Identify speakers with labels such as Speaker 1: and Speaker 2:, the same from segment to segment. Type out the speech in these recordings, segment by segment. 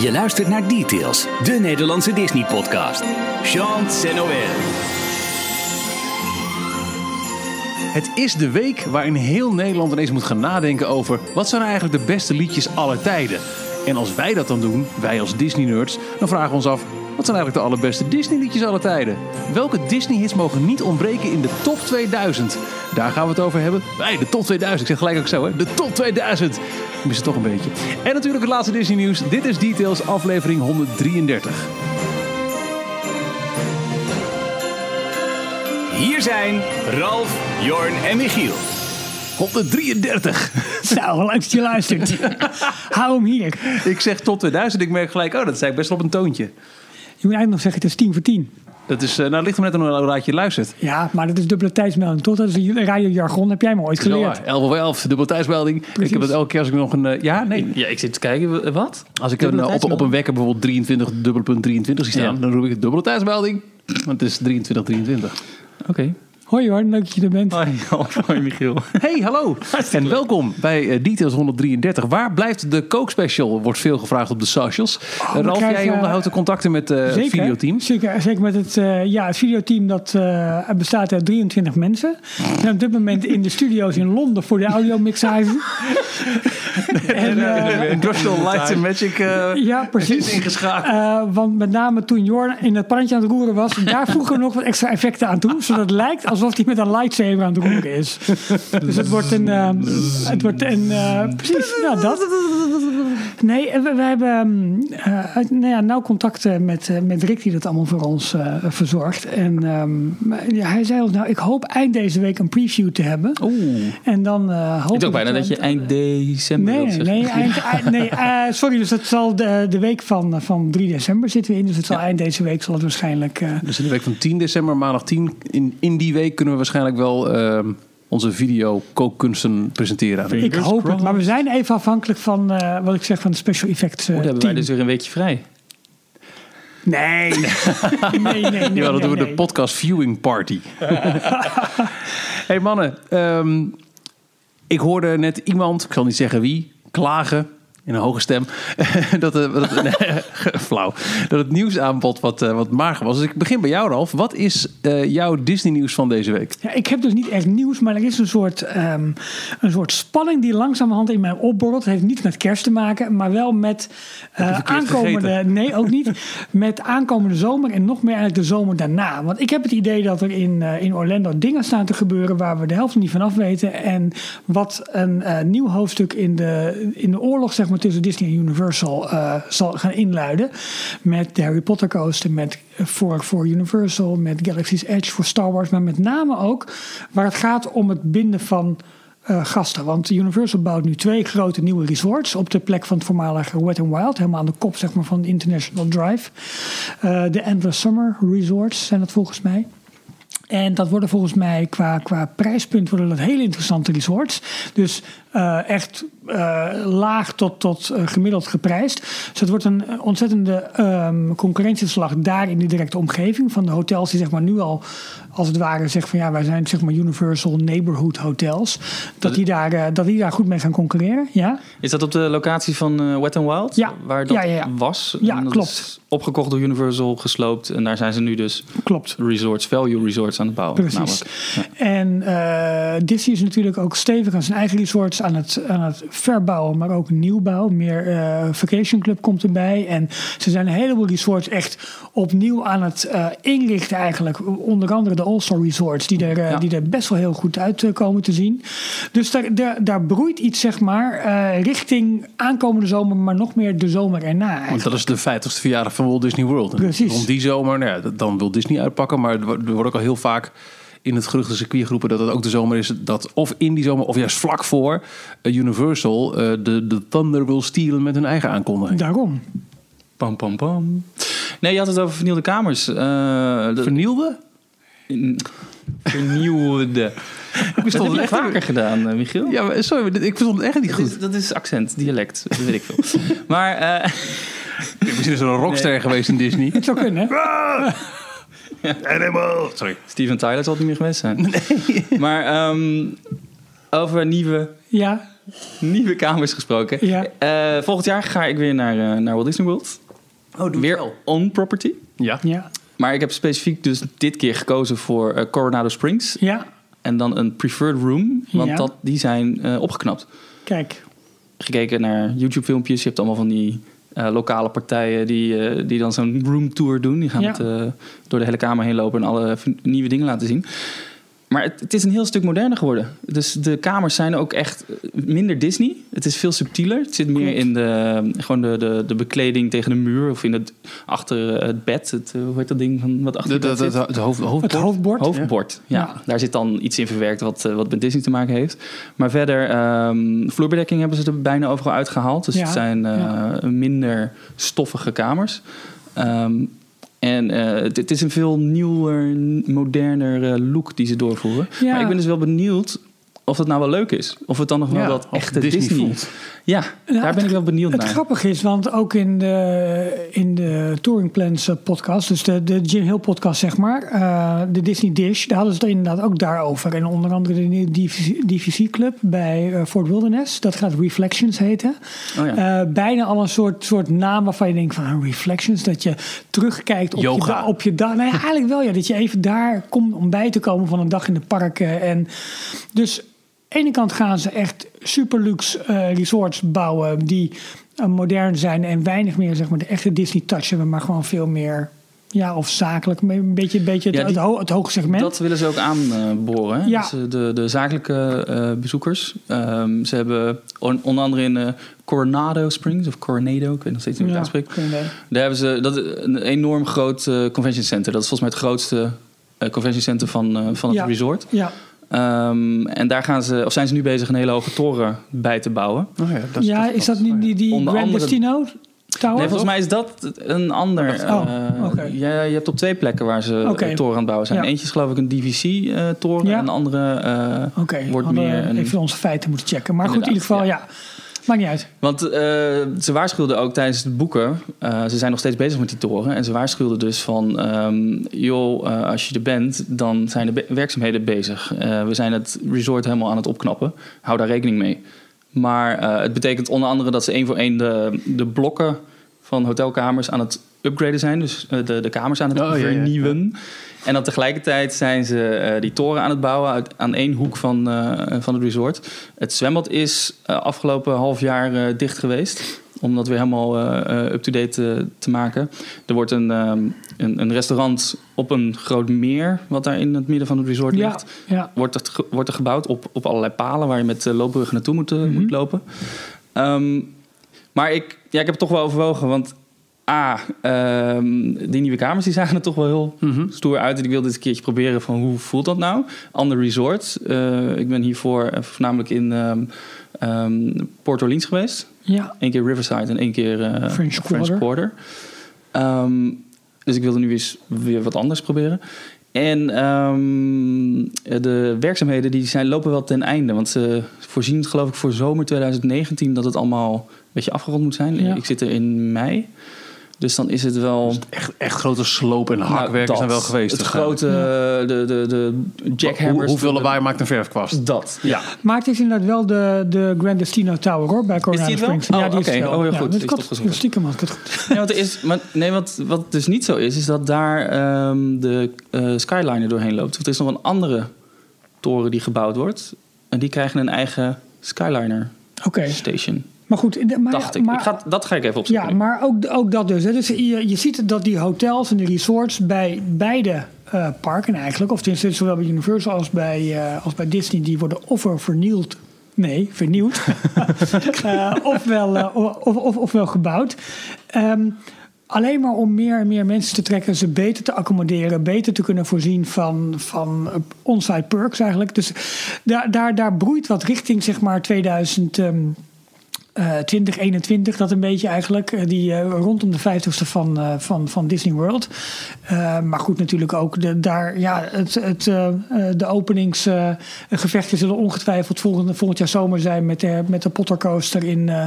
Speaker 1: Je luistert naar Details, de Nederlandse Disney-podcast. Jean Noël.
Speaker 2: Het is de week waarin heel Nederland ineens moet gaan nadenken over wat zijn nou eigenlijk de beste liedjes aller tijden. En als wij dat dan doen, wij als Disney-nerds, dan vragen we ons af wat zijn eigenlijk de allerbeste Disney-liedjes aller tijden. Welke Disney-hits mogen niet ontbreken in de top 2000? Daar gaan we het over hebben. Bij de top 2000, ik zeg gelijk ook zo hè, de top 2000. Ik mis het toch een beetje. En natuurlijk het laatste Disney-nieuws. Dit is Details, aflevering 133.
Speaker 1: Hier zijn Ralf, Jorn en Michiel.
Speaker 2: 133!
Speaker 3: Nou, langs je luistert. Hou hem hier.
Speaker 2: Ik zeg tot 2000, ik merk gelijk, oh dat zei ik best wel op een toontje.
Speaker 3: Je moet eigenlijk nog zeggen, het is tien voor tien.
Speaker 2: Dat is, eh, nou, het ligt er net aan hoe laat je luistert.
Speaker 3: Ja, maar dat is dubbele tijdsmelding, toch? Dat is een radiojargon, heb jij me ooit geleerd.
Speaker 2: 11 of 11, dubbel thuismelding. Ik heb het elke keer als ik nog een... eh, ja, nee.
Speaker 4: Ja, ik zit te kijken. w- Wat?
Speaker 2: Als ik een, eh, op, op een wekker bijvoorbeeld 23, dubbele punt 23 zie staan,
Speaker 4: Ja.
Speaker 2: dan roep ik dubbele thuismelding. Want het is 23, 23.
Speaker 4: Oké.
Speaker 3: Hoi hoor, leuk dat je er bent.
Speaker 4: Hoi, hoi Michiel.
Speaker 2: Hey, hallo. en welkom bij eh, Details 133. Waar blijft de Coke Special? Wordt veel gevraagd op de socials. Eh,
Speaker 3: we
Speaker 2: Ralf,
Speaker 3: krijgen,
Speaker 2: jij
Speaker 3: eh,
Speaker 2: onderhoudt de contacten met eh, het
Speaker 3: Zeker,
Speaker 2: videoteam.
Speaker 3: Zeker, zeker met het, eh, ja, het videoteam dat eh, bestaat uit 23 mensen. En op dit moment in de studio's in Londen voor de audiomixage. en, eh,
Speaker 2: Industrial Light and Magic eh,
Speaker 3: ja,
Speaker 2: is
Speaker 3: precies.
Speaker 2: ingeschakeld.
Speaker 3: Eh, want met name toen Jorn in het pandje aan het roeren was, daar voegen we nog wat extra effecten aan toe. Zodat het lijkt alsof hij met een lightsaber aan het roeren is. Dus het wordt een. eh, het wordt een eh, precies, nou dat. Nee, en we, we hebben ehm, eh, uit- nou ja, nauw contact eh, met, eh, met Rick, die dat allemaal voor ons eh, verzorgt. En ehm, ja, hij zei ons, nou, ik hoop eind deze week een preview te hebben.
Speaker 4: Oeh.
Speaker 3: En dan eh hoop
Speaker 4: Ik dacht
Speaker 3: ik
Speaker 4: bijna dat je eind december
Speaker 3: Nee,
Speaker 4: wilt
Speaker 3: nee,
Speaker 4: zeggen.
Speaker 3: nee, eind, eind- nee eh, sorry, dus dat zal de, de week van, eh, van 3 december zitten we in. Dus het zal eind deze week zal het waarschijnlijk... eh,
Speaker 2: Dus in de week van 10 december, maandag 10, in, in die week kunnen we waarschijnlijk wel ehm, onze video kookkunsten presenteren. aan u.
Speaker 3: ik hoop het, maar we zijn even afhankelijk van eh, wat ik zeg van de special effects eh,
Speaker 2: Oh,
Speaker 4: Dan hebben wij
Speaker 3: team.
Speaker 4: dus weer een weekje vrij.
Speaker 3: Nee, nee, nee. nee, nee,
Speaker 2: dus- Jawel, dat doen we de
Speaker 3: nee.
Speaker 2: podcast viewing party. hey mannen, ehm, ik hoorde net iemand, ik zal niet zeggen wie, klagen in een hoge stem. dat, eh, dat, nee, flauw, dat het nieuwsaanbod wat, eh, wat mager was. Dus ik begin bij jou, Ralf. Wat is eh, jouw Disney-nieuws van deze week?
Speaker 3: Ja, ik heb dus niet echt nieuws, maar er is een soort, ehm, een soort spanning die langzamerhand in mij opborrelt. Het heeft niets met kerst te maken, maar wel met eh,
Speaker 2: verkeerd
Speaker 3: aankomende.
Speaker 2: gegeten?
Speaker 3: Nee, ook niet. met aankomende zomer en nog meer eigenlijk de zomer daarna. Want ik heb het idee dat er in, eh, in Orlando dingen staan te gebeuren waar we de helft niet van af weten. En wat een eh, nieuw hoofdstuk in de, in de oorlog zeg maar, tussen Disney en Universal eh, zal gaan inluiden. Met de Harry Potter coaster, met voor, voor Universal, met Galaxy's Edge voor Star Wars, maar met name ook waar het gaat om het binden van eh, gasten. Want Universal bouwt nu twee grote nieuwe resorts op de plek van het voormalige Wet n Wild, helemaal aan de kop zeg maar, van International Drive. Eh, De Endless Summer Resorts zijn dat volgens mij. En dat worden volgens mij qua, qua prijspunt worden dat hele interessante resorts. Dus eh, echt eh, laag tot, tot eh, gemiddeld geprijsd. Dus het wordt een eh, ontzettende ehm, concurrentieslag daar in die directe omgeving. Van de hotels die zeg maar nu al als het ware zeggen van ja wij zijn zeg maar Universal Neighborhood Hotels. Dat die daar, eh, dat die daar goed mee gaan concurreren. Ja?
Speaker 4: Is dat op de locatie van eh, Wet n Wild?
Speaker 3: Ja.
Speaker 4: Waar dat
Speaker 3: Ja, ja, ja.
Speaker 4: was?
Speaker 3: Ja,
Speaker 4: En dat
Speaker 3: klopt.
Speaker 4: is opgekocht door Universal, gesloopt. En daar zijn ze nu dus
Speaker 3: Klopt.
Speaker 4: resorts, value resorts aan het bouwen.
Speaker 3: Precies.
Speaker 4: namelijk.
Speaker 3: En eh Disney is natuurlijk ook stevig aan zijn eigen resorts aan het, aan het verbouwen, maar ook nieuwbouw. Meer eh, vacation club komt erbij. En ze zijn een heleboel resorts echt opnieuw aan het eh, inrichten eigenlijk. Onder andere de All-Star Resorts, die er, eh,
Speaker 4: Ja.
Speaker 3: die er best wel heel goed uit eh, komen te zien. Dus daar, daar, daar broeit iets, zeg maar, eh, richting aankomende zomer, maar nog meer de zomer erna. eigenlijk.
Speaker 2: Want dat is de 50ste verjaardag van Walt Disney World. En
Speaker 3: Precies.
Speaker 2: Rond die zomer, nou ja, dat- dan wil Disney uitpakken. Maar er wo- er wordt ook al heel vaak in het geruchtencircuit geroepen... dat het ook de zomer is dat of in die zomer of juist vlak voor... eh, Universal eh, de, de Thunder wil stelen met hun eigen aankondiging.
Speaker 3: Daarom.
Speaker 4: Pam, pam, pam. Nee, je had het over vernieuwde kamers. Eh dat-
Speaker 2: Vernielde?
Speaker 4: vernieuwde.
Speaker 2: Ik
Speaker 4: Dat
Speaker 2: verstond
Speaker 4: heb
Speaker 2: het
Speaker 4: je
Speaker 2: echt
Speaker 4: vaker gedaan, eh, Michiel.
Speaker 2: Ja, maar sorry, maar dit- ik verstond het echt niet
Speaker 4: Dat
Speaker 2: goed.
Speaker 4: is, dat is accent, dialect, dat weet ik veel. maar eh,
Speaker 2: Misschien is er een rockster geweest in Disney.
Speaker 3: Het zou kunnen. hè?
Speaker 2: Animal! Ah! Sorry.
Speaker 4: Steven Tyler zal het niet meer geweest zijn. Maar ehm, over nieuwe
Speaker 3: Ja.
Speaker 4: nieuwe kamers gesproken.
Speaker 3: Ja.
Speaker 4: Eh, volgend jaar ga ik weer naar, eh, naar Walt Disney World.
Speaker 2: Oh,
Speaker 4: Weer on property.
Speaker 2: Ja.
Speaker 3: Ja.
Speaker 4: Maar ik heb specifiek dus dit keer gekozen voor eh, Coronado Springs.
Speaker 3: Ja.
Speaker 4: En dan een preferred room. Want
Speaker 3: Ja.
Speaker 4: dat, die zijn eh, opgeknapt.
Speaker 3: Kijk.
Speaker 4: gekeken naar YouTube-filmpjes. Je hebt allemaal van die eh, lokale partijen die, eh, die dan zo'n roomtour doen. Die gaan
Speaker 3: Ja.
Speaker 4: het, eh, door de hele kamer heen lopen en alle v- nieuwe dingen laten zien. Maar het, het is een heel stuk moderner geworden. Dus de kamers zijn ook echt eh, minder Disney. Het is veel subtieler. Het zit meer
Speaker 3: Klopt.
Speaker 4: in de, gewoon de, de, de bekleding tegen de muur of in het, achter het bed. Het, eh, hoe heet dat ding van, wat achter
Speaker 2: Het
Speaker 4: het bed zit?
Speaker 2: hoofd,
Speaker 3: Het hoofdbord.
Speaker 4: Hoofdbord, ja.
Speaker 3: Ja.
Speaker 4: Daar zit dan iets in verwerkt wat, eh, wat met Disney te maken heeft. Maar verder, ehm, vloerbedekking hebben ze er bijna overal uitgehaald. Dus
Speaker 3: Ja,
Speaker 4: het zijn eh,
Speaker 3: ja.
Speaker 4: minder stoffige kamers. Ehm, en eh, het, het is een veel nieuwer, moderner eh, look die ze doorvoeren.
Speaker 3: Ja.
Speaker 4: Maar ik ben dus wel benieuwd of dat nou wel leuk is. Of het dan nog wel
Speaker 2: Ja,
Speaker 4: dat
Speaker 2: of
Speaker 4: echte
Speaker 2: Disney
Speaker 4: Disney,
Speaker 2: voelt.
Speaker 4: Ja,
Speaker 3: Ja,
Speaker 4: daar ben ik wel benieuwd
Speaker 3: Nou, Het
Speaker 4: naar.
Speaker 3: grappige is, want ook in de, in de Touring Plans eh, podcast, dus de, de Jim Hill podcast zeg maar, eh, de Disney Dish, daar hadden ze het inderdaad ook daarover. En onder andere de nieuwe DVC DVC Club bij eh, Fort Wilderness, dat gaat Reflections heten.
Speaker 4: Oh ja.
Speaker 3: Eh, bijna al een soort, soort naam waarvan je denkt van ah, Reflections, dat je terugkijkt op
Speaker 2: Yoga.
Speaker 3: je da- op je dag. Nou ja, eigenlijk wel ja, dat je even daar komt om bij te komen van een dag in de parken. En dus aan de ene kant gaan ze echt super luxe eh, resorts bouwen die eh, modern zijn en weinig meer zeg maar de echte Disney touch hebben, maar gewoon veel meer ja of zakelijk, maar een beetje, een beetje het,
Speaker 4: Ja, die-
Speaker 3: het, ho- het hoge segment.
Speaker 4: Dat willen ze ook aanboren. hè?
Speaker 3: Ja.
Speaker 4: Dus, eh, de, de zakelijke eh, bezoekers. Ehm, ze hebben on- onder andere in eh, Coronado Springs of Coronado, ik weet nog steeds niet hoe ik het uitspreek.
Speaker 3: geen idee.
Speaker 4: Daar hebben ze dat, is een enorm groot eh, convention center. Dat is volgens mij het grootste eh, convention center van, eh, van het
Speaker 3: Ja.
Speaker 4: resort.
Speaker 3: Ja,
Speaker 4: Ehm, en daar gaan ze, of zijn ze nu bezig een hele hoge toren bij te bouwen.
Speaker 2: ja, dat
Speaker 3: ja is dat niet die, die
Speaker 4: Onder
Speaker 3: Grand
Speaker 4: andere-
Speaker 3: Destino Tower?
Speaker 4: Nee, volgens mij is dat een ander.
Speaker 3: Oh,
Speaker 4: eh,
Speaker 3: oké.
Speaker 4: ja, je hebt op twee plekken waar ze
Speaker 3: Oké.
Speaker 4: een toren aan het bouwen zijn.
Speaker 3: Ja.
Speaker 4: Eentje is geloof ik een DVC-toren
Speaker 3: Ja.
Speaker 4: eh, en de andere eh,
Speaker 3: Oké,
Speaker 4: wordt
Speaker 3: hadden we
Speaker 4: meer een...
Speaker 3: even onze feiten moeten checken. Maar goed, in ieder geval,
Speaker 4: Inderdaad,
Speaker 3: ja. Maakt niet uit.
Speaker 4: Want eh, ze waarschuwden ook tijdens het boeken, eh, ze zijn nog steeds bezig met die toren. En ze waarschuwden dus van, ehm, joh, eh, als je er bent, dan zijn de be- werkzaamheden bezig. Eh, we zijn het resort helemaal aan het opknappen. Hou daar rekening mee. Maar eh, het betekent onder andere dat ze één voor één de, de blokken van hotelkamers aan het upgraden zijn. Dus eh, de, de kamers aan het
Speaker 2: Oh, ja, ja.
Speaker 4: vernieuwen. En dan tegelijkertijd zijn ze eh, die toren aan het bouwen uit, aan één hoek van, eh, van het resort. Het zwembad is eh, afgelopen half jaar eh, dicht geweest. Om dat weer helemaal eh, eh, up-to-date eh, te maken. Er wordt een, ehm, een, een restaurant op een groot meer, wat daar in het midden van het resort
Speaker 3: Ja,
Speaker 4: ligt
Speaker 3: ja.
Speaker 4: wordt er, ge- wordt er gebouwd op, op allerlei palen waar je met eh, loopbruggen naartoe moet, eh,
Speaker 2: Mhm.
Speaker 4: moet lopen. Ehm, maar ik, ja, ik heb het toch wel overwogen, want A, ehm, die nieuwe kamers die zagen er toch wel heel stoer uit. En ik wilde dit een keertje proberen van hoe voelt dat nou? Ander resort. Eh, ik ben hiervoor eh, voornamelijk in ehm ehm, Port Orleans geweest.
Speaker 3: ja.
Speaker 4: Eén keer Riverside en één keer eh,
Speaker 3: French Quarter.
Speaker 4: Ehm, dus ik wilde nu eens weer wat anders proberen. En ehm, de werkzaamheden die zijn, lopen wel ten einde. Want ze voorzien geloof ik voor zomer 2019 dat het allemaal een beetje afgerond moet zijn.
Speaker 3: Ja.
Speaker 4: Ik zit er in mei. Dus dan is het wel...
Speaker 2: Echt, echt grote sloop- en hakwerk
Speaker 4: Nou,
Speaker 2: zijn wel
Speaker 4: dat.
Speaker 2: geweest.
Speaker 4: Het grote, eh, de, de, de jackhammers.
Speaker 2: Hoe, hoeveel
Speaker 4: de-
Speaker 2: lawaai maakt een verfkwast?
Speaker 4: Dat, ja.
Speaker 3: Maar het is inderdaad wel de, de Grandestino Tower hoor, bij Coronado
Speaker 4: die het wel?
Speaker 3: Springs.
Speaker 4: Oh,
Speaker 3: ja, die
Speaker 4: oké.
Speaker 3: is het wel.
Speaker 4: Oh, heel
Speaker 3: Ja,
Speaker 4: goed.
Speaker 3: dat
Speaker 4: Die is
Speaker 3: klopt.
Speaker 4: opgezocht.
Speaker 3: Stiekem had ik het goed.
Speaker 4: Nee, want er is, maar, nee want wat dus niet zo is, is dat daar ehm, de eh skyline er doorheen loopt. Want er is nog een andere toren die gebouwd wordt. En die krijgen een eigen skyliner
Speaker 3: Oké,
Speaker 4: station,
Speaker 3: maar goed. in de- Maar,
Speaker 4: dacht ik.
Speaker 3: maar-
Speaker 4: ik ga, dat ga ik even opzoeken.
Speaker 3: ja, maar ook, ook dat dus. Hè. Dus je, je ziet dat die hotels en die resorts bij beide eh, parken eigenlijk, of tenminste zowel bij Universal als bij, eh, als bij Disney, die worden ofwel vernield. Nee, vernieuwd. Eh, ofwel, eh, of, of, ofwel gebouwd. Ehm, alleen maar om meer en meer mensen te trekken, ze beter te accommoderen, beter te kunnen voorzien van, van eh, onsite perks eigenlijk. Dus daar, daar, daar broeit wat richting zeg maar 2000. ehm, eh, 2021, dat een beetje eigenlijk. eh, die eh, rondom de 50ste van, eh, van, van Disney World. Eh, maar goed, natuurlijk ook de, daar, ja, het, het, eh, eh, de openingsgevechten zullen ongetwijfeld volgend, volgend jaar zomer zijn. Met de, met de Potter Coaster in, eh,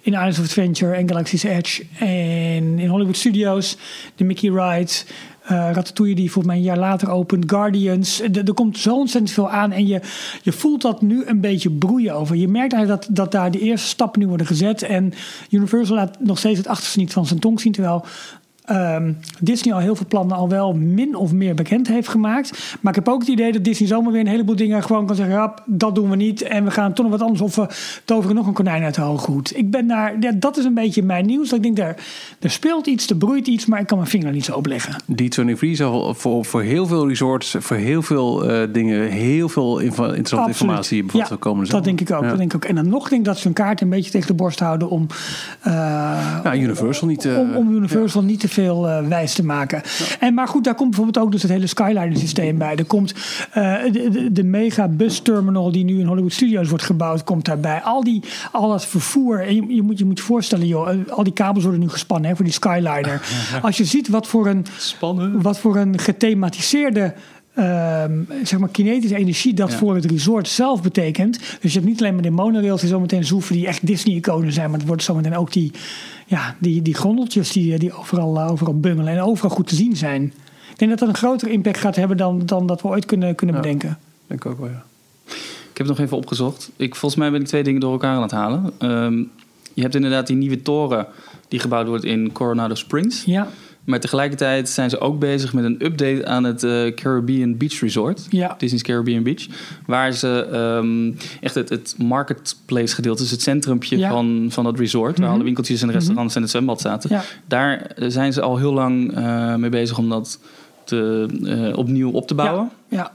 Speaker 3: in Islands of Adventure en Galaxy's Edge. En in Hollywood Studios, de Mickey Ride. eh, Ratatouille die volgens mij een jaar later opent. Guardians. Eh, d- Er komt zo ontzettend veel aan. En je, je voelt dat nu een beetje broeien over. Je merkt eigenlijk dat, dat daar de eerste stappen nu worden gezet. En Universal laat nog steeds het achterste niet van zijn tong zien. Terwijl ehm, Disney al heel veel plannen al wel min of meer bekend heeft gemaakt. Maar ik heb ook het idee dat Disney zomaar weer een heleboel dingen gewoon kan zeggen: "Rap, dat doen we niet. En we gaan toch nog wat anders. Of we toveren nog een konijn uit de hooghoed. Ik ben daar, ja, dat is een beetje mijn nieuws. Dat ik denk, daar, er speelt iets, er broeit iets, maar ik kan mijn vinger niet zo opleggen.
Speaker 2: D23 zal voor, voor heel veel resorts, voor heel veel eh, dingen, heel veel info- interessante
Speaker 3: Absoluut.
Speaker 2: informatie bevat
Speaker 3: ja,
Speaker 2: de komende
Speaker 3: dat
Speaker 2: zomer.
Speaker 3: denk ik ook.
Speaker 2: dus Ja.
Speaker 3: Dat denk ik ook. En dan nog denk ik dat ze hun kaart een beetje tegen de borst houden om. eh,
Speaker 2: Ja, Universal niet. eh,
Speaker 3: om, om Universal niet te veel eh, wijs te maken. En, maar goed, daar komt bijvoorbeeld ook dus het hele Skyliner systeem bij. Er komt eh, de, de, de mega bus terminal die nu in Hollywood Studios wordt gebouwd, komt daarbij. Al, die, al dat vervoer, en je, je, moet, je moet je voorstellen joh, eh, al die kabels worden nu gespannen hè, voor die Skyliner. Als je ziet wat voor een,
Speaker 4: Spannend.
Speaker 3: wat voor een gethematiseerde ehm, zeg maar kinetische energie dat voor het resort zelf betekent. Dus je hebt niet alleen maar de monorails die zometeen zoeven die echt Disney-iconen zijn, maar het wordt zometeen ook die, ja, die, die grondeltjes die, eh, die overal, eh, overal bungelen en overal goed te zien zijn. Ik denk dat dat een grotere impact gaat hebben dan, dan dat we ooit kunnen, kunnen bedenken.
Speaker 2: denk ik ook wel, ja.
Speaker 4: Ik heb het nog even opgezocht. Ik, volgens mij ben ik twee dingen door elkaar aan het halen. Ehm, je hebt inderdaad die nieuwe toren die gebouwd wordt in Coronado Springs.
Speaker 3: Ja,
Speaker 4: Maar tegelijkertijd zijn ze ook bezig met een update aan het eh, Caribbean Beach Resort.
Speaker 3: Ja.
Speaker 4: Disney's Caribbean Beach. Waar ze ehm, echt het, het marketplace gedeelte, dus het centrumpje
Speaker 3: Ja. Mhm.
Speaker 4: van, van dat resort. Waar alle winkeltjes en de restaurants en het zwembad zaten.
Speaker 3: Ja.
Speaker 4: Daar zijn ze al heel lang eh, mee bezig om dat te, eh, opnieuw op te bouwen.
Speaker 3: ja.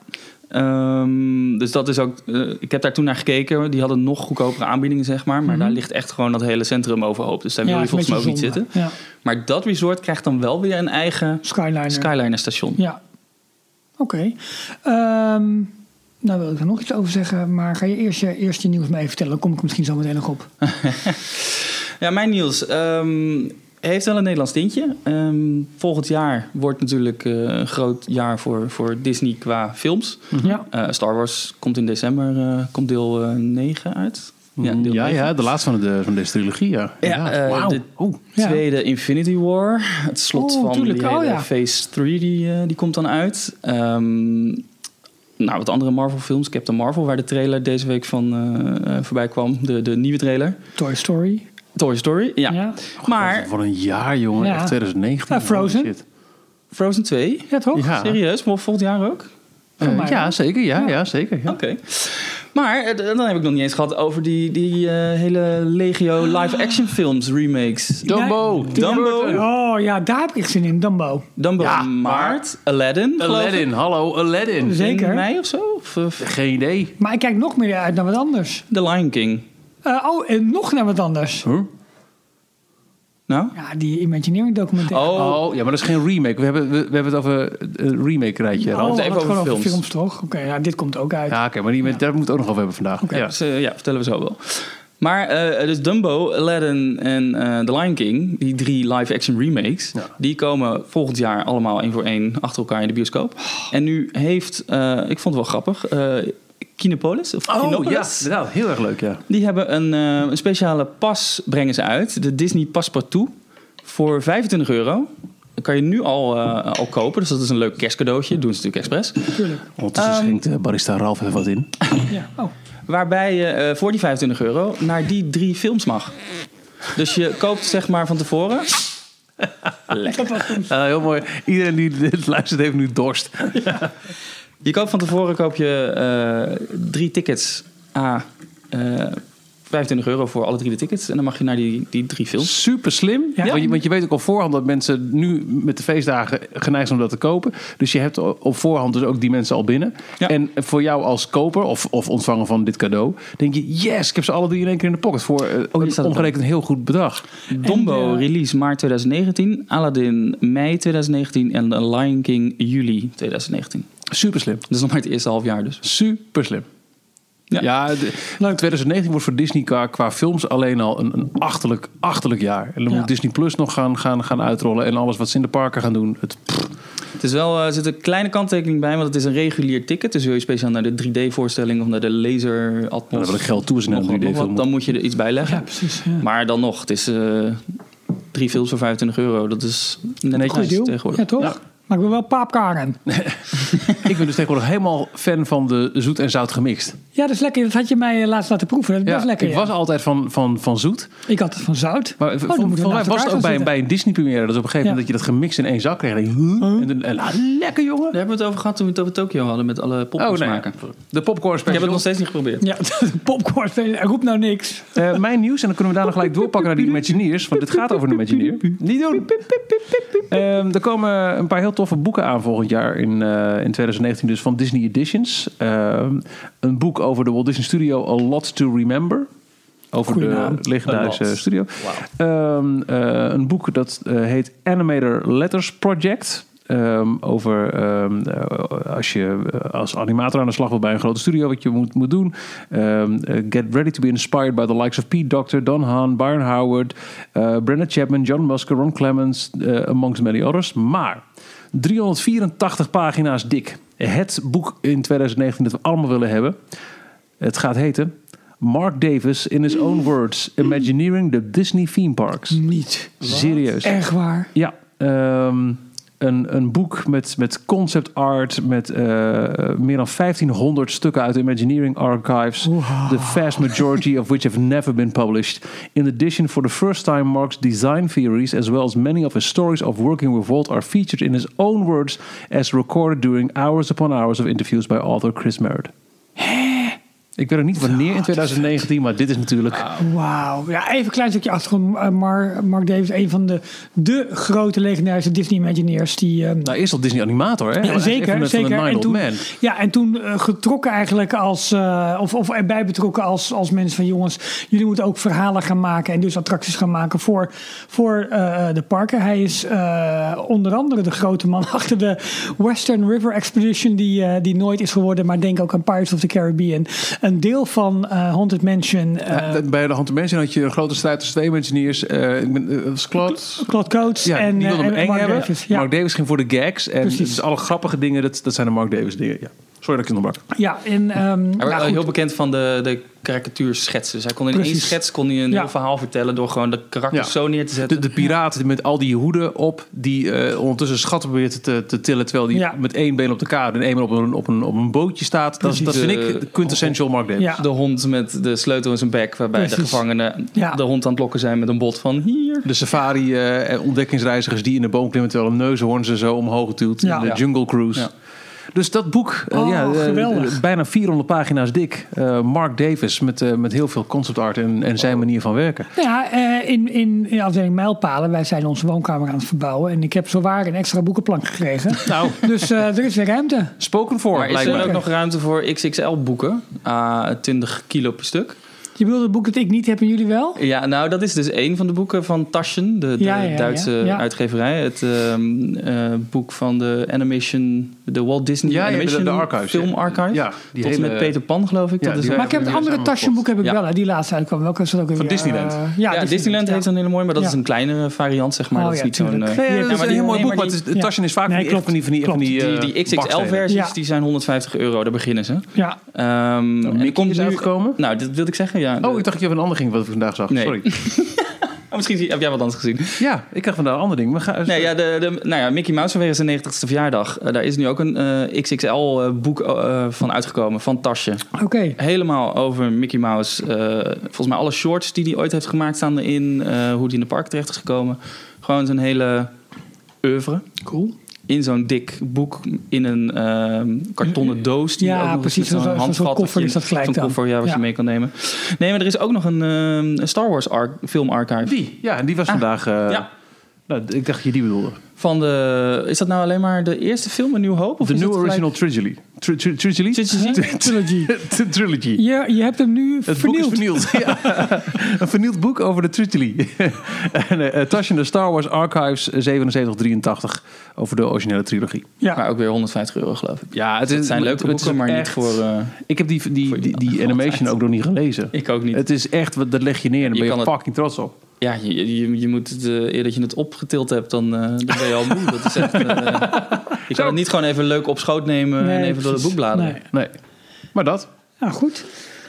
Speaker 4: Ehm, dus dat is ook. eh, ik heb daar toen naar gekeken. Die hadden nog goedkopere aanbiedingen, zeg maar. Maar daar ligt echt gewoon dat hele centrum overhoop. Dus daar
Speaker 3: Mhm. ja
Speaker 4: wil je
Speaker 3: is een
Speaker 4: volgens mij ook
Speaker 3: beetje
Speaker 4: niet
Speaker 3: zonde. Ja.
Speaker 4: zitten. Maar dat resort krijgt dan wel weer een eigen
Speaker 3: Skyliner.
Speaker 4: Skyliner station.
Speaker 3: Ja. Oké. Ehm, nou wil ik er nog iets over zeggen, maar ga je eerst je, eerst je nieuws mee vertellen? Dan kom ik misschien zo meteen nog op.
Speaker 4: Ja, mijn Niels ehm, heeft wel een Nederlands tintje. Ehm, volgend jaar wordt natuurlijk eh, een groot jaar voor, voor Disney qua films.
Speaker 3: Mhm. Ja.
Speaker 4: Eh, Star Wars komt in december, eh, komt deel eh, 9 uit. Ja, deel
Speaker 2: ja,
Speaker 4: 9.
Speaker 2: ja, de laatste van, de, van deze trilogie, ja.
Speaker 4: Ja,
Speaker 2: Inderdaad.
Speaker 4: eh,
Speaker 2: Wauw.
Speaker 4: de
Speaker 2: Oh.
Speaker 3: Ja.
Speaker 4: tweede Infinity War. Het slot
Speaker 3: Oh,
Speaker 4: van
Speaker 3: tuurlijk.
Speaker 4: die
Speaker 3: Oh,
Speaker 4: hele
Speaker 3: ja.
Speaker 4: Phase 3, die, eh, die komt dan uit. Ehm, nou, wat andere Marvel films. Captain Marvel, waar de trailer deze week van eh, eh, voorbij kwam. De, de nieuwe trailer.
Speaker 3: Toy Story.
Speaker 4: Toy Story, ja.
Speaker 3: Ja.
Speaker 4: Maar
Speaker 2: Voor een jaar, jongen.
Speaker 3: Ja.
Speaker 2: Echt 2019.
Speaker 3: Ja, Frozen.
Speaker 2: Holy shit.
Speaker 4: Frozen 2,
Speaker 3: Ja, toch?
Speaker 2: Ja.
Speaker 4: serieus, vol- volgend jaar ook?
Speaker 3: Voor mij
Speaker 2: Eh, ja,
Speaker 3: wel.
Speaker 2: zeker. Ja, ja. zeker. Ja.
Speaker 4: Oké. Maar eh, dan heb ik nog niet eens gehad over die, die eh, hele legio live-action films remakes.
Speaker 2: Dumbo.
Speaker 3: Ja,
Speaker 4: Dumbo.
Speaker 3: Oh ja, daar heb ik echt zin in. Dumbo.
Speaker 4: Dumbo
Speaker 2: Ja,
Speaker 4: in maart, Aladdin, geloof ik.
Speaker 2: Aladdin. Hallo, Aladdin.
Speaker 3: Zeker.
Speaker 4: In mei of zo? Of, eh, of
Speaker 2: Geen idee.
Speaker 3: Maar ik kijk nog meer uit naar wat anders.
Speaker 4: The Lion King.
Speaker 3: Eh, oh, en nog naar wat anders.
Speaker 2: Huh?
Speaker 4: Nou?
Speaker 3: Ja, die Imagineering documentaire.
Speaker 4: Oh,
Speaker 2: Oh. ja, maar dat is geen remake. We hebben, we, we hebben het over eh, een remake-rijtje.
Speaker 3: dat
Speaker 4: het even over
Speaker 3: Oh, gewoon
Speaker 4: films.
Speaker 3: toch? Oké, ja, dit komt ook uit.
Speaker 2: Ja, oké, maar die, daar moeten we ook nog over hebben vandaag.
Speaker 4: ja.
Speaker 2: Ja.
Speaker 4: dus, eh, ja, vertellen we zo wel. Maar eh, dus Dumbo, Aladdin en eh, The Lion King, die drie live-action remakes,
Speaker 2: Ja.
Speaker 4: die komen volgend jaar allemaal één voor één achter elkaar in de bioscoop. En nu heeft, eh, ik vond het wel grappig, eh Kinepolis of
Speaker 2: Oh, ja,
Speaker 4: Kinopolis,
Speaker 2: inderdaad. Heel erg leuk, ja.
Speaker 4: die hebben een, eh, een speciale pas brengen ze uit, de Disney Passepartout, voor 25 euro. Dat kan je nu al, eh, al kopen, dus dat is een leuk kerstcadeautje. doen ze natuurlijk expres.
Speaker 3: Tuurlijk.
Speaker 2: Ondertussen schenkt eh, barista Ralf even wat in.
Speaker 3: Ja. Oh.
Speaker 4: Waarbij je eh, voor die 25 euro naar die drie films mag. Dus je koopt zeg maar van tevoren.
Speaker 3: Dat was hem.
Speaker 2: Ah, heel mooi. Iedereen die dit luistert heeft nu dorst.
Speaker 4: Je koopt van tevoren koop je eh, drie tickets. A. eh 25 euro voor alle drie de tickets. En dan mag je naar die, die drie films.
Speaker 2: Super slim.
Speaker 3: Ja.
Speaker 2: Want, je, want je weet ook op voorhand dat mensen nu met de feestdagen geneigd zijn om dat te kopen. Dus je hebt o- op voorhand dus ook die mensen al binnen.
Speaker 4: Ja.
Speaker 2: En voor jou als koper of, of ontvanger van dit cadeau, denk je: yes, ik heb ze alle drie in één keer in de pocket. Voor eh,
Speaker 4: staat
Speaker 2: een
Speaker 4: het
Speaker 2: omgerekend heel goed bedrag.
Speaker 4: Dombo
Speaker 3: En, eh,
Speaker 4: release maart 2019. Aladdin mei 2019. En The Lion King juli 2019.
Speaker 2: Super slim.
Speaker 4: Dat is nog maar het eerste half jaar dus.
Speaker 2: Super slim.
Speaker 4: Ja.
Speaker 2: Ja, de- 2019 wordt voor Disney qua, qua films alleen al een, een achterlijk, achterlijk jaar. En dan
Speaker 3: Ja.
Speaker 2: moet Disney Plus nog gaan, gaan, gaan uitrollen. En alles wat ze in de parken gaan doen. Het, pff,
Speaker 4: Het is wel, eh, er zit een kleine kanttekening bij, want het is een regulier ticket. Dus wil je speciaal naar de 3D-voorstelling of naar de
Speaker 3: Nou,
Speaker 4: laser atmos
Speaker 2: dan wil ik geld toe als ik naar
Speaker 4: nog
Speaker 2: een
Speaker 4: wat,
Speaker 2: 3D
Speaker 4: nog wat,
Speaker 2: film
Speaker 4: Dan moet je er iets bij leggen.
Speaker 3: Ja, precies. Ja.
Speaker 4: Maar dan nog, het is eh, drie films voor 25 euro. Dat is net
Speaker 2: Netjes.
Speaker 4: een prijs
Speaker 3: Goed deal.
Speaker 4: tegenwoordig.
Speaker 3: Ja, toch?
Speaker 2: Ja.
Speaker 3: Maar ik wil wel paapkaren.
Speaker 2: Ik ben dus tegenwoordig helemaal fan van de zoet en zout gemixt.
Speaker 3: Ja, dat is lekker. Dat had je mij eh, laatst laten proeven. Dat is best lekker.
Speaker 2: ik
Speaker 3: ja.
Speaker 2: was altijd van, van, van zoet.
Speaker 3: ik had het van zout. Oh,
Speaker 2: Maar
Speaker 3: dan
Speaker 2: vol-
Speaker 3: moeten we
Speaker 2: volgens mij
Speaker 3: naast
Speaker 2: was het
Speaker 3: elkaar
Speaker 2: ook
Speaker 3: gaan
Speaker 2: bij,
Speaker 3: zitten.
Speaker 2: bij een Disney-première. Dat op een gegeven moment dat je dat gemixt in één zak kreeg. En dan- en dan- en la- lekker jongen.
Speaker 4: Daar hebben we het over gehad toen we het over Tokio hadden met alle popcorns
Speaker 2: nee.
Speaker 4: maken.
Speaker 2: De popcorn
Speaker 4: Ik heb het
Speaker 2: special.
Speaker 4: nog steeds niet geprobeerd.
Speaker 3: Ja, popcorn. Roep nou niks.
Speaker 2: Eh, mijn nieuws. En dan kunnen we daarna gelijk doorpakken naar die Imagineers. Want dit gaat over de Imagineer. Niet doen. Ehm, er komen een paar heel toffe boeken aan volgend jaar. In, eh, in 2019 dus van Disney Editions. Ehm, een boek over de Walt Disney Studio. A Lot to Remember. Over
Speaker 3: Goeie
Speaker 2: de
Speaker 3: naam.
Speaker 4: A
Speaker 2: legendarische
Speaker 4: Lot.
Speaker 2: studio. Ehm, eh, een boek dat eh, heet Animator Letters Project. Ehm, over ehm, eh, als je eh, als animator aan de slag wil bij een grote studio, wat je moet, moet doen. Ehm, eh, get ready to be inspired by the likes of Pete Doctor, Don Hahn, Byron Howard, eh Brenda Chapman, John Musker, Ron Clements, eh, amongst many others. Maar 384 pagina's dik. Het boek in 2019 dat we allemaal willen hebben. Het gaat heten Mark Davis in his own words: Imagineering the Disney theme parks.
Speaker 3: Niet.
Speaker 2: Serieus.
Speaker 3: Echt waar.
Speaker 2: Ja, ehm, een, een boek met, met concept art, met eh, meer dan 1500 stukken uit de Imagineering Archives. The vast majority of which have never been published. In addition, for the first time, Mark's design theories, as well as many of his stories of working with Walt, are featured in his own words as recorded during hours upon hours of interviews by author Chris Merritt. Ik weet ook niet wanneer in 2019, maar dit is natuurlijk.
Speaker 3: Wauw. Ja, even een klein stukje achtergrond. Eh, Mar- Mark Davis, een van de, de grote legendarische Disney Imagineers. Die, eh,
Speaker 2: Nou, eerst al Disney animator, hè?
Speaker 3: Ja, zeker,
Speaker 2: Even
Speaker 3: zeker.
Speaker 2: Van de Nine
Speaker 3: en
Speaker 2: Old
Speaker 3: toen,
Speaker 2: Man.
Speaker 3: Ja, en toen eh, getrokken eigenlijk als, eh, of, of erbij betrokken als, als mensen van jongens, jullie moeten ook verhalen gaan maken en dus attracties gaan maken voor, voor eh, de parken. Hij is eh, onder andere de grote man achter de Western River Expedition, die, eh, die nooit is geworden, maar denk ook aan Pirates of the Caribbean. Een deel van eh, Haunted Mansion. eh
Speaker 2: Ja, dat- bij de Hand Mansion had je een grote strijd tussen twee engineers. eh ik ben, eh, was Claude.
Speaker 3: Claude Coates
Speaker 2: Ja,
Speaker 3: en,
Speaker 2: die wilde
Speaker 3: eh,
Speaker 2: hem
Speaker 3: en
Speaker 2: eng
Speaker 3: Mark
Speaker 2: hebben.
Speaker 3: Davis. Ja.
Speaker 2: Mark Davis ging voor de gags. En
Speaker 3: Precies.
Speaker 2: dus alle grappige dingen, dat, dat zijn de Mark Davis dingen. Ja. Sorry dat ik het nog bak.
Speaker 3: ja, en, ehm,
Speaker 4: Hij
Speaker 3: nou
Speaker 4: werd
Speaker 3: goed.
Speaker 4: eh, heel bekend van de, de karikatuurschetsen. Dus hij kon in één
Speaker 3: Precies.
Speaker 4: schets kon hij een
Speaker 3: Ja.
Speaker 4: heel verhaal vertellen door gewoon de karakters
Speaker 2: Ja.
Speaker 4: zo neer te zetten.
Speaker 2: De, de piraten met al die hoeden op, die eh, ondertussen schatten probeert te, te tillen. Terwijl die
Speaker 3: Ja.
Speaker 2: met één been op de kade en één been op een, op een, op een bootje staat. Dat, is- dat
Speaker 4: Precies.
Speaker 2: vind ik de quintessential Mark Davis.
Speaker 3: Ja.
Speaker 4: De hond met de sleutel in zijn bek, waarbij de
Speaker 3: Precies.
Speaker 4: gevangenen
Speaker 3: Ja.
Speaker 4: de hond aan het lokken zijn met een bot van hier.
Speaker 2: De safari eh, en ontdekkingsreizigers die in de boom klimmen terwijl een neushoorn ze zo omhoog duwt.
Speaker 3: Ja.
Speaker 2: De
Speaker 4: Ja.
Speaker 2: Jungle Cruise.
Speaker 4: Ja.
Speaker 2: Dus dat boek, eh,
Speaker 3: Oh,
Speaker 2: ja, eh,
Speaker 3: geweldig.
Speaker 2: bijna 400 pagina's dik. Eh, Mark Davis met, eh, met heel veel concept art en, en zijn manier van werken.
Speaker 3: Nou ja, eh, in, in, in de afdeling Mijlpalen, wij zijn onze woonkamer aan het verbouwen. En ik heb zowaar een extra boekenplank gekregen.
Speaker 2: Nou,
Speaker 3: Dus eh, er is weer ruimte.
Speaker 2: spoken for
Speaker 4: Maar is er
Speaker 2: blijkbaar.
Speaker 4: ook nog ruimte voor XXL boeken? Ah, 20 kilo per stuk.
Speaker 3: Je bedoelt het boek dat ik niet heb en jullie wel?
Speaker 4: Ja, nou dat is dus één van de boeken van Taschen, de, de
Speaker 3: Ja, ja, ja.
Speaker 4: Duitse
Speaker 3: Ja.
Speaker 4: uitgeverij. Het ehm, eh, boek van de animation, de Walt Disney
Speaker 2: Ja, ja, de- de
Speaker 4: Animation
Speaker 2: archives,
Speaker 4: Film
Speaker 2: ja.
Speaker 4: Archive.
Speaker 2: Ja, die
Speaker 4: Tot en
Speaker 2: hele-
Speaker 4: met Peter Pan geloof ik.
Speaker 2: Ja,
Speaker 4: dat is
Speaker 2: die-
Speaker 4: ook-
Speaker 3: Maar ik heb het andere tasjeboek heb ik
Speaker 4: Ja.
Speaker 3: wel, hè, die laatste uitkwam. Welke is dat ook weer?
Speaker 2: Van Disneyland.
Speaker 3: Eh,
Speaker 4: ja, Disneyland heeft
Speaker 3: ja.
Speaker 4: een hele mooie, maar dat
Speaker 3: Ja.
Speaker 4: is een kleinere variant zeg maar.
Speaker 3: Oh,
Speaker 4: dat is
Speaker 3: ja,
Speaker 4: niet zo'n...
Speaker 3: tuurlijk.
Speaker 4: eh,
Speaker 2: Nee,
Speaker 3: Ja,
Speaker 2: dat
Speaker 4: maar
Speaker 2: is een
Speaker 4: die-
Speaker 2: heel mooi
Speaker 4: nee,
Speaker 2: boek.
Speaker 4: maar
Speaker 2: Maar het is-
Speaker 3: ja.
Speaker 2: Taschen is vaak
Speaker 3: Nee,
Speaker 2: van die- echt
Speaker 3: klopt.
Speaker 2: van die, van die, van die,
Speaker 4: die,
Speaker 2: eh,
Speaker 4: die
Speaker 2: bakstenen.
Speaker 4: XXL-versies
Speaker 3: Ja.
Speaker 4: die zijn 150 euro, daar beginnen ze.
Speaker 3: Ja,
Speaker 4: Ehm en
Speaker 2: Nou, Mickey
Speaker 4: er komt
Speaker 2: is
Speaker 4: nu-
Speaker 2: uitgekomen?
Speaker 4: Nou, dat wilde ik zeggen, ja.
Speaker 2: Oh, ik dacht dat je van een ander ging wat ik vandaag zag.
Speaker 4: Nee.
Speaker 2: Sorry.
Speaker 4: Oh, misschien zie- heb jij wat anders gezien.
Speaker 2: Ja, ik dacht vandaag een ander ding. Maar ga,
Speaker 4: Nee, ja, de, de, nou ja, Mickey Mouse vanwege zijn 90ste verjaardag. Eh, daar is nu ook een eh, XXL-boek eh, van uitgekomen, van Tasje.
Speaker 3: oké.
Speaker 4: Helemaal over Mickey Mouse. Eh, volgens mij alle shorts die hij ooit heeft gemaakt staan erin. eh, hoe die in de park terecht is gekomen. Gewoon zijn hele oeuvre.
Speaker 3: Cool.
Speaker 4: In zo'n dik boek, in een ehm, kartonnen doos. Die
Speaker 3: Ja,
Speaker 4: ook nog eens
Speaker 3: precies,
Speaker 4: met
Speaker 3: zo'n- zo'n
Speaker 4: handvat
Speaker 3: koffer
Speaker 4: wat je-
Speaker 3: is dat gelijk
Speaker 4: Zo'n
Speaker 3: dan.
Speaker 4: koffer, ja, wat
Speaker 3: Ja.
Speaker 4: je mee kan nemen. Nee, maar er is ook nog een ehm, een Star Wars ar- filmarchive.
Speaker 2: Die, ja, en die was vandaag... eh,
Speaker 4: Ah. ja.
Speaker 2: nou, ik dacht dat je die bedoelde.
Speaker 4: Van de, is dat nou alleen maar de eerste film, Een Nieuw Hoop? Of
Speaker 2: De
Speaker 4: is
Speaker 2: New
Speaker 4: dat gelijk-
Speaker 2: Original Trilogy. Tri- tri- Trilogy?
Speaker 4: Trilogy?
Speaker 3: Trilogy.
Speaker 2: Tri- Trilogy.
Speaker 3: Je, je hebt hem nu
Speaker 2: Het
Speaker 3: vernield.
Speaker 2: boek is vernield. Ja. een vernield boek over de Trilogy. en eh, Tash in de Star Wars Archives 7783 over de originele trilogie.
Speaker 3: Ja.
Speaker 4: Maar ook weer 150 euro, geloof ik.
Speaker 2: Ja, het, is,
Speaker 4: Het zijn leuke
Speaker 2: het is
Speaker 4: boeken, maar niet
Speaker 2: echt-
Speaker 4: voor... eh,
Speaker 2: Ik heb die, die,
Speaker 4: voor
Speaker 2: die, die
Speaker 4: iemand.
Speaker 2: animation ook nog niet gelezen.
Speaker 4: ik ook niet.
Speaker 2: Het is echt, wat- dat leg je neer en daar
Speaker 4: Je
Speaker 2: ben je,
Speaker 4: kan het-
Speaker 2: fucking trots op.
Speaker 4: ja, je, je, je moet het, eh, eer dat je het opgetild hebt, dan, eh, dan ben je al moe. Dat is echt, eh, je kan het niet gewoon eh, even leuk op schoot nemen en even door de
Speaker 3: precies.
Speaker 4: boek bladeren.
Speaker 3: Nee.
Speaker 2: Nee. Maar dat.
Speaker 3: Nou, goed.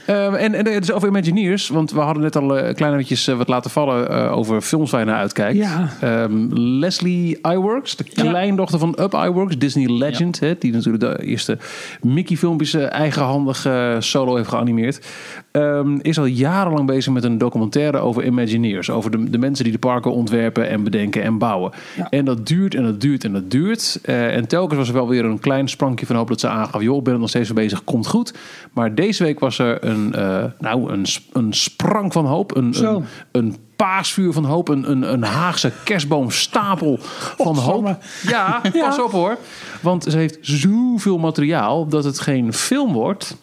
Speaker 2: Eh, en, en het is over Imagineers, want we hadden net al eh, een klein beetje eh, wat laten vallen eh, over films waar je naar uitkijkt.
Speaker 3: Ja.
Speaker 2: Ehm, Leslie Iwerks, de
Speaker 3: Ja.
Speaker 2: kleindochter van Up Iwerks, Disney Legend, hè, die natuurlijk de eerste Mickey-filmpjes eh, eigenhandig eh, solo heeft geanimeerd, ehm, is al jarenlang bezig met een documentaire over Imagineers, over de, de mensen die de parken ontwerpen en bedenken en bouwen.
Speaker 3: Ja.
Speaker 2: En dat duurt en dat duurt en dat duurt. Eh, en telkens was er wel weer een klein sprankje van hoop dat ze aangaf: joh, ik ben er nog steeds mee bezig, komt goed. Maar deze week was er een, eh, nou, een, sp- een sprang van hoop, een,
Speaker 3: Zo.
Speaker 2: een, een paasvuur van hoop, een, een, een Haagse kerstboomstapel van hoop.
Speaker 3: Godsamme.
Speaker 2: Ja, pas op hoor. Want ze heeft zoveel materiaal dat het geen film wordt,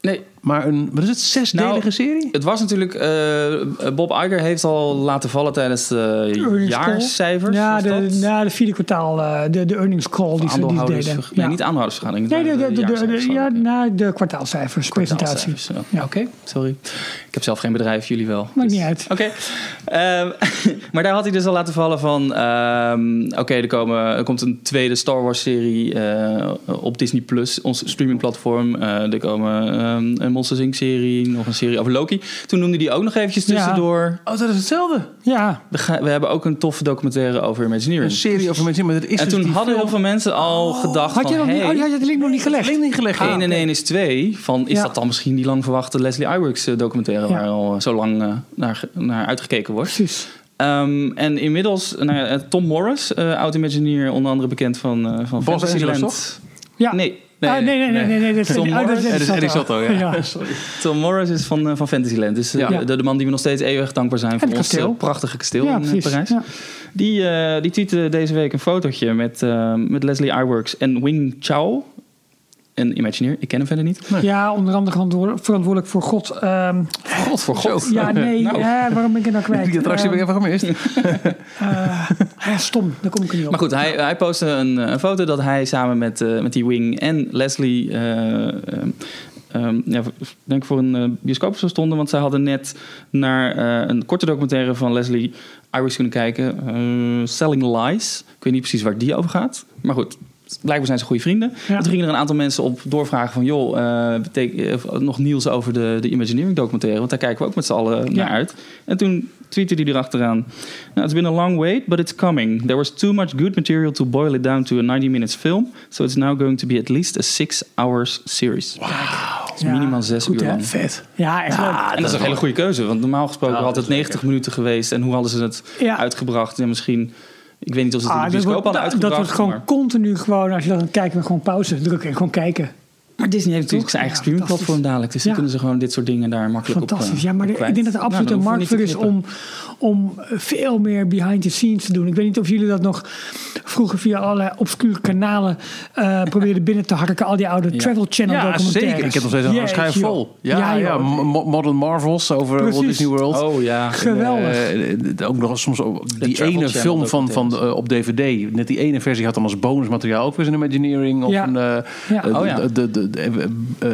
Speaker 4: Nee,
Speaker 2: maar een, wat is het, zesdelige
Speaker 4: Nou,
Speaker 2: serie?
Speaker 4: Het was natuurlijk, eh, Bob Iger heeft al laten vallen tijdens de
Speaker 3: Earnings call.
Speaker 4: jaarcijfers.
Speaker 3: Ja,
Speaker 4: was
Speaker 3: de,
Speaker 4: dat?
Speaker 3: ja, de vierde kwartaal, eh, de, de earnings call die ze, die ze
Speaker 4: aandeelhouders,
Speaker 3: deden.
Speaker 4: nee,
Speaker 3: ja.
Speaker 4: niet aandeelhoudersvergadering. het
Speaker 3: Nee, de,
Speaker 4: waren
Speaker 3: de, de, de,
Speaker 4: jaarcijfers,
Speaker 3: de- ja,
Speaker 4: sorry.
Speaker 3: na de kwartaalcijfers, presentatie.
Speaker 4: Kwartaalcijfers, ja.
Speaker 3: Ja.
Speaker 4: Oké, sorry. Ik heb zelf geen bedrijf, jullie wel.
Speaker 3: Maakt niet uit.
Speaker 4: Oké. Ehm, maar daar had hij dus al laten vallen van... ehm, Oké, er, komen- er komt een tweede Star Wars-serie eh, op Disney+, Plus, ons streamingplatform. Eh, er komen ehm, een Monsters Inc.-serie, nog een serie over Loki. Toen noemde hij ook nog eventjes
Speaker 3: Ja.
Speaker 4: tussendoor...
Speaker 2: Oh, dat is hetzelfde.
Speaker 3: Ja,
Speaker 4: We, gaan- we hebben ook een toffe documentaire over
Speaker 2: Een
Speaker 4: Imagineering.
Speaker 2: serie over mensen, maar dat is
Speaker 4: En
Speaker 2: dus
Speaker 4: toen
Speaker 2: die
Speaker 4: hadden
Speaker 2: film.
Speaker 4: heel veel mensen al gedacht
Speaker 3: had je,
Speaker 4: van...
Speaker 3: nog niet,
Speaker 4: hey,
Speaker 3: oh, je had de link nog niet gelegd.
Speaker 2: Link niet gelegd. Ah,
Speaker 4: 1 en 1 is 2. Van, is
Speaker 3: Ah, Ja.
Speaker 4: dat dan misschien die lang verwachte Leslie Iwerks eh, documentaire...
Speaker 3: Ja.
Speaker 4: waar al eh, zo lang eh, naar, ge- naar uitgekeken wordt.
Speaker 3: Precies.
Speaker 4: Ehm, en inmiddels, nou ja, eh, Tom Morris, eh oud-imagineer... onder andere bekend van, eh van
Speaker 2: Bas
Speaker 4: Fantasyland.
Speaker 2: Angelos,
Speaker 3: Ja.
Speaker 4: Nee.
Speaker 3: Nee, nee, nee, nee, nee, nee, dat is
Speaker 4: Tom eh,
Speaker 3: oh, dat
Speaker 4: Morris.
Speaker 2: Ja, dat is Eddie
Speaker 3: Sotto.
Speaker 2: Sotto, ja.
Speaker 3: sorry.
Speaker 4: Tom Morris is van, eh, van Fantasyland. Dus eh,
Speaker 2: Ja.
Speaker 4: de, de man die we nog steeds eeuwig dankbaar zijn... voor
Speaker 3: het
Speaker 4: ons eh,
Speaker 3: kasteel.
Speaker 4: prachtige kasteel
Speaker 3: Ja,
Speaker 4: in eh,
Speaker 3: precies.
Speaker 4: Parijs.
Speaker 3: Ja.
Speaker 4: Die, eh, die tweette deze week een fotootje met, eh, met Leslie Iwerks en Wing Chao. Een Imagineer, ik ken hem verder niet.
Speaker 3: ja, onder andere verantwoordelijk- verantwoordelijk voor God. ehm,
Speaker 2: God voor God.
Speaker 3: ja, nee,
Speaker 4: Nou.
Speaker 3: hè, waarom ben ik het nou kwijt?
Speaker 2: Die attractie heb ik
Speaker 3: Ehm,
Speaker 2: even gemist.
Speaker 3: eh, ja, stom, daar kom ik er niet op.
Speaker 4: Maar goed, hij, hij postte een, een foto dat hij samen met, eh, met die Wing en Leslie... eh, ehm, ehm, ja, v- denk ik voor een eh, bioscoop of zo stonden. Want zij hadden net naar eh, een korte documentaire van Leslie Iris kunnen kijken. eh, Selling Lies. Ik weet niet precies waar die over gaat. Maar goed, blijkbaar zijn ze goede vrienden.
Speaker 3: Ja.
Speaker 4: En toen gingen er een aantal mensen op doorvragen van... joh, eh, betek- of nog nieuws over de, de Imagineering documentaire... want daar kijken we ook met z'n allen naar uit. En toen tweette hij erachteraan... Nou, it's been a long wait, but it's coming. There was too much good material to boil it down to a 90 minutes film... so it's now going to be at least a six hours series.
Speaker 3: Ja,
Speaker 4: minimaal zes
Speaker 3: goed,
Speaker 4: uur
Speaker 3: hè?
Speaker 4: lang.
Speaker 2: Vet.
Speaker 3: Ja, echt leuk.
Speaker 4: en dat is een hele goede keuze, want normaal gesproken
Speaker 2: Ja,
Speaker 4: had
Speaker 2: dat
Speaker 4: het 90 minuten geweest... en hoe hadden ze het
Speaker 3: Ja.
Speaker 4: uitgebracht? En misschien, ik weet niet of ze het in
Speaker 3: Ah,
Speaker 4: de
Speaker 3: dat,
Speaker 4: bioscoop
Speaker 3: wordt,
Speaker 4: hadden
Speaker 3: dat- dat
Speaker 4: uitgebracht...
Speaker 3: wordt gewoon
Speaker 4: maar-
Speaker 3: continu gewoon, als je dat aan het kijken bent, gewoon pauze drukken en gewoon kijken.
Speaker 4: Maar Disney heeft natuurlijk
Speaker 3: Toch?
Speaker 4: zijn eigen
Speaker 3: Ja,
Speaker 4: streamingplatform dadelijk. Dus dan
Speaker 3: Ja.
Speaker 4: kunnen ze gewoon dit soort dingen daar makkelijk op
Speaker 3: Fantastisch.
Speaker 4: eh,
Speaker 3: Ja, maar
Speaker 4: op
Speaker 3: de- ik
Speaker 4: kwijt.
Speaker 3: denk dat er
Speaker 4: Nou,
Speaker 3: absoluut
Speaker 4: dan
Speaker 3: een markt
Speaker 4: hoeven
Speaker 3: voor
Speaker 4: we
Speaker 3: is
Speaker 4: niet te
Speaker 3: om, om veel meer behind the scenes te doen. Ik weet niet of jullie dat nog vroeger via allerlei obscure kanalen eh, probeerden binnen te harken. Al die oude Travel Channel
Speaker 2: Ja,
Speaker 3: documentaires.
Speaker 2: zeker. Ik heb nog steeds een
Speaker 3: Jeetje,
Speaker 2: schijf
Speaker 3: joh.
Speaker 2: vol. Ja, ja,
Speaker 3: joh.
Speaker 2: Mo- Modern Marvels over
Speaker 3: Precies.
Speaker 2: Walt Disney World.
Speaker 4: knippen. Oh ja.
Speaker 3: Geweldig.
Speaker 2: Eh, eh, ook nog soms op- die
Speaker 4: Travel
Speaker 2: ene
Speaker 4: Channel
Speaker 2: film van, van, eh, op DVD. Net die ene versie had dan als bonusmateriaal ook weer een Imagineering. Of
Speaker 3: Ja.
Speaker 2: een, eh,
Speaker 3: Ja.
Speaker 2: eh,
Speaker 4: Oh ja.
Speaker 2: de, de, de, eh,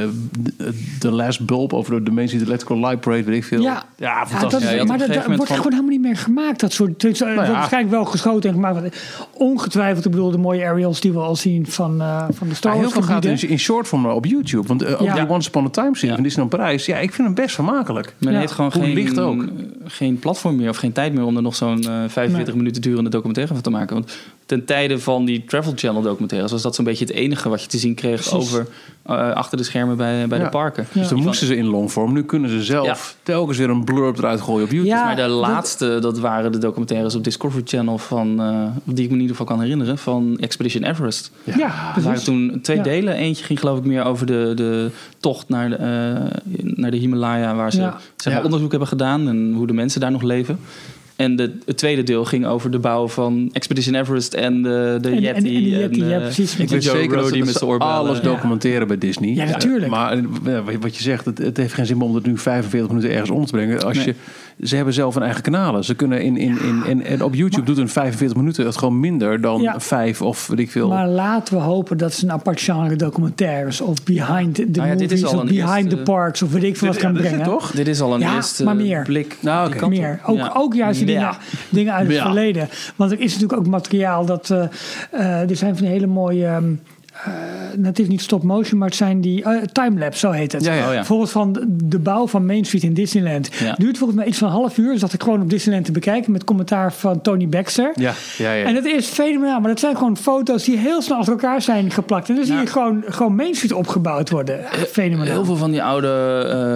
Speaker 2: eh, de- The Last Bulb over de Dimensie Electrical Light Parade, weet ik veel.
Speaker 3: Ja,
Speaker 2: ja
Speaker 3: dat,
Speaker 2: fantastisch.
Speaker 4: Ja, je had op
Speaker 3: maar dat,
Speaker 4: een gegeven
Speaker 3: dat
Speaker 4: moment
Speaker 3: wordt
Speaker 4: van-
Speaker 3: gewoon helemaal niet meer gemaakt. Dat soort. tenminste, er wordt
Speaker 2: ja.
Speaker 3: waarschijnlijk wel geschoten en gemaakt. want Ongetwijfeld, ik bedoel, de mooie aerials die we al zien van, eh, van de Star
Speaker 2: Maar
Speaker 3: Wars.
Speaker 2: heel veel gaat dus in,
Speaker 3: gebieden.
Speaker 2: in short form op YouTube. Want eh, ook
Speaker 3: Ja.
Speaker 2: die Once Upon a Time serie
Speaker 4: Ja.
Speaker 2: van Disneyland Parijs. Ja, ik vind hem best vermakelijk.
Speaker 4: Men
Speaker 3: Ja.
Speaker 4: heeft gewoon
Speaker 2: Hoe
Speaker 4: geen,
Speaker 2: licht ook.
Speaker 4: geen platform meer of geen tijd meer om er nog zo'n eh, 45
Speaker 3: Nee.
Speaker 4: minuten durende documentaire van te maken. Want ten tijde van die Travel Channel documentaires was dat zo'n beetje het enige wat je te zien kreeg
Speaker 3: Precies.
Speaker 4: over eh, achter de schermen bij, bij
Speaker 2: Ja.
Speaker 4: de parken.
Speaker 2: Dus dan moesten ze in longform. Nu kunnen ze zelf
Speaker 4: Ja.
Speaker 2: telkens weer een blurb eruit gooien op YouTube.
Speaker 3: Ja.
Speaker 4: maar de
Speaker 3: dat-
Speaker 4: laatste, dat waren de documentaires op Discovery Channel van, eh, die ik me in ieder geval kan herinneren, van Expedition Everest.
Speaker 3: Ja,
Speaker 4: Er waren
Speaker 3: precies.
Speaker 4: toen twee
Speaker 3: Ja.
Speaker 4: delen. Eentje ging geloof ik meer over de, de tocht naar de, eh, naar de Himalaya... waar ze
Speaker 3: Ja.
Speaker 4: zeg maar,
Speaker 2: Ja.
Speaker 4: onderzoek hebben gedaan en hoe de mensen daar nog leven. En de, het tweede deel ging over de bouw van Expedition Everest en de, de
Speaker 3: En- en-
Speaker 4: Yeti.
Speaker 3: en de Yeti,
Speaker 4: eh,
Speaker 3: ja, precies.
Speaker 4: Ik weet zeker dus
Speaker 2: dat ze,
Speaker 4: Rody
Speaker 2: dat
Speaker 4: met
Speaker 2: ze
Speaker 4: zijn oorbellen.
Speaker 2: alles
Speaker 4: Ja.
Speaker 2: documenteren bij Disney.
Speaker 3: Ja,
Speaker 2: Eh,
Speaker 3: natuurlijk.
Speaker 2: maar eh, wat je zegt, het, het heeft geen zin meer om dat nu 45 minuten ergens om te brengen. Als
Speaker 4: Nee.
Speaker 2: je, ze hebben zelf hun eigen kanalen. Ze kunnen in, in, in, en, en op YouTube doet een 45 minuten het gewoon minder dan
Speaker 3: Ja.
Speaker 2: vijf of weet ik veel.
Speaker 3: Maar laten we hopen dat ze een apart genre documentaires of behind the
Speaker 4: Nou ja, dit is
Speaker 3: movies
Speaker 4: al
Speaker 3: of
Speaker 4: een
Speaker 3: behind
Speaker 4: eerste-
Speaker 3: the parks of weet ik veel wat
Speaker 2: Ja,
Speaker 3: gaan
Speaker 2: dat is
Speaker 3: brengen.
Speaker 2: het toch?
Speaker 4: Dit is al een
Speaker 3: Ja,
Speaker 4: eerste
Speaker 3: maar meer.
Speaker 4: blik.
Speaker 2: Nou,
Speaker 4: die
Speaker 2: oké.
Speaker 4: kant op.
Speaker 3: Meer. Ook,
Speaker 4: Ja.
Speaker 3: ook juist die
Speaker 4: Ja.
Speaker 3: dingen, dingen uit het
Speaker 2: Ja.
Speaker 3: verleden. Want er is natuurlijk ook materiaal dat. eh, eh, er zijn van die hele mooie. ehm, eh, het is niet stop motion, maar het zijn die eh, timelapse, zo heet het.
Speaker 2: Ja, ja.
Speaker 4: Oh, ja.
Speaker 3: Bijvoorbeeld van de bouw van Main Street in Disneyland.
Speaker 4: Ja.
Speaker 3: Duurt volgens mij iets van een half uur. Dus dat ik gewoon op Disneyland te bekijken met commentaar van Tony Baxter.
Speaker 2: Ja, ja, ja.
Speaker 3: En dat is fenomenaal, maar dat zijn gewoon foto's die heel snel achter elkaar zijn geplakt. En dan zie je gewoon, gewoon Main Street opgebouwd worden. Ja, Fenomenaal.
Speaker 4: Eh, Heel veel van die oude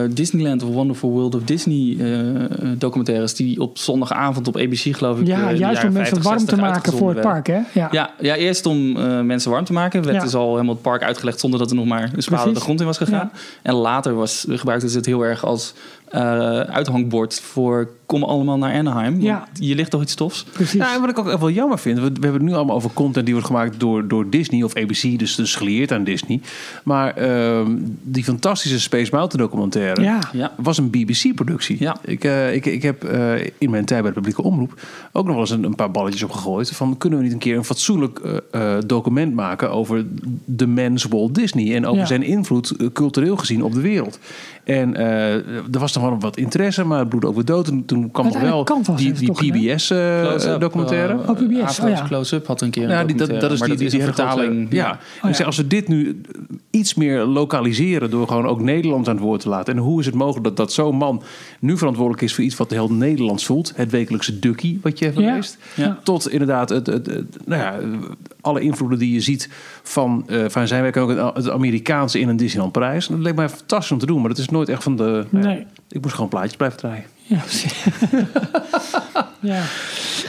Speaker 4: eh, Disneyland of Wonderful World of Disney eh, eh, documentaires die op zondagavond op ABC geloof ik. eh, in
Speaker 3: ja,
Speaker 4: de
Speaker 3: juist om
Speaker 4: jaren
Speaker 3: mensen
Speaker 4: 50,
Speaker 3: warm te
Speaker 4: 60
Speaker 3: maken voor het
Speaker 4: uitgezonden
Speaker 3: park. Hè? Ja.
Speaker 4: werden. Ja, ja, eerst om eh, mensen warm te maken. Werd
Speaker 3: Ja.
Speaker 4: dus al helemaal het park uitgelegd zonder dat er nog maar een spade
Speaker 3: Precies.
Speaker 4: de grond in was gegaan.
Speaker 3: Ja.
Speaker 4: En later was, gebruikten ze het heel erg als eh, uithangbord voor kom allemaal naar Anaheim. want
Speaker 3: Ja.
Speaker 4: Hier ligt toch iets tofs.
Speaker 3: precies.
Speaker 2: Ja, en wat ik ook echt wel jammer vind, we, we hebben het nu allemaal over content die wordt gemaakt door, door Disney of ABC, dus, dus geleerd aan Disney. Maar ehm, die fantastische Space Mountain documentaire
Speaker 3: Ja.
Speaker 4: Ja.
Speaker 2: was een BBC-productie.
Speaker 4: Ja.
Speaker 2: Ik, eh, ik, ik heb eh, in mijn tijd bij de publieke omroep ook nog wel eens een, een paar balletjes opgegooid. Van kunnen we niet een keer een fatsoenlijk eh, eh, document maken over de mens Walt Disney en over
Speaker 3: Ja.
Speaker 2: zijn invloed eh, cultureel gezien op de wereld. En eh, er was nog wel wat interesse, maar het bloed over dood. En toen kwam nog wel
Speaker 3: Uiteindelijk kan vast
Speaker 2: die,
Speaker 3: even
Speaker 2: die
Speaker 3: toch, hè?
Speaker 2: eh,
Speaker 4: Close-up,
Speaker 2: PBS-documentaire.
Speaker 4: eh,
Speaker 3: Oh, PBS,
Speaker 4: Avro's
Speaker 3: oh ja.
Speaker 4: Close-up had een keer een
Speaker 2: Ja, die, dat, dat
Speaker 4: documentaire,
Speaker 2: is
Speaker 4: maar
Speaker 2: die, die, die
Speaker 4: een
Speaker 2: hele grote-
Speaker 4: vertaling.
Speaker 2: Oh, ja.
Speaker 4: ja.
Speaker 2: Ik zeg, als we dit nu iets meer lokaliseren door gewoon ook Nederland aan het woord te laten. En hoe is het mogelijk dat, dat zo'n man nu verantwoordelijk is voor iets wat heel Nederlands voelt. Het wekelijkse dukkie wat je hebt
Speaker 3: Ja.
Speaker 2: leest.
Speaker 4: Ja.
Speaker 2: Tot inderdaad het, het, het- nou ja, alle invloeden die je ziet van, eh, van zijn werk. en Ook het, het Amerikaanse in een Disneyland Parijs. Dat leek mij fantastisch om te doen. Maar dat is nooit echt van de... nou ja,
Speaker 3: Nee.
Speaker 2: ik moest gewoon plaatjes blijven draaien.
Speaker 3: Ja, precies. ja.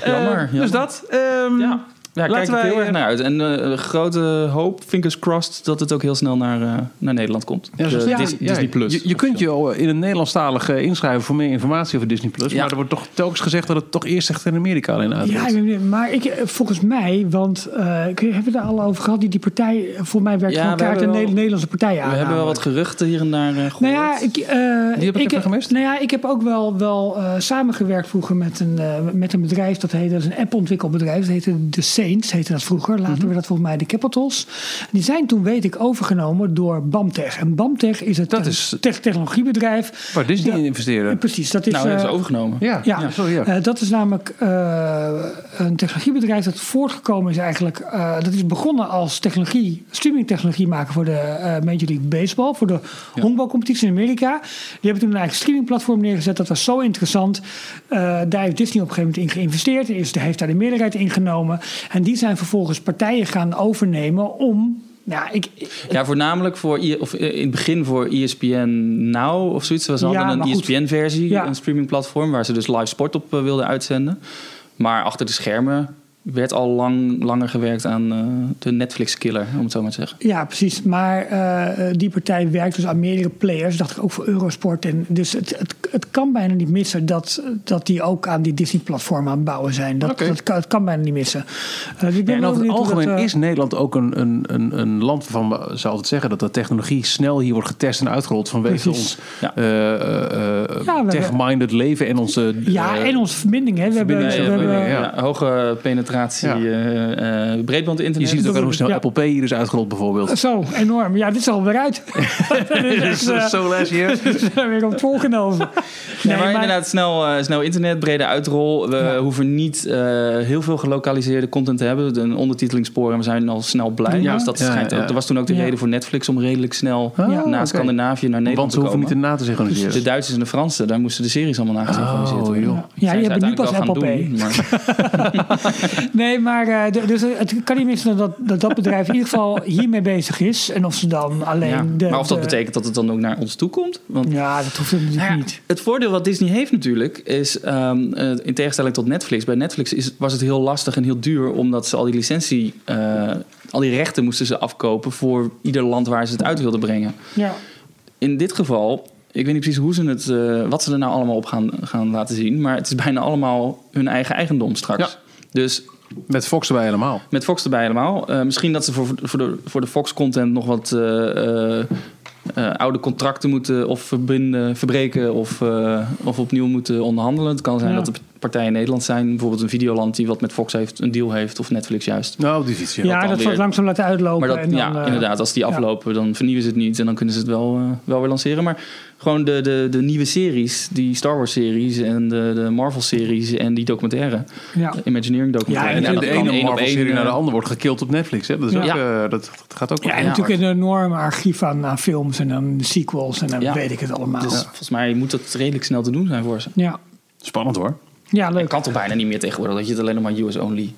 Speaker 4: Jammer,
Speaker 2: Eh, Dus
Speaker 4: jammer.
Speaker 2: dat... ehm,
Speaker 3: mm,
Speaker 4: Ja, ja kijk
Speaker 2: Laten
Speaker 4: ik heel
Speaker 2: wij,
Speaker 4: erg naar uit. En eh, grote hoop, fingers crossed, dat het ook heel snel naar, eh, naar Nederland komt.
Speaker 2: Ja, zo-
Speaker 3: Eh,
Speaker 4: De
Speaker 2: ja,
Speaker 4: Dis-
Speaker 2: ja,
Speaker 4: Disney Plus.
Speaker 2: Je, je kunt je al eh, in een Nederlandstalig eh, inschrijven voor meer informatie over Disney Plus.
Speaker 4: Ja.
Speaker 2: Maar er wordt toch telkens gezegd dat het toch eerst echt in Amerika alleen uit
Speaker 3: Ja,
Speaker 2: wordt.
Speaker 3: ik ben benieuwd. maar ik, eh, volgens mij, want eh, ik- hebben we daar al over gehad? Die, die partij, eh, voor mij werkt
Speaker 4: Ja,
Speaker 3: gewoon
Speaker 4: we
Speaker 3: kaart een
Speaker 4: hebben wel-
Speaker 3: Nederlandse Nederlandse partij aan.
Speaker 4: We hebben wel
Speaker 2: nou,
Speaker 3: namelijk.
Speaker 4: wat geruchten hier en daar eh, gehoord.
Speaker 3: Nou ja, ik, eh,
Speaker 2: Die heb ik even gemist.
Speaker 3: Nou ja, ik heb ook wel, wel eh, samengewerkt vroeger met een, eh, met een bedrijf. Dat heette dat is een app-ontwikkelbedrijf. Dat heette The Saints, heette dat vroeger. Later werden dat volgens mij de Capitals. Die zijn toen, weet ik, overgenomen door Bamtech. En Bamtech is het
Speaker 2: Dat
Speaker 3: eh,
Speaker 2: is-
Speaker 3: tech- technologiebedrijf.
Speaker 2: Waar Disney
Speaker 3: Ja.
Speaker 2: in
Speaker 3: Eh,
Speaker 2: investeren.
Speaker 3: Precies, dat is...
Speaker 4: nou, hebben
Speaker 3: eh,
Speaker 4: ze overgenomen.
Speaker 2: Ja,
Speaker 3: ja.
Speaker 2: ja. sorry. Ja.
Speaker 3: Eh, dat is namelijk eh, een technologiebedrijf dat voortgekomen is eigenlijk. eh, dat is begonnen als technologie, streamingtechnologie maken voor de eh, Major League Baseball, voor de honkbalcompetitie in Amerika. Die hebben toen een eigen streamingplatform neergezet. Dat was zo interessant. Eh, daar heeft Disney op een gegeven moment in geïnvesteerd. Is, heeft daar de meerderheid in genomen. En die zijn vervolgens partijen gaan overnemen om. Ja, ik,
Speaker 4: Ja, voornamelijk voor, I- of eh, in het begin voor ESPN Now of zoiets. Ze
Speaker 3: Ja,
Speaker 4: hadden
Speaker 3: maar
Speaker 4: een E
Speaker 3: goed.
Speaker 4: ESPN-versie,
Speaker 3: Ja.
Speaker 4: een streamingplatform waar ze dus live sport op eh, wilden uitzenden. Maar achter de schermen werd al lang, langer gewerkt aan eh, de Netflix-killer, om het zo maar te zeggen.
Speaker 3: Ja, precies. Maar eh, die partij werkt dus aan meerdere players. Dacht ik ook voor Eurosport. En dus het, het, het kan bijna niet missen dat, dat die ook aan die Disney-platform aan het bouwen zijn. Dat,
Speaker 2: Oké.
Speaker 3: dat kan, het kan bijna niet missen. Eh, dus ik ben
Speaker 2: en
Speaker 3: wel
Speaker 2: over het
Speaker 3: benieuwd hoe dat,
Speaker 2: algemeen
Speaker 3: eh,
Speaker 2: is Nederland ook een, een, een, een land waarvan we ze altijd zeggen dat de technologie snel hier wordt getest en uitgerold vanwege
Speaker 3: Precies.
Speaker 2: ons
Speaker 4: Ja.
Speaker 2: eh, eh, eh,
Speaker 3: Ja, we
Speaker 2: tech-minded leven en onze.
Speaker 3: Ja,
Speaker 2: eh,
Speaker 3: en onze verbinding. Hè. We hebben,
Speaker 2: E
Speaker 4: Verbinding,
Speaker 3: we
Speaker 4: ja,
Speaker 3: dus hebben,
Speaker 2: verbinding,
Speaker 4: Ja, hoge penetratie,
Speaker 2: Ja.
Speaker 4: eh, eh,
Speaker 2: je
Speaker 4: breedbandinternet.
Speaker 2: ziet het ook aan hoe snel
Speaker 3: Ja.
Speaker 2: Apple Pay hier is uitgerold, bijvoorbeeld.
Speaker 3: Zo, enorm. Ja, dit is alweer uit. dat is echt, eh,
Speaker 2: Zo les hier.
Speaker 3: we zijn weer op het volgende over.
Speaker 4: Nee, maar, inderdaad, snel, eh, snel internet, brede uitrol. We hoeven niet eh, heel veel gelokaliseerde content te hebben. Een ondertitelingspoor en we zijn al snel blij.
Speaker 3: Ja.
Speaker 4: Dus dat,
Speaker 2: Ja,
Speaker 4: schijnt
Speaker 2: ja.
Speaker 4: ook- dat was toen ook de
Speaker 3: Ja.
Speaker 4: reden voor Netflix om redelijk snel
Speaker 2: Ah,
Speaker 4: na
Speaker 2: oké.
Speaker 4: Scandinavië naar Nederland
Speaker 2: Want ze
Speaker 4: te
Speaker 2: hoeven niet
Speaker 4: komen. Dus
Speaker 2: in na te
Speaker 4: de
Speaker 2: synchroniseren.
Speaker 4: Duitsers en de Fransen, daar moesten de series allemaal naar gesynchroniseerd
Speaker 2: Oh,
Speaker 4: worden.
Speaker 2: joh.
Speaker 3: Ja, ja die
Speaker 4: Zijn ze
Speaker 3: hebben nu pas
Speaker 4: uiteindelijk wel gaan
Speaker 3: Apple Pay.
Speaker 4: doen, maar-
Speaker 3: Nee, maar eh, d- dus het kan niet missen dat dat, dat bedrijf in ieder geval hiermee bezig is. En of ze dan alleen
Speaker 4: ja.
Speaker 3: de...
Speaker 4: maar of dat
Speaker 3: de-
Speaker 4: betekent dat het dan ook naar ons toe komt? Want
Speaker 3: Ja, dat hoeft natuurlijk
Speaker 4: Nou ja,
Speaker 3: niet.
Speaker 4: Het voordeel wat Disney heeft natuurlijk is, ehm, eh, in tegenstelling tot Netflix, bij Netflix is, was het heel lastig en heel duur omdat ze al die licentie, eh, al die rechten moesten ze afkopen voor ieder land waar ze het uit wilden brengen.
Speaker 3: Ja.
Speaker 4: In dit geval, ik weet niet precies hoe ze het, eh, wat ze er nou allemaal op gaan, gaan laten zien, maar het is bijna allemaal hun eigen eigendom straks.
Speaker 2: Ja.
Speaker 4: Dus
Speaker 2: Met Fox erbij helemaal.
Speaker 4: met Fox erbij helemaal. Eh, misschien dat ze voor, voor, de, voor de Fox content nog wat eh, eh, eh, oude contracten moeten of verbinden, verbreken of, eh, of opnieuw moeten onderhandelen. Het kan zijn
Speaker 3: Ja.
Speaker 4: dat er partijen in Nederland zijn, bijvoorbeeld een Videoland die wat met Fox heeft, een deal heeft of Netflix juist.
Speaker 2: Nou, op die fiets. ja.
Speaker 3: Ja,
Speaker 4: dan
Speaker 3: dat
Speaker 4: weer-
Speaker 3: wordt langzaam laten uitlopen.
Speaker 4: Maar dat,
Speaker 3: en dan,
Speaker 4: ja,
Speaker 3: eh,
Speaker 4: inderdaad, als die
Speaker 3: ja.
Speaker 4: aflopen, dan vernieuwen ze het niet en dan kunnen ze het wel, eh, wel weer lanceren. Maar gewoon de, de, de nieuwe series, die Star Wars series en de, de Marvel series en die documentaire.
Speaker 3: Ja.
Speaker 4: Imagineering documentaire.
Speaker 3: Ja,
Speaker 2: En,
Speaker 3: en
Speaker 2: de
Speaker 4: dat kan
Speaker 2: ene
Speaker 4: één op
Speaker 2: Marvel-serie
Speaker 4: één,
Speaker 2: naar de
Speaker 4: eh,
Speaker 2: ander wordt gekild op Netflix. Hè? Dat, is
Speaker 4: Ja.
Speaker 2: ook, eh, dat, dat gaat ook
Speaker 3: Ja, en
Speaker 2: heel
Speaker 3: natuurlijk
Speaker 2: hard.
Speaker 3: een enorm archief aan, aan films en aan sequels en dan
Speaker 4: Ja.
Speaker 3: weet ik het allemaal.
Speaker 4: Dus volgens mij moet dat redelijk snel te doen zijn voor ze.
Speaker 3: Ja,
Speaker 2: Spannend hoor.
Speaker 3: ja
Speaker 4: Ik
Speaker 3: leuk.
Speaker 4: kan toch bijna niet meer tegenwoordig dat je het alleen nog maar US only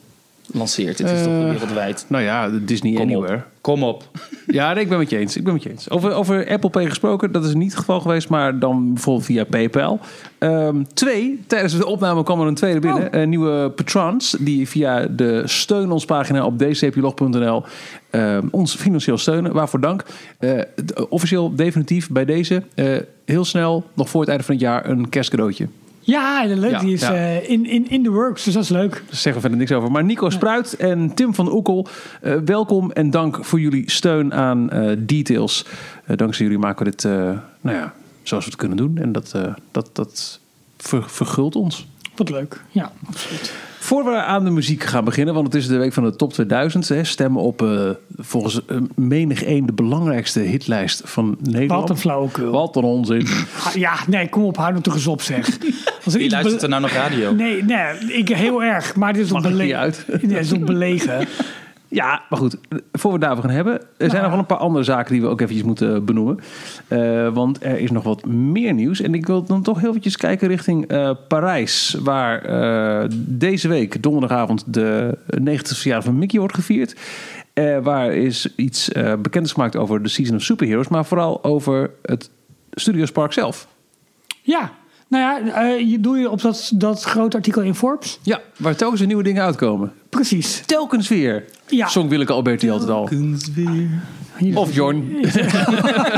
Speaker 4: lanceert. Het is
Speaker 2: Eh,
Speaker 4: toch wereldwijd.
Speaker 2: Nou ja, de Disney
Speaker 4: Kom
Speaker 2: Anywhere.
Speaker 4: op. Kom op.
Speaker 2: Ja, nee, ik ben met je eens. Ik ben met je eens. Over, over Apple Pay gesproken, dat is niet het geval geweest, maar dan bijvoorbeeld via PayPal. Ehm, twee, tijdens de opname kwam er een tweede
Speaker 4: Oh.
Speaker 2: binnen. Een nieuwe patrons die via de steun ons pagina op dcplog.nl ehm, ons financieel steunen. Waarvoor dank. Eh, d- officieel, definitief bij deze. eh, heel snel, nog voor het einde van het jaar, een kerstcadeautje.
Speaker 3: Ja, en leuk.
Speaker 2: Ja,
Speaker 3: die is
Speaker 2: ja.
Speaker 3: eh, in, in, in the works, dus dat is leuk.
Speaker 2: Daar zeggen we verder niks over. Maar Nico Spruit en Tim van Oekel, eh, welkom en dank voor jullie steun aan eh, Details. Eh, dankzij jullie maken we dit, eh, nou ja, zoals we het kunnen doen. En dat, eh, dat, dat ver- verguldt ons.
Speaker 3: Wat leuk. Ja, absoluut.
Speaker 2: Voor we aan de muziek gaan beginnen, want het is de week van de top 2000. Hè, stemmen op eh, volgens eh, menig één de belangrijkste hitlijst van Nederland.
Speaker 3: Wat een flauwekul.
Speaker 2: Wat een onzin.
Speaker 3: Ha- Ja, nee, kom op, hou nou toch eens op zeg. Als er
Speaker 4: Wie
Speaker 3: iets
Speaker 4: luistert
Speaker 3: be-
Speaker 4: er nou nog radio?
Speaker 3: Nee, nee, ik heel erg, maar dit is toch
Speaker 2: Mag ik
Speaker 3: bele-
Speaker 2: niet uit?
Speaker 3: Nee, dit is toch belegen.
Speaker 2: Ja, maar goed, voor we het daarover gaan hebben, er zijn nog wel een paar andere zaken die we ook eventjes moeten benoemen. Eh, want er is nog wat meer nieuws. En ik wil dan toch heel eventjes kijken richting eh, Parijs, waar eh, deze week, donderdagavond, de 90ste verjaardag van Mickey wordt gevierd. Eh, waar is iets eh bekend is gemaakt over de Season of Superheroes, maar vooral over het Studios Park zelf.
Speaker 3: Ja, nou ja, eh, je doe je op dat, dat grote artikel in Forbes?
Speaker 2: Ja, waar telkens weer nieuwe dingen uitkomen.
Speaker 3: Precies.
Speaker 2: Telkens weer.
Speaker 3: Ja.
Speaker 2: Zong Willeke Alberti altijd al. Of Jorn.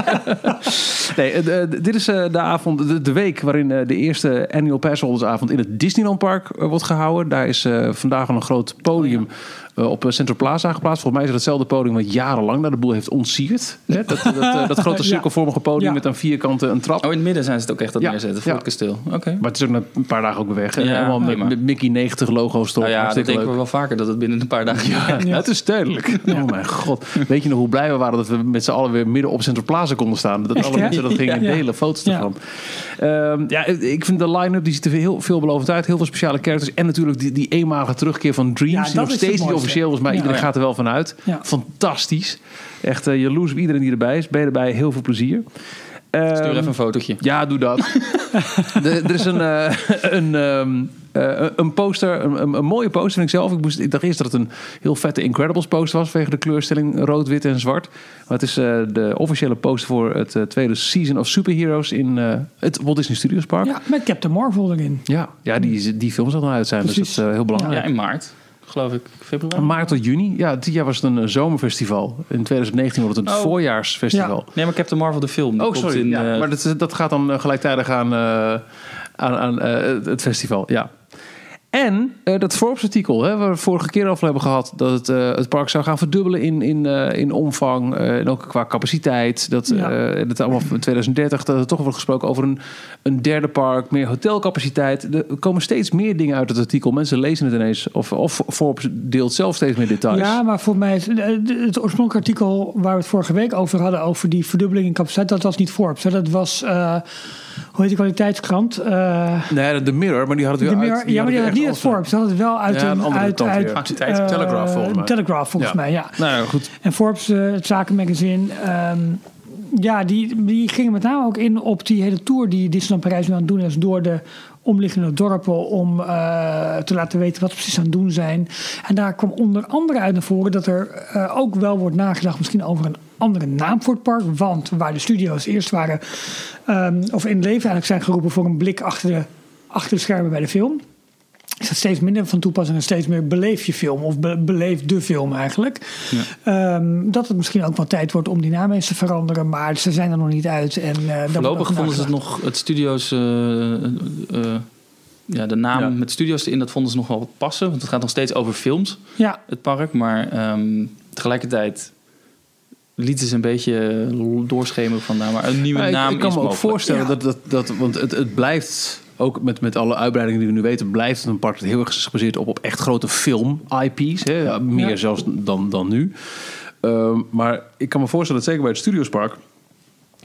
Speaker 2: nee, eh, eh, dit is eh, de avond, de, de week waarin eh, de eerste annual passholdersavond in het Disneyland Park eh, wordt gehouden. Daar is eh, vandaag al een groot podium eh, op eh, Central Plaza geplaatst. Volgens mij is het hetzelfde podium wat jarenlang naar de boel heeft ontsierd. Hè? Dat, dat, eh, dat grote
Speaker 3: Ja.
Speaker 2: cirkelvormige podium
Speaker 3: Ja.
Speaker 2: met aan vierkanten een trap.
Speaker 4: Oh, in het midden zijn ze het ook echt aan het
Speaker 2: Ja,
Speaker 4: neerzetten voor
Speaker 2: ja.
Speaker 4: het kasteel. Oké. Nou
Speaker 2: Maar het is ook na een paar dagen ook weer weg. hè.
Speaker 4: Ja,
Speaker 2: Helemaal met,
Speaker 4: prima.
Speaker 2: met Mickey 90 logo's erop.
Speaker 4: Nou ja, dat
Speaker 2: Hartstikke
Speaker 4: denken
Speaker 2: leuk.
Speaker 4: we wel vaker dat het binnen een paar dagen. Ja.
Speaker 2: Ja, het is tijdelijk. Oh mijn god. Weet je nog hoe blij we waren dat we met z'n allen weer midden op Central Plaza konden staan? Dat alle
Speaker 3: hè?
Speaker 2: mensen dat gingen
Speaker 3: Ja.
Speaker 2: delen, foto's
Speaker 3: Ja.
Speaker 2: ervan. Ehm, ja, ik vind de line-up, die ziet er heel veelbelovend uit. Heel veel speciale characters. En natuurlijk die, die eenmalige terugkeer van
Speaker 3: Ja,
Speaker 2: Dreams.
Speaker 3: dat
Speaker 2: die nog
Speaker 3: is het
Speaker 2: steeds niet
Speaker 3: mooiste.
Speaker 2: officieel is, maar
Speaker 3: Ja.
Speaker 2: iedereen
Speaker 4: Ja.
Speaker 2: gaat er wel van uit.
Speaker 3: Ja.
Speaker 2: Fantastisch. Echt eh, jaloers op iedereen die erbij is. Ben je erbij, heel veel plezier. Ehm,
Speaker 4: Stuur even een fotootje.
Speaker 2: ja, doe dat. er, er is een, eh, een, ehm, eh, een poster, een, een, een mooie poster vind ik zelf. Ik, moest, ik dacht eerst dat het een heel vette Incredibles poster was... vanwege de kleurstelling rood, wit en zwart. Maar het is eh, de officiële poster voor het eh, tweede Season of Superheroes... in eh, het Walt Disney Studios Park. Ja,
Speaker 3: Ja, met Captain Marvel erin.
Speaker 2: ja, die, die film zal dan uit zijn, dus
Speaker 3: Precies.
Speaker 2: dat is eh, heel belangrijk.
Speaker 4: Ja, in maart, geloof ik. Februari.
Speaker 2: Maart tot juni. Ja, dit jaar was het een eh, zomerfestival. In 2019 wordt het een
Speaker 4: Oh.
Speaker 2: voorjaarsfestival.
Speaker 4: Nee, maar Captain Marvel, de film. die
Speaker 2: Oh,
Speaker 4: komt
Speaker 2: sorry.
Speaker 4: In,
Speaker 2: ja,
Speaker 4: eh,
Speaker 2: maar dat, is- dat gaat dan eh, gelijktijdig aan, eh, aan, aan eh, het- het festival. Ja. En eh, dat Forbes-artikel, hè, waar we vorige keer over hebben gehad, dat het, eh, het park zou gaan verdubbelen in, in, eh, in omvang eh, en ook qua capaciteit. Dat,
Speaker 3: Ja.
Speaker 2: eh, dat allemaal in 2030, dat er toch wordt gesproken over een, een derde park, meer hotelcapaciteit. Er komen steeds meer dingen uit het artikel. Mensen lezen het ineens. Of, of Forbes deelt zelf steeds meer details.
Speaker 3: Ja, maar voor mij is eh, het oorspronkelijke artikel waar we het vorige week over hadden, over die verdubbeling in capaciteit, dat was niet Forbes. Hè. Dat was, eh, hoe heet die kwaliteitskrant? Eh,
Speaker 2: Nee, de Mirror, maar die had het
Speaker 3: de
Speaker 2: weer
Speaker 3: Mirror-
Speaker 2: uit.
Speaker 3: ja, maar die
Speaker 2: hadden
Speaker 3: had
Speaker 2: weer
Speaker 3: niet uit
Speaker 2: echt alles.
Speaker 3: Forbes. Dat had het wel uit
Speaker 2: Ja, een
Speaker 3: een,
Speaker 2: andere
Speaker 3: uit,
Speaker 2: krant
Speaker 3: uit
Speaker 2: weer.
Speaker 4: Actualiteits-
Speaker 3: eh,
Speaker 2: Telegraph volgens mij.
Speaker 3: Telegraph volgens
Speaker 2: Ja.
Speaker 3: mij, ja.
Speaker 2: Nou ja, goed.
Speaker 3: En Forbes, eh, het zakenmagazine, ehm, ja, die, die gingen met name ook in op die hele tour die Disneyland Parijs nu aan het doen is door de omliggende dorpen om eh, te laten weten wat ze precies aan het doen zijn. En daar kwam onder andere uit naar voren dat er eh, ook wel wordt nagedacht misschien over een andere naam voor het park. Want waar de studio's eerst waren, ehm, of in leven eigenlijk zijn geroepen voor een blik achter de, achter de schermen bij de film is dat steeds minder van toepassing en steeds meer beleef je film of be- beleef de film eigenlijk. Ehm, dat het misschien ook wel tijd wordt om die naam eens te veranderen, maar ze zijn er nog niet uit. En, eh, daar wordt
Speaker 4: Voorlopig
Speaker 3: over
Speaker 4: vonden ze het
Speaker 3: nagedacht.
Speaker 4: nog het studio's. eh, eh, eh, ja, de naam
Speaker 2: Ja.
Speaker 4: met studio's in, dat vonden ze nog wel passen. Want het gaat nog steeds over films,
Speaker 3: Ja,
Speaker 4: het park. Maar ehm, tegelijkertijd lieten ze een beetje doorschemen van nou, maar een nieuwe
Speaker 2: Ja, ik-
Speaker 4: naam
Speaker 2: ik, kan
Speaker 4: is
Speaker 2: me ook
Speaker 4: mogelijk.
Speaker 2: voorstellen
Speaker 3: Ja.
Speaker 2: dat, dat, dat want het, het blijft ook met, met alle uitbreidingen die we nu weten, blijft het een park dat heel erg is gebaseerd op, op echt grote film-IP's. Hè? Ja, meer
Speaker 3: Ja.
Speaker 2: zelfs dan, dan nu. Ehm, maar ik kan me voorstellen dat zeker bij het Studiospark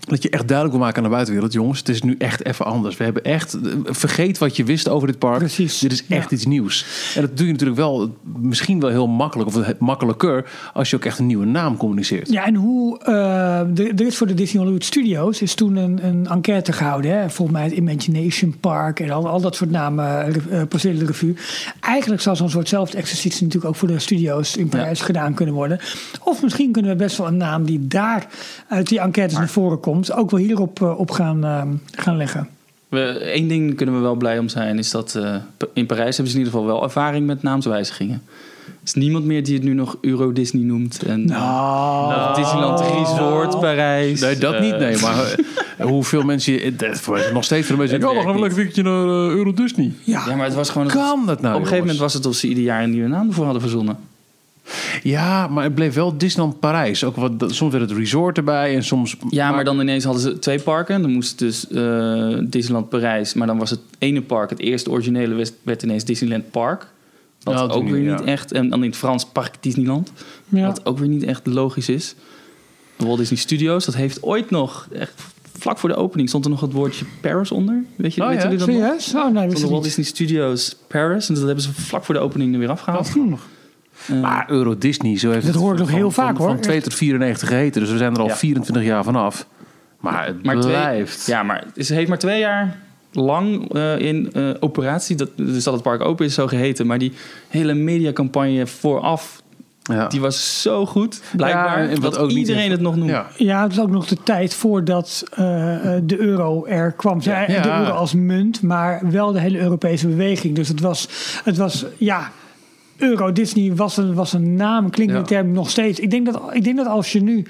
Speaker 2: Dat je echt duidelijk wil maken aan de buitenwereld, jongens, het is nu echt even anders. We hebben echt, vergeet wat je wist over dit park.
Speaker 3: Precies,
Speaker 2: Dit is echt
Speaker 3: ja.
Speaker 2: iets nieuws. En dat doe je natuurlijk wel, misschien wel heel makkelijk, of makkelijker, als je ook echt een nieuwe naam communiceert.
Speaker 3: Ja, en hoe. eh, er er is voor de Disney Hollywood Studios is toen een, een enquête gehouden. Hè? Volgens mij het Imagination Park en al, al dat soort namen eh, eh, passeren de revue. Eigenlijk zou zo'n soortzelfde exercitie natuurlijk ook voor de studio's in Parijs gedaan kunnen worden. Of misschien kunnen we best wel een naam die daar uit die enquêtes naar voren komt, ook wel hierop eh, op gaan, eh, gaan leggen.
Speaker 4: Eén ding kunnen we wel blij om zijn, is dat eh, in Parijs hebben ze in ieder geval wel ervaring met naamswijzigingen. Er is niemand meer die het nu nog Euro Disney noemt. En, eh, Of Disneyland Resort Parijs.
Speaker 2: Nou. Nee, dat
Speaker 4: Eh,
Speaker 2: niet, nee. Maar eh, hoeveel mensen... eh, dat voor- nog steeds voor de mensen...
Speaker 4: Het
Speaker 2: die denken,
Speaker 4: werkt
Speaker 2: weekendje naar eh, Euro Disney.
Speaker 4: Ja, maar het was gewoon...
Speaker 2: Kan dat nou,
Speaker 4: op een gegeven moment
Speaker 2: jongens?
Speaker 4: was het alsof ze ieder jaar een nieuwe naam ervoor hadden verzonnen.
Speaker 2: Ja, maar het bleef wel Disneyland Parijs. Ook wat, dat- soms werd het resort erbij en soms...
Speaker 4: Ja, maar dan ineens hadden ze twee parken. Dan moest dus eh, Disneyland Parijs. Maar dan was het ene park, het eerste originele, werd- werd ineens Disneyland Park. Wat
Speaker 2: Nou, dat
Speaker 4: ook
Speaker 2: doe
Speaker 4: weer
Speaker 2: ik
Speaker 4: niet
Speaker 2: niet, ja.
Speaker 4: echt. En dan in het Frans Park Disneyland.
Speaker 3: Ja.
Speaker 4: Wat ook weer niet echt logisch is. Walt Disney Studios, dat heeft ooit nog, echt vlak voor de opening, stond er nog het woordje Paris onder. Weet je,
Speaker 2: Oh,
Speaker 4: weten
Speaker 2: ja?
Speaker 4: jullie dat nog?
Speaker 3: Serieus? Oh, nee, dat
Speaker 4: Van
Speaker 3: is
Speaker 4: de
Speaker 3: het
Speaker 4: Walt
Speaker 3: niet.
Speaker 4: Disney Studios Paris. En dat hebben ze vlak voor de opening er weer afgehaald. Eh,
Speaker 2: Maar Euro Disney, zo heeft
Speaker 3: Dat
Speaker 2: het
Speaker 3: hoor ik nog
Speaker 2: van-
Speaker 3: heel
Speaker 2: van-
Speaker 3: vaak, hoor.
Speaker 2: Van 2 tot 94 geheten, dus we zijn er al
Speaker 4: Ja.
Speaker 2: 24 jaar vanaf. Maar het
Speaker 4: maar
Speaker 2: blijft.
Speaker 4: Twee, ja, maar het is- heeft maar twee jaar lang eh, in eh, operatie, dat, dus dat het park open is, zo geheten. Maar die hele mediacampagne vooraf,
Speaker 2: Ja.
Speaker 4: die was zo goed, blijkbaar,
Speaker 2: Ja, en wat
Speaker 4: dat
Speaker 2: ook niet
Speaker 4: iedereen
Speaker 2: echt-
Speaker 4: het nog noemt.
Speaker 2: Ja.
Speaker 3: Ja, het was ook nog de tijd voordat eh, eh, de euro er kwam. Ja,
Speaker 2: Ja.
Speaker 3: De euro als munt, maar wel de hele Europese beweging. Dus het was, het was ja, euro Disney was een, was een naam, een klinkende
Speaker 2: Ja.
Speaker 3: term nog steeds. Ik denk, dat, ik denk dat als je nu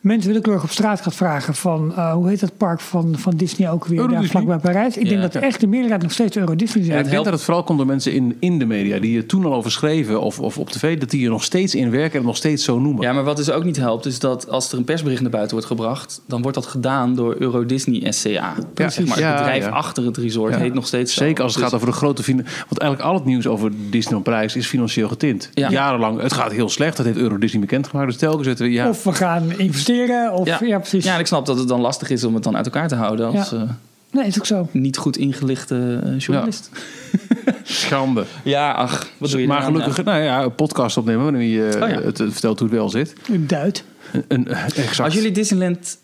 Speaker 3: mensen willekeurig op straat gaat vragen van... eh, hoe heet dat park van, van Disney ook weer,
Speaker 2: Euro
Speaker 3: daar
Speaker 2: Disney?
Speaker 3: vlakbij Parijs? Ik
Speaker 4: Ja.
Speaker 3: denk dat echt de meerderheid nog steeds euro Disney
Speaker 2: En
Speaker 3: zijn.
Speaker 2: ik denk dat het vooral komt door mensen in, in de media die er toen al over schreven of, of op tv, dat die er nog steeds in werken en het nog steeds zo noemen.
Speaker 4: Ja, maar wat dus ook niet helpt, is dat als er een persbericht naar buiten wordt gebracht, dan wordt dat gedaan door Euro Disney SCA. Zeg maar, het
Speaker 2: Ja,
Speaker 4: bedrijf
Speaker 2: ja.
Speaker 4: achter het resort
Speaker 2: Ja.
Speaker 4: heet nog steeds zo.
Speaker 2: Zeker als het
Speaker 4: Dus-
Speaker 2: gaat over de grote... finan- Want eigenlijk al het nieuws over Disneyland Parijs is financieel getint.
Speaker 4: Ja.
Speaker 2: Jarenlang, het gaat heel slecht. Dat heeft Euro Disney bekendgemaakt. Dus telkens werd er... Ja,
Speaker 3: Of we gaan investeren, of ja, precies.
Speaker 4: Ja, en ik snap dat het dan lastig is om het dan uit elkaar te houden als
Speaker 3: Ja.
Speaker 4: eh,
Speaker 3: Nee, is ook zo.
Speaker 4: niet goed ingelichte eh, journalist. Ja,
Speaker 2: schande.
Speaker 4: ach, wat doe je
Speaker 2: Maar
Speaker 4: eraan?
Speaker 2: gelukkig, nou ja, een podcast opnemen waarin je eh,
Speaker 4: Oh ja.
Speaker 2: het, het vertelt hoe het wel zit.
Speaker 3: Een duit.
Speaker 2: Een, een- exact.
Speaker 4: Als jullie Disneyland,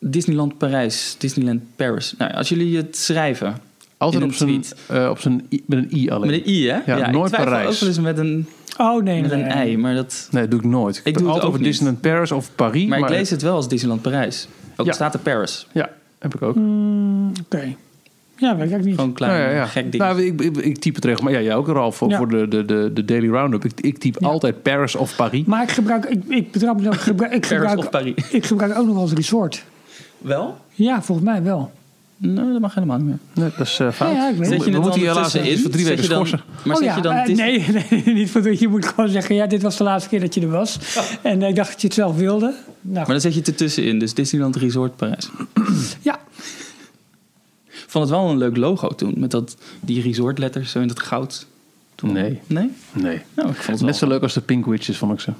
Speaker 4: Disneyland Parijs, Disneyland Paris, nou, als jullie het schrijven
Speaker 2: Altijd
Speaker 4: in
Speaker 2: op
Speaker 4: een
Speaker 2: zijn,
Speaker 4: tweet.
Speaker 2: eh, op zijn i, met een i alleen.
Speaker 4: met een i, hè?
Speaker 2: Ja,
Speaker 4: ik
Speaker 2: nooit
Speaker 4: twijfel
Speaker 2: Parijs.
Speaker 4: Ook wel eens met een,
Speaker 3: Oh nee,
Speaker 4: met
Speaker 3: nee,
Speaker 4: een
Speaker 3: nee.
Speaker 4: ei, maar dat.
Speaker 2: Nee, dat doe ik nooit. Ik,
Speaker 4: het
Speaker 2: doe altijd
Speaker 4: ook
Speaker 2: over
Speaker 4: niet.
Speaker 2: Disneyland Paris of Paris.
Speaker 4: Maar ik lees het wel als Disneyland Parijs. Ook
Speaker 2: Ja.
Speaker 4: al staat er Paris.
Speaker 2: Ja, heb ik ook.
Speaker 3: Oké. Ja, weet ik ook niet.
Speaker 4: Gewoon Mm. klein,
Speaker 2: Nou ja, ja.
Speaker 4: gek ding.
Speaker 2: Nou, ik, ik, ik typ het regelmatig. Maar ja, jij ook, Ralf, voor,
Speaker 3: Ja.
Speaker 2: voor de, de, de, de Daily Roundup. Ik, ik typ altijd Paris of Paris.
Speaker 3: Maar ik gebruik, ik, ik betrap me ook, ik gebruik, ik
Speaker 4: Paris
Speaker 3: gebruik,
Speaker 4: of Paris.
Speaker 3: ik gebruik ook nog wel eens resort.
Speaker 4: wel?
Speaker 3: Ja, volgens mij wel.
Speaker 4: Nee, dat mag helemaal niet meer.
Speaker 2: Nee, dat is eh, fout.
Speaker 3: Ja, ja, ik weet
Speaker 2: We
Speaker 3: het.
Speaker 4: Zet je het
Speaker 2: moeten
Speaker 4: dan
Speaker 2: hier helaas
Speaker 4: ertussenin?
Speaker 2: voor drie
Speaker 4: Zet
Speaker 2: weken
Speaker 4: je dan-
Speaker 2: schorsen.
Speaker 4: Maar
Speaker 3: oh
Speaker 4: zet
Speaker 3: ja,
Speaker 4: je dan
Speaker 3: eh,
Speaker 4: Disney-
Speaker 3: nee, nee, niet voor je moet gewoon zeggen, ja, dit was de laatste keer dat je er was. En ik dacht dat je het zelf wilde. Nou,
Speaker 4: Maar dan zet je het ertussenin, dus Disneyland Resort Parijs.
Speaker 3: ja,
Speaker 4: vond het wel een leuk logo toen. Met dat, die resortletters zo in dat goud.
Speaker 2: Nee,
Speaker 4: Nee?
Speaker 2: nee.
Speaker 4: Nou, ik vond
Speaker 2: Net
Speaker 4: het
Speaker 2: zo
Speaker 4: wel.
Speaker 2: leuk als de Pink Witches, vond ik ze.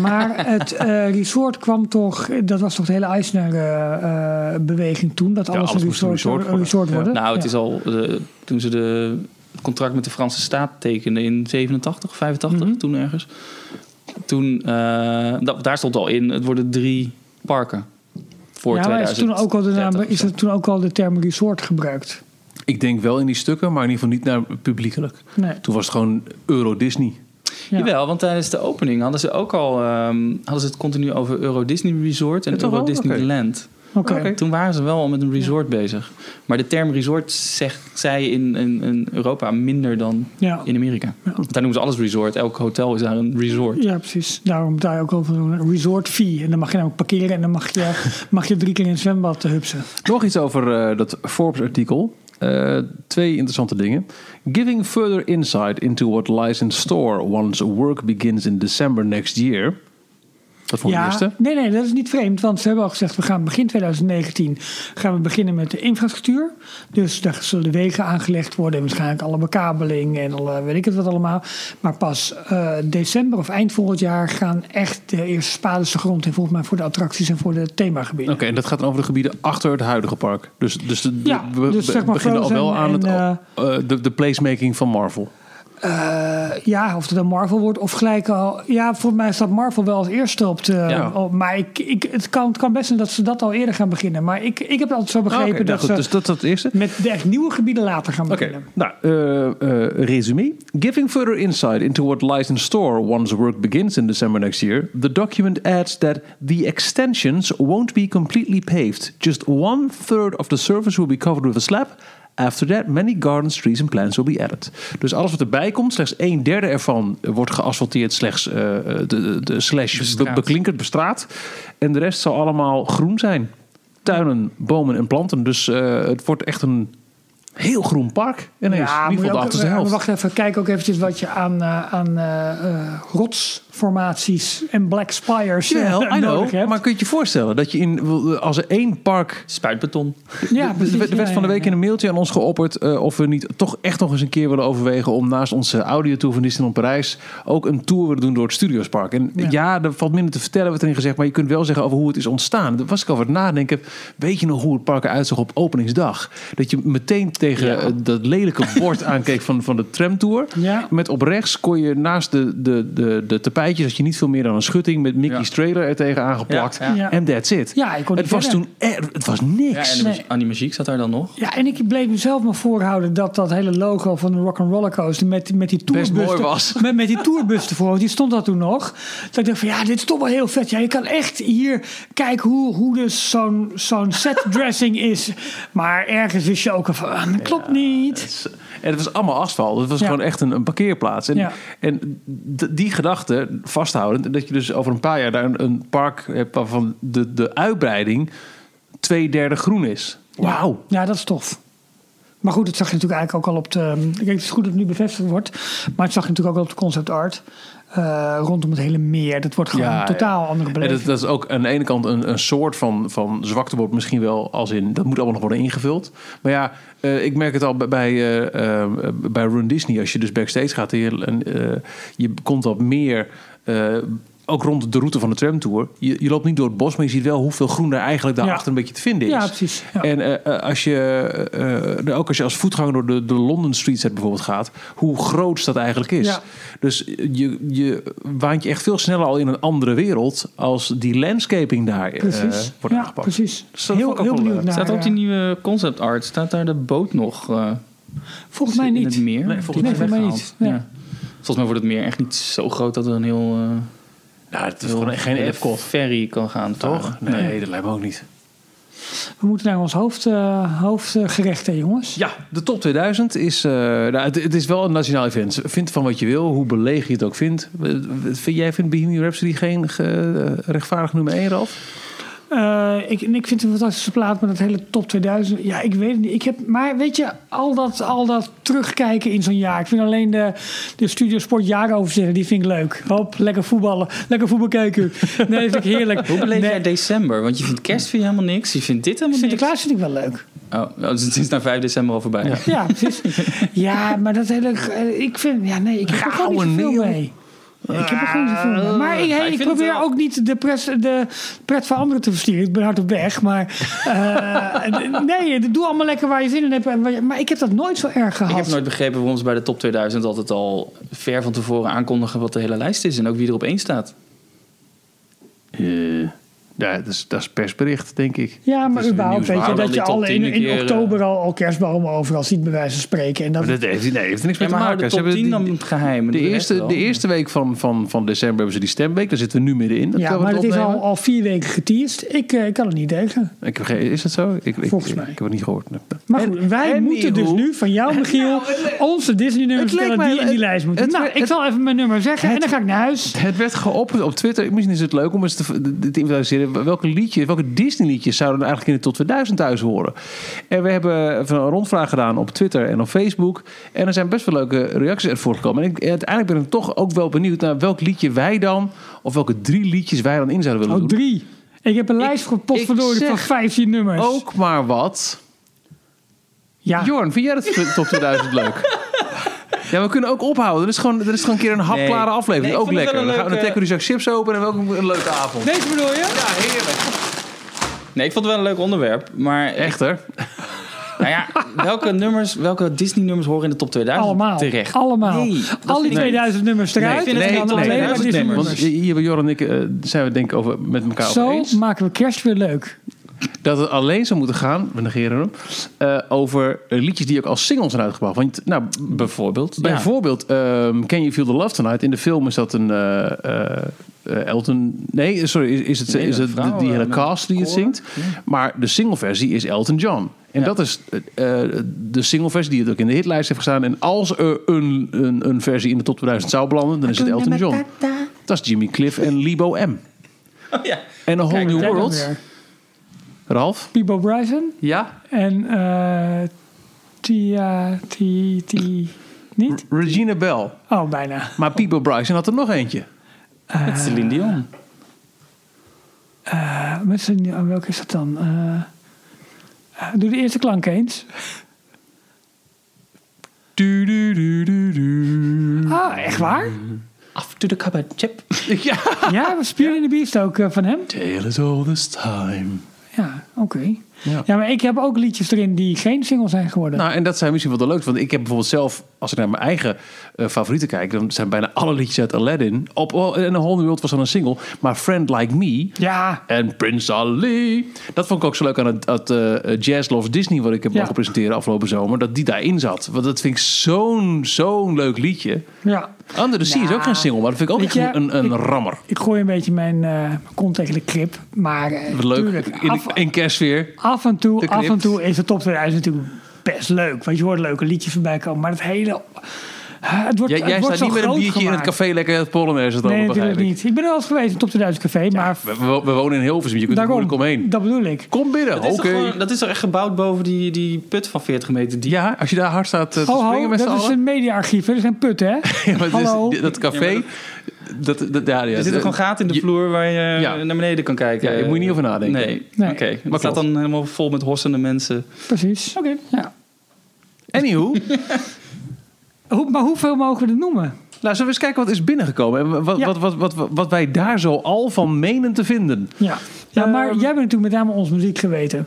Speaker 3: maar het eh, resort kwam toch, dat was toch de hele Eisner-beweging toen, dat alles,
Speaker 2: alles
Speaker 3: een
Speaker 2: moest een
Speaker 3: resort,
Speaker 2: resort
Speaker 3: een resort
Speaker 2: worden.
Speaker 3: worden.
Speaker 4: Nou, het
Speaker 3: Ja.
Speaker 4: is al... eh, toen ze de, het contract met de Franse staat tekenden in 87, 85,
Speaker 3: Mhm.
Speaker 4: toen ergens. Toen, eh, dat, daar stond al in, het worden drie parken. Voor
Speaker 3: ja, maar is
Speaker 4: 2000.
Speaker 3: toen, ook al de naam,
Speaker 4: 30 of
Speaker 3: is
Speaker 4: zo.
Speaker 3: er toen ook al de term resort gebruikt?
Speaker 2: Ik denk wel in die stukken, maar in ieder geval niet naar publiekelijk.
Speaker 3: Nee.
Speaker 2: Toen was het gewoon Euro Disney.
Speaker 3: Ja.
Speaker 4: Jawel, want tijdens de opening hadden ze ook al ehm, hadden ze het continu over Euro Disney Resort en
Speaker 2: Ja, toch
Speaker 4: Euro
Speaker 2: wel?
Speaker 4: Disneyland.
Speaker 3: Oké.
Speaker 4: Toen waren ze wel al met een resort bezig. Maar de term resort zegt zij in, in, in Europa minder dan
Speaker 3: Ja.
Speaker 4: in Amerika. Want daar noemen ze alles resort. Elk hotel is daar een resort.
Speaker 3: Ja, precies. Daarom betaal je ook over een resort fee. En dan mag je namelijk parkeren en dan mag je, mag je drie keer in het zwembad eh, hupsen.
Speaker 2: Nog iets over eh, dat Forbes-artikel. Eh, twee interessante dingen. Giving further insight into what lies in store once work begins in December next year. Dat vond ik het eerste.
Speaker 3: Nee, nee, dat is niet vreemd. Want ze hebben al gezegd, we gaan begin 2019 gaan we beginnen met de infrastructuur. Dus daar zullen de wegen aangelegd worden. En waarschijnlijk alle bekabeling en alle, weet ik het wat allemaal. Maar pas eh, december of eind volgend jaar gaan echt de eerste spades de grond in. Volgens mij voor de attracties en voor de themagebieden.
Speaker 2: Oké, en dat gaat dan over de gebieden achter het huidige park. Dus, dus, de- de-
Speaker 3: Ja,
Speaker 2: we
Speaker 3: dus
Speaker 2: be-
Speaker 3: zeg maar
Speaker 2: beginnen al wel aan
Speaker 3: Frozen en,
Speaker 2: het, eh, de, de placemaking van Marvel.
Speaker 3: Eh, ja, of het dan Marvel wordt of gelijk al. Ja, volgens mij staat Marvel wel als eerste op de.
Speaker 2: Ja.
Speaker 3: op- maar ik, ik, het, kan, het kan best zijn dat ze dat al eerder gaan beginnen. Maar ik, ik heb altijd zo
Speaker 2: Ah,
Speaker 3: begrepen
Speaker 2: oké, nou
Speaker 3: dat
Speaker 2: goed,
Speaker 3: ze
Speaker 2: Dus dat, dat is het eerste.
Speaker 3: met de echt nieuwe gebieden later gaan
Speaker 2: Oké,
Speaker 3: beginnen.
Speaker 2: nou, eh, eh, resume. Giving further insight into what lies in store once work begins in December next year, the document adds that the extensions won't be completely paved. Just one third of the surface will be covered with a slab. After that, many gardens, trees and plants will be added. Dus alles wat erbij komt, slechts een derde ervan wordt geasfalteerd, slechts eh, eh, de, de, de slash
Speaker 4: Bestraat.
Speaker 2: be- beklinkerd bestraat. En de rest zal allemaal groen zijn. Tuinen, bomen en planten. Dus eh, het wordt echt een heel groen park. Ineens. in ieder
Speaker 3: moet je
Speaker 2: geval de
Speaker 3: ook-
Speaker 2: achterste
Speaker 3: eh,
Speaker 2: helft.
Speaker 3: Wacht even, kijk ook eventjes wat je aan, eh, aan eh, eh, rotsformaties en black spires eh,
Speaker 2: Jawel, I
Speaker 3: nodig
Speaker 2: know.
Speaker 3: hebt.
Speaker 2: Maar kun je je voorstellen dat je in, als er één park...
Speaker 4: Spuitbeton.
Speaker 3: ja,
Speaker 2: de- de- de
Speaker 3: ja,
Speaker 2: werd van de
Speaker 3: ja,
Speaker 2: week in een mailtje aan ons geopperd eh, of we niet toch echt nog eens een keer willen overwegen om naast onze audiotour van Disneyland Parijs ook een tour willen doen door het Studiospark. En ja,
Speaker 3: Ja.
Speaker 2: er valt minder te vertellen wat erin gezegd, maar je kunt wel zeggen over hoe het is ontstaan. Daar was ik over het nadenken. Weet je nog hoe het park eruit zag op openingsdag? Dat je meteen tegen
Speaker 4: Ja.
Speaker 2: eh, dat lelijke bord aankeek van, van de tramtour.
Speaker 3: Ja.
Speaker 2: Met op rechts kon je naast de, de, de, de tapijtjes, had je niet veel meer dan een schutting met Mickey's
Speaker 4: Ja.
Speaker 2: trailer er tegen aangeplakt.
Speaker 4: Ja,
Speaker 3: ja.
Speaker 2: En that's it.
Speaker 3: Ja, ik kon niet
Speaker 2: het was
Speaker 3: verder.
Speaker 2: toen, eh, het was niks.
Speaker 4: Ja, en de
Speaker 3: Nee.
Speaker 4: Annie Magique zat daar dan nog.
Speaker 3: Ja, en ik bleef mezelf maar voorhouden dat dat hele logo van de Rock'n'Roller Coaster met, met die
Speaker 2: Best
Speaker 3: tourbus.
Speaker 2: mooi was.
Speaker 3: Met, met die tourbus ervoor, want die stond dat toen nog. Dat ik dacht van ja, dit is toch wel heel vet. Ja, je kan echt hier kijken hoe, hoe dus zo'n zo'n set dressing is. Maar ergens wist je ook al van, ah, dat klopt niet.
Speaker 2: Het is- En het was allemaal asfalt. Het was
Speaker 3: Ja.
Speaker 2: gewoon echt een, een parkeerplaats. En,
Speaker 3: Ja.
Speaker 2: en d- die gedachte vasthoudend, dat je dus over een paar jaar daar een, een park hebt waarvan de, de uitbreiding twee derde groen is. Wauw.
Speaker 3: Ja, dat is tof. Maar goed, dat zag je natuurlijk eigenlijk ook al op de... Kijk, het is goed dat het nu bevestigd wordt. Maar het zag je natuurlijk ook al op de concept art. eh, rondom het hele meer. Dat wordt gewoon
Speaker 2: Ja,
Speaker 3: een totaal andere
Speaker 2: En
Speaker 3: beleving.
Speaker 2: dat, dat is ook aan de ene kant een, een soort van, van zwaktebord misschien wel, als in dat moet allemaal nog worden ingevuld. Maar ja, eh, ik merk het al bij, bij, eh, eh, bij Run Disney, als je dus backstage gaat, hier, en, eh, je komt wat meer, eh, ook rond de route van de tramtour. Je, je loopt niet door het bos, maar je ziet wel hoeveel groen daar eigenlijk daarachter
Speaker 3: Ja.
Speaker 2: een beetje te vinden is.
Speaker 3: Ja, precies. Ja.
Speaker 2: En eh, eh, als je, eh, eh, ook als je als voetganger door de, de London Street set bijvoorbeeld gaat, hoe groot dat eigenlijk is.
Speaker 3: Ja.
Speaker 2: Dus je, je waant je echt veel sneller al in een andere wereld als die landscaping daar eh,
Speaker 3: Precies.
Speaker 2: wordt
Speaker 3: ja,
Speaker 2: aangepakt.
Speaker 3: precies.
Speaker 2: Dus dat vond
Speaker 3: heel
Speaker 2: ik ook
Speaker 3: heel
Speaker 2: wel,
Speaker 3: benieuwd
Speaker 2: eh,
Speaker 3: naar.
Speaker 4: Staat er op die
Speaker 3: eh,
Speaker 4: nieuwe concept art, staat daar de boot nog eh,
Speaker 3: Volgens mij
Speaker 4: in het
Speaker 3: niet.
Speaker 4: meer?
Speaker 2: Nee, volgens
Speaker 4: Die
Speaker 2: mij
Speaker 3: niet.
Speaker 4: werd weggehaald.
Speaker 3: Nee.
Speaker 4: Ja. Volgens mij wordt het meer echt niet zo groot dat er een heel... eh,
Speaker 2: Nou, het is gewoon geen
Speaker 4: hele
Speaker 2: Epcot,
Speaker 4: ferry kan gaan varen.
Speaker 2: toch? Nee, dat lijkt me ook niet.
Speaker 3: We moeten naar ons hoofd, eh, hoofdgerecht, hè, jongens.
Speaker 2: Ja, de top 2000 is... eh, nou, het, het is wel een nationaal event. Vind van wat je wil, hoe belegen je het ook vindt. Eh, Vind jij vindt Bohemian Rhapsody geen ge- eh, rechtvaardig nummer 1, Ralf?
Speaker 3: Eh, ik, en ik vind het een fantastische plaat met dat hele top 2000. Ja, ik weet het niet. Ik heb, maar weet je, al dat, al dat terugkijken in zo'n jaar. Ik vind alleen de, de Studiosport jaaroverzichten, die vind ik leuk. Hop, lekker voetballen. Lekker voetbal kijken. Nee, vind ik heerlijk.
Speaker 4: Hoe beleef
Speaker 3: Nee,
Speaker 4: jij december? Want je vindt kerst vind je helemaal niks. Je vindt dit helemaal niks.
Speaker 3: Sinterklaas vind ik wel leuk.
Speaker 4: Oh, nou, dus het is na 5 december al voorbij.
Speaker 3: Ja, precies. Ja, maar dat hele... eh, Ik vind... Ja, nee, ik heb er gewoon niet
Speaker 2: Gouden
Speaker 3: zoveel
Speaker 2: leeuw.
Speaker 3: mee. Ik heb er gewoon niet zoveel mee. Maar ik, hey,
Speaker 4: Maar ik
Speaker 3: ik
Speaker 4: vind het
Speaker 3: probeer
Speaker 4: wel-
Speaker 3: ook niet de, pres, de pret van anderen te verstieren. Ik ben hard op weg, maar... eh, nee, doe allemaal lekker waar je zin in hebt. en waar je- Maar ik heb dat nooit zo erg
Speaker 4: Ik
Speaker 3: gehad.
Speaker 4: heb nooit begrepen waarom ze bij de top 2000 altijd al ver van tevoren aankondigen wat de hele lijst is en ook wie er op één staat.
Speaker 2: Eh, ja, dat is, dat is persbericht, denk ik.
Speaker 3: Ja,
Speaker 2: Het
Speaker 3: maar
Speaker 4: Dus
Speaker 2: is een
Speaker 3: überhaupt weet je
Speaker 2: nieuwswaarde.
Speaker 3: dat
Speaker 4: die
Speaker 3: je
Speaker 4: top
Speaker 3: al in,
Speaker 4: 10
Speaker 3: in
Speaker 4: keer, eh,
Speaker 3: oktober al, al kerstbomen overal ziet bij wijze van spreken. En dat,
Speaker 2: Maar dat heeft, nee, heeft er niks
Speaker 4: Ja,
Speaker 2: mee
Speaker 4: maar
Speaker 2: te
Speaker 4: hou
Speaker 2: maken.
Speaker 4: de
Speaker 2: Ze
Speaker 4: top
Speaker 2: hebben
Speaker 4: 10
Speaker 2: die-
Speaker 4: dan geheim. en
Speaker 2: de,
Speaker 4: rest
Speaker 2: eerste,
Speaker 4: wel.
Speaker 2: de eerste week van, van, van december hebben ze die stemweek. Daar zitten we nu middenin.
Speaker 3: ja,
Speaker 2: terwijl we
Speaker 3: maar
Speaker 2: het
Speaker 3: dat is
Speaker 2: opnemen.
Speaker 3: al, al vier weken geteased. Ik, eh, ik kan het niet tegen.
Speaker 2: Ik heb geen- is dat zo? Ik, ik,
Speaker 3: Volgens
Speaker 2: ik,
Speaker 3: mij.
Speaker 2: ik heb het niet gehoord. Nee.
Speaker 3: Maar
Speaker 2: En-
Speaker 3: goed, wij
Speaker 2: en
Speaker 3: moeten dus
Speaker 2: hoe- Nou,
Speaker 3: nu van jou, Michiel, onze Disney-nummers
Speaker 2: Het leek
Speaker 3: vertellen
Speaker 2: mij-
Speaker 3: die in die
Speaker 2: het-
Speaker 3: lijst moeten.
Speaker 2: het-
Speaker 3: nou,
Speaker 2: het-
Speaker 3: ik zal even mijn nummer zeggen en dan ga ik naar huis.
Speaker 2: Het werd geopperd op Twitter. Misschien is het leuk om eens te, te inventariseren je, welke liedjes, welke Disney liedjes zouden er eigenlijk in de tot 2000 thuis horen? En we hebben even een rondvraag gedaan op Twitter en op Facebook. En er zijn best wel leuke reacties ervoor gekomen. En ik, uiteindelijk ben ik toch ook wel benieuwd naar welk liedje wij dan, of welke drie liedjes wij dan in zouden willen
Speaker 3: Oh,
Speaker 2: doen.
Speaker 3: drie. Ik heb een lijst voor potverdorie
Speaker 2: zeg Oh,
Speaker 3: van 15 nummers.
Speaker 2: Ook maar wat.
Speaker 3: ja.
Speaker 2: Jorn, vind jij dat tot 2000 leuk? Ja, we kunnen ook ophouden. Er is gewoon, er is gewoon een keer een hapklare
Speaker 4: Nee.
Speaker 2: aflevering.
Speaker 4: Nee, ik
Speaker 2: ook
Speaker 4: vond het
Speaker 2: lekker.
Speaker 4: wel
Speaker 2: Dan,
Speaker 4: een
Speaker 2: gaan we, dan
Speaker 4: leuke-
Speaker 2: trekken we die zak chips open en welkom een leuke avond.
Speaker 3: Deze bedoel je?
Speaker 2: Ja, heerlijk.
Speaker 4: Nee, ik vond het wel een leuk onderwerp. Maar
Speaker 2: Echt hè?
Speaker 4: nou ja, welke, nummers, welke Disney-nummers horen in de top 2000
Speaker 3: Allemaal.
Speaker 4: terecht?
Speaker 3: Allemaal.
Speaker 4: Nee,
Speaker 3: Al die 2000 nummers eruit.
Speaker 4: Nee, ik vind het
Speaker 3: en dan
Speaker 4: geen
Speaker 3: alleen maar
Speaker 4: 2000
Speaker 3: Disney
Speaker 4: nummers.
Speaker 2: Want hier bij Jorn en ik eh, zijn we denk ik over, met elkaar over
Speaker 3: Zo
Speaker 2: eens.
Speaker 3: maken we kerst weer leuk.
Speaker 2: Dat het alleen zou moeten gaan, we negeren hem, eh, over eh, liedjes die ook als singles zijn uitgebracht. Want nou,
Speaker 4: Bijvoorbeeld. ja.
Speaker 2: bijvoorbeeld ehm, Can You Feel The Love Tonight. In de film is dat een eh, eh, eh, Elton... Nee, sorry, is, is het,
Speaker 4: Nee,
Speaker 2: is
Speaker 4: een
Speaker 2: het
Speaker 4: vrouw,
Speaker 2: die hele
Speaker 4: eh,
Speaker 2: cast die het
Speaker 4: koor.
Speaker 2: zingt. Maar de singleversie is Elton John. En
Speaker 4: Ja.
Speaker 2: dat is eh, eh, de singleversie die het ook in de hitlijst heeft gestaan. En als er een, een, een versie in de top 2000 zou belanden, dan is het Elton John. Dat is Jimmy Cliff en Libo M.
Speaker 4: Oh, ja.
Speaker 2: En A Whole New
Speaker 3: Kijk dan
Speaker 2: World.
Speaker 3: weer.
Speaker 2: Ralf?
Speaker 3: Pibo Bryson
Speaker 2: Ja?
Speaker 3: en eh Tia, Ti, Ti, niet?
Speaker 2: Regina Bell.
Speaker 3: Oh, bijna.
Speaker 2: Maar People Bryson had er nog eentje.
Speaker 4: Met Celine Dion.
Speaker 3: Eh, met z'n- oh, welke is dat dan? Eh, eh, doe de eerste klank eens.
Speaker 2: Du, du, du, du, du.
Speaker 3: Ah, echt waar?
Speaker 4: Af to the cupboard, chip.
Speaker 2: Ja.
Speaker 3: Ja, we spelen in de Beast ook eh, van hem.
Speaker 2: Tale is all this time.
Speaker 3: Ja, oké.
Speaker 2: Ja.
Speaker 3: Ja. maar ik heb ook liedjes erin die geen single zijn geworden.
Speaker 2: Nou, en dat zijn misschien wel de leukste. Want ik heb bijvoorbeeld zelf, als ik naar mijn eigen eh, favorieten kijk... dan zijn bijna alle liedjes uit Aladdin... Op, oh, en A Whole New World was dan een single. Maar Friend Like Me...
Speaker 3: ja,
Speaker 2: En Prince Ali. Dat vond ik ook zo leuk aan het, het eh, Jazz Loves Disney... wat ik heb
Speaker 3: Ja.
Speaker 2: mogen presenteren afgelopen zomer. Dat die daarin zat. Want dat vind ik zo'n, zo'n leuk liedje.
Speaker 3: ja.
Speaker 2: Under the Sea is
Speaker 3: Nou,
Speaker 2: ook geen single, maar dat vind ik ook
Speaker 3: weet
Speaker 2: echt een,
Speaker 3: je,
Speaker 2: een, een
Speaker 3: ik-
Speaker 2: rammer.
Speaker 3: Ik gooi een beetje mijn eh, mijn kont tegen de krip. Maar eh,
Speaker 2: Wat leuk.
Speaker 3: tuurlijk,
Speaker 2: In,
Speaker 3: af,
Speaker 2: in kerstsfeer.
Speaker 3: af, en toe,
Speaker 2: de
Speaker 3: af
Speaker 2: krip.
Speaker 3: en toe is de top 2000 natuurlijk best leuk. Want je hoort leuke liedjes voorbij komen. Maar het hele... Het wordt,
Speaker 2: Jij,
Speaker 3: het
Speaker 2: jij
Speaker 3: wordt
Speaker 2: staat niet
Speaker 3: zo
Speaker 2: met een
Speaker 3: groot
Speaker 2: biertje in het
Speaker 3: gemaakt.
Speaker 2: café lekker het Polonaise het
Speaker 3: Nee,
Speaker 2: over,
Speaker 3: natuurlijk
Speaker 2: begrijp ik.
Speaker 3: niet. Ik ben er wel eens geweest in het top 2000 café. maar
Speaker 2: We, we- we wonen in Hilversum, je kunt er
Speaker 3: daarom,
Speaker 2: moeilijk omheen.
Speaker 3: dat bedoel ik.
Speaker 2: Kom binnen,
Speaker 4: Dat
Speaker 2: oké.
Speaker 4: is, toch gewoon- dat is toch echt gebouwd boven die, die put van 40 meter diep?
Speaker 2: Ja, als je daar hard staat eh, te
Speaker 3: Oh,
Speaker 2: springen
Speaker 3: ho,
Speaker 2: met z'n
Speaker 3: dat is
Speaker 2: allen.
Speaker 3: een mediaarchief. hè? Dat zijn putten, hè?
Speaker 2: Ja, maar het is-
Speaker 3: Hallo.
Speaker 2: dat café, dat, dat, ja, ja, eh,
Speaker 4: Er zitten gewoon gaten in de
Speaker 2: je-
Speaker 4: vloer waar je eh,
Speaker 2: Ja.
Speaker 4: naar beneden kan kijken.
Speaker 2: Ja, daar moet je niet over nadenken.
Speaker 4: Nee,
Speaker 3: Nee.
Speaker 4: oké. Maar
Speaker 2: Maar
Speaker 4: het staat
Speaker 2: klopt.
Speaker 4: dan helemaal vol met hossende mensen.
Speaker 3: Precies. Oké. Ja.
Speaker 2: Anywho, nou,
Speaker 3: Hoe, maar hoeveel mogen we het noemen?
Speaker 2: Nou, zullen we eens kijken wat is binnengekomen. En wat,
Speaker 3: Ja.
Speaker 2: wat, wat, wat, wat, wat wij daar zo al van menen te vinden.
Speaker 3: Ja, ja maar
Speaker 2: Ehm,
Speaker 3: jij bent natuurlijk met name ons muziek geweten.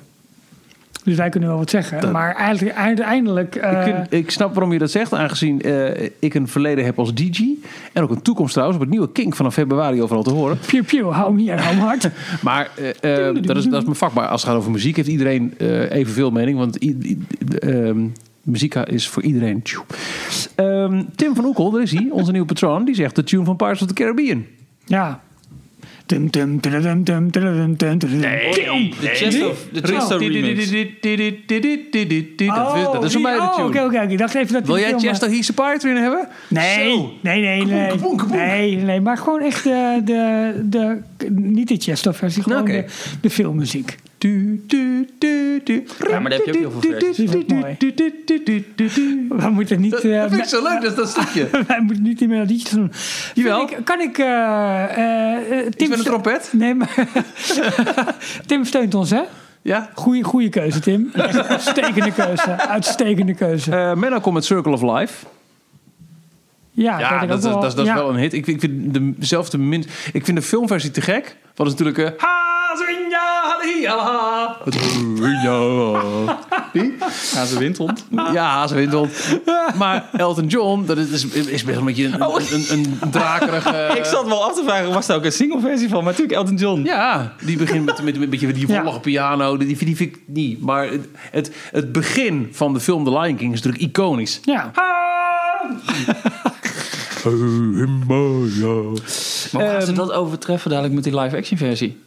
Speaker 3: Dus wij kunnen wel wat zeggen. maar eigenlijk, uiteindelijk... eh,
Speaker 2: Ik, ik snap waarom je dat zegt, aangezien eh, ik een verleden heb als DJ. En ook een toekomst trouwens, op het nieuwe Kink vanaf februari overal te horen.
Speaker 3: Pew pew, hou hem hier, hou hem hard.
Speaker 2: Maar eh, eh, dat, is, dat is mijn vak. Maar als het gaat over muziek, heeft iedereen eh, evenveel mening. Want i- i- ehm, muziek is voor iedereen. Tjoe. Ehm, Tim van Oekel, daar is hij, onze nieuwe patroon. Die zegt de tune van Pirates of the Caribbean.
Speaker 3: ja. Dum, dum, tudadum, dum, tudadum, dum, tudadum. Dum.
Speaker 4: De Chest of, de Chest of Remix.
Speaker 2: Dat is- Dat is voor mij de
Speaker 3: Oh, oké,
Speaker 2: tune.
Speaker 3: oké. oké. Ik dacht even dat
Speaker 2: Wil
Speaker 3: die
Speaker 2: jij
Speaker 3: film- eh,
Speaker 2: Chester He's a Pirate erin hebben?
Speaker 3: Nee, nee, nee, nee.
Speaker 2: kaboen, kaboen.
Speaker 3: Nee, nee, maar gewoon echt de, de, de niet de Chester versie, gewoon
Speaker 2: Oké.
Speaker 3: de, de filmmuziek.
Speaker 2: Du, du, du, du.
Speaker 4: Ja, maar daar heb je ook heel veel
Speaker 2: Du, du,
Speaker 4: versies
Speaker 2: du,
Speaker 3: van.
Speaker 2: du, du, du, du, du, du, du.
Speaker 3: We moeten niet,
Speaker 2: Dat
Speaker 3: eh,
Speaker 2: dat vind ik zo leuk, dat is dat stukje.
Speaker 3: wij moeten niet die melodietjes doen. Vind
Speaker 2: Jawel.
Speaker 3: Ik, kan ik... eh, eh, eh, Tim
Speaker 2: met een
Speaker 3: Ste-
Speaker 2: trompet?
Speaker 3: Nee, maar... Tim steunt ons, hè?
Speaker 2: Ja?
Speaker 3: Goeie, goeie keuze, Tim. Echt een Uitstekende keuze. Uitstekende keuze.
Speaker 2: Eh, Menno komt met Circle of Life.
Speaker 3: Ja,
Speaker 2: Ja,
Speaker 3: ik
Speaker 2: dat, is-
Speaker 3: ook
Speaker 2: dat, is- dat is
Speaker 3: ja.
Speaker 2: wel een hit. Ik, vind- ik vind de, zelf de minst. Ik vind de filmversie te gek. Wat is natuurlijk. eh, Hazinja, Hadia. Hazinja.
Speaker 4: Gaan ze windhond.
Speaker 2: Ja, hazenwindel. Maar Elton John, dat is, is, is best wel een beetje een, een, een, een drakerige.
Speaker 4: Ik zat wel af te vragen, was daar ook een single versie van? Maar natuurlijk Elton John.
Speaker 2: Ja, die begint met, met, met, beetje die
Speaker 3: Ja.
Speaker 2: volgende piano. Die, die vind ik niet. Maar het, het, het begin van de film The Lion King is natuurlijk iconisch.
Speaker 3: Ja.
Speaker 4: Maar hoe gaan ze dat overtreffen dadelijk met die live action versie?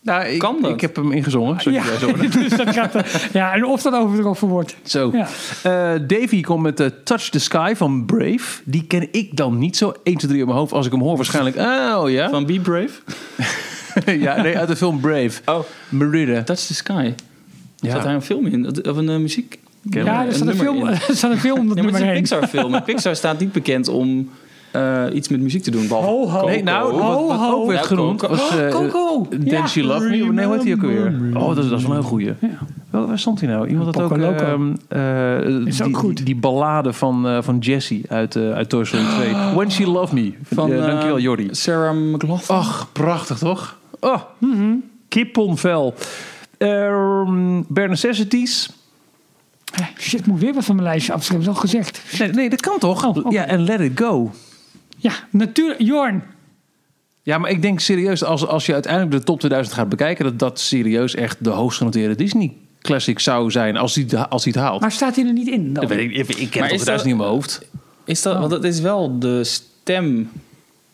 Speaker 2: Nou, ik,
Speaker 4: Kan dat?
Speaker 2: ik heb hem ingezongen. Sorry,
Speaker 3: Ja.
Speaker 2: ja. zo.
Speaker 3: Dus dat gaat, eh, ja, en of dat overtroffen wordt.
Speaker 2: Zo.
Speaker 3: Ja.
Speaker 2: Eh, Davy komt met eh, Touch the Sky van Brave. Die ken ik dan niet zo 1, 2, 3 in mijn hoofd. Als ik hem hoor waarschijnlijk... Oh ja.
Speaker 4: Van Be Brave?
Speaker 2: ja, nee, uit de film Brave.
Speaker 4: Oh,
Speaker 2: Merida.
Speaker 4: Touch the Sky.
Speaker 2: Ja.
Speaker 4: Zat daar een film in? Of een eh, muziek?
Speaker 3: Ja, er staat een,
Speaker 4: nummer
Speaker 3: film,
Speaker 4: in.
Speaker 3: er staat een film om dat
Speaker 4: Nee, maar
Speaker 3: nummer
Speaker 4: het is een
Speaker 3: heen.
Speaker 4: Pixar-film. En Pixar staat niet bekend om eh, iets met muziek te doen. Behalve
Speaker 3: Ho, ho.
Speaker 2: Nee, nou,
Speaker 4: Coco.
Speaker 3: Oh,
Speaker 2: wat, wat
Speaker 4: Ho,
Speaker 2: ook werd
Speaker 4: ho.
Speaker 2: genoemd
Speaker 4: Coco.
Speaker 2: was... eh,
Speaker 3: Coco.
Speaker 2: Then
Speaker 3: Ja.
Speaker 2: She Loved Me. Nee, hoe heet die ook weer? Oh, dat is, dat is wel een goeie. Wel, waar stond hij nou? Iemand had ook...
Speaker 3: Poco Loco.
Speaker 2: ehm, eh,
Speaker 3: Is ook
Speaker 2: die,
Speaker 3: goed.
Speaker 2: Die, die ballade van, eh, van Jesse uit, eh, uit Toy Story 2. When She Loved Me. Van,
Speaker 4: eh,
Speaker 2: dankjewel, Jordi.
Speaker 4: Sarah McLaughlin.
Speaker 2: Ach, prachtig toch? Oh, kippenvel. Ehm bare necessities.
Speaker 3: Eh, Shit, moet weer wat van mijn lijstje af. Dat heb ik al gezegd.
Speaker 2: Nee, nee, dat kan toch?
Speaker 3: Oh, oké.
Speaker 2: Ja, en let it go.
Speaker 3: Ja, natuurlijk. Jorn.
Speaker 2: Ja, maar ik denk serieus, als, als je uiteindelijk de top 2000 gaat bekijken, dat dat serieus echt de hoogst genoteerde Disney classic zou zijn als hij, het- als hij het haalt.
Speaker 3: Maar staat hij er niet in dan?
Speaker 2: dat weet ik, ik, ik ken
Speaker 4: Maar
Speaker 2: het
Speaker 4: is
Speaker 2: 2000
Speaker 4: dat-
Speaker 2: niet in mijn hoofd.
Speaker 4: Is dat, want dat is wel de stem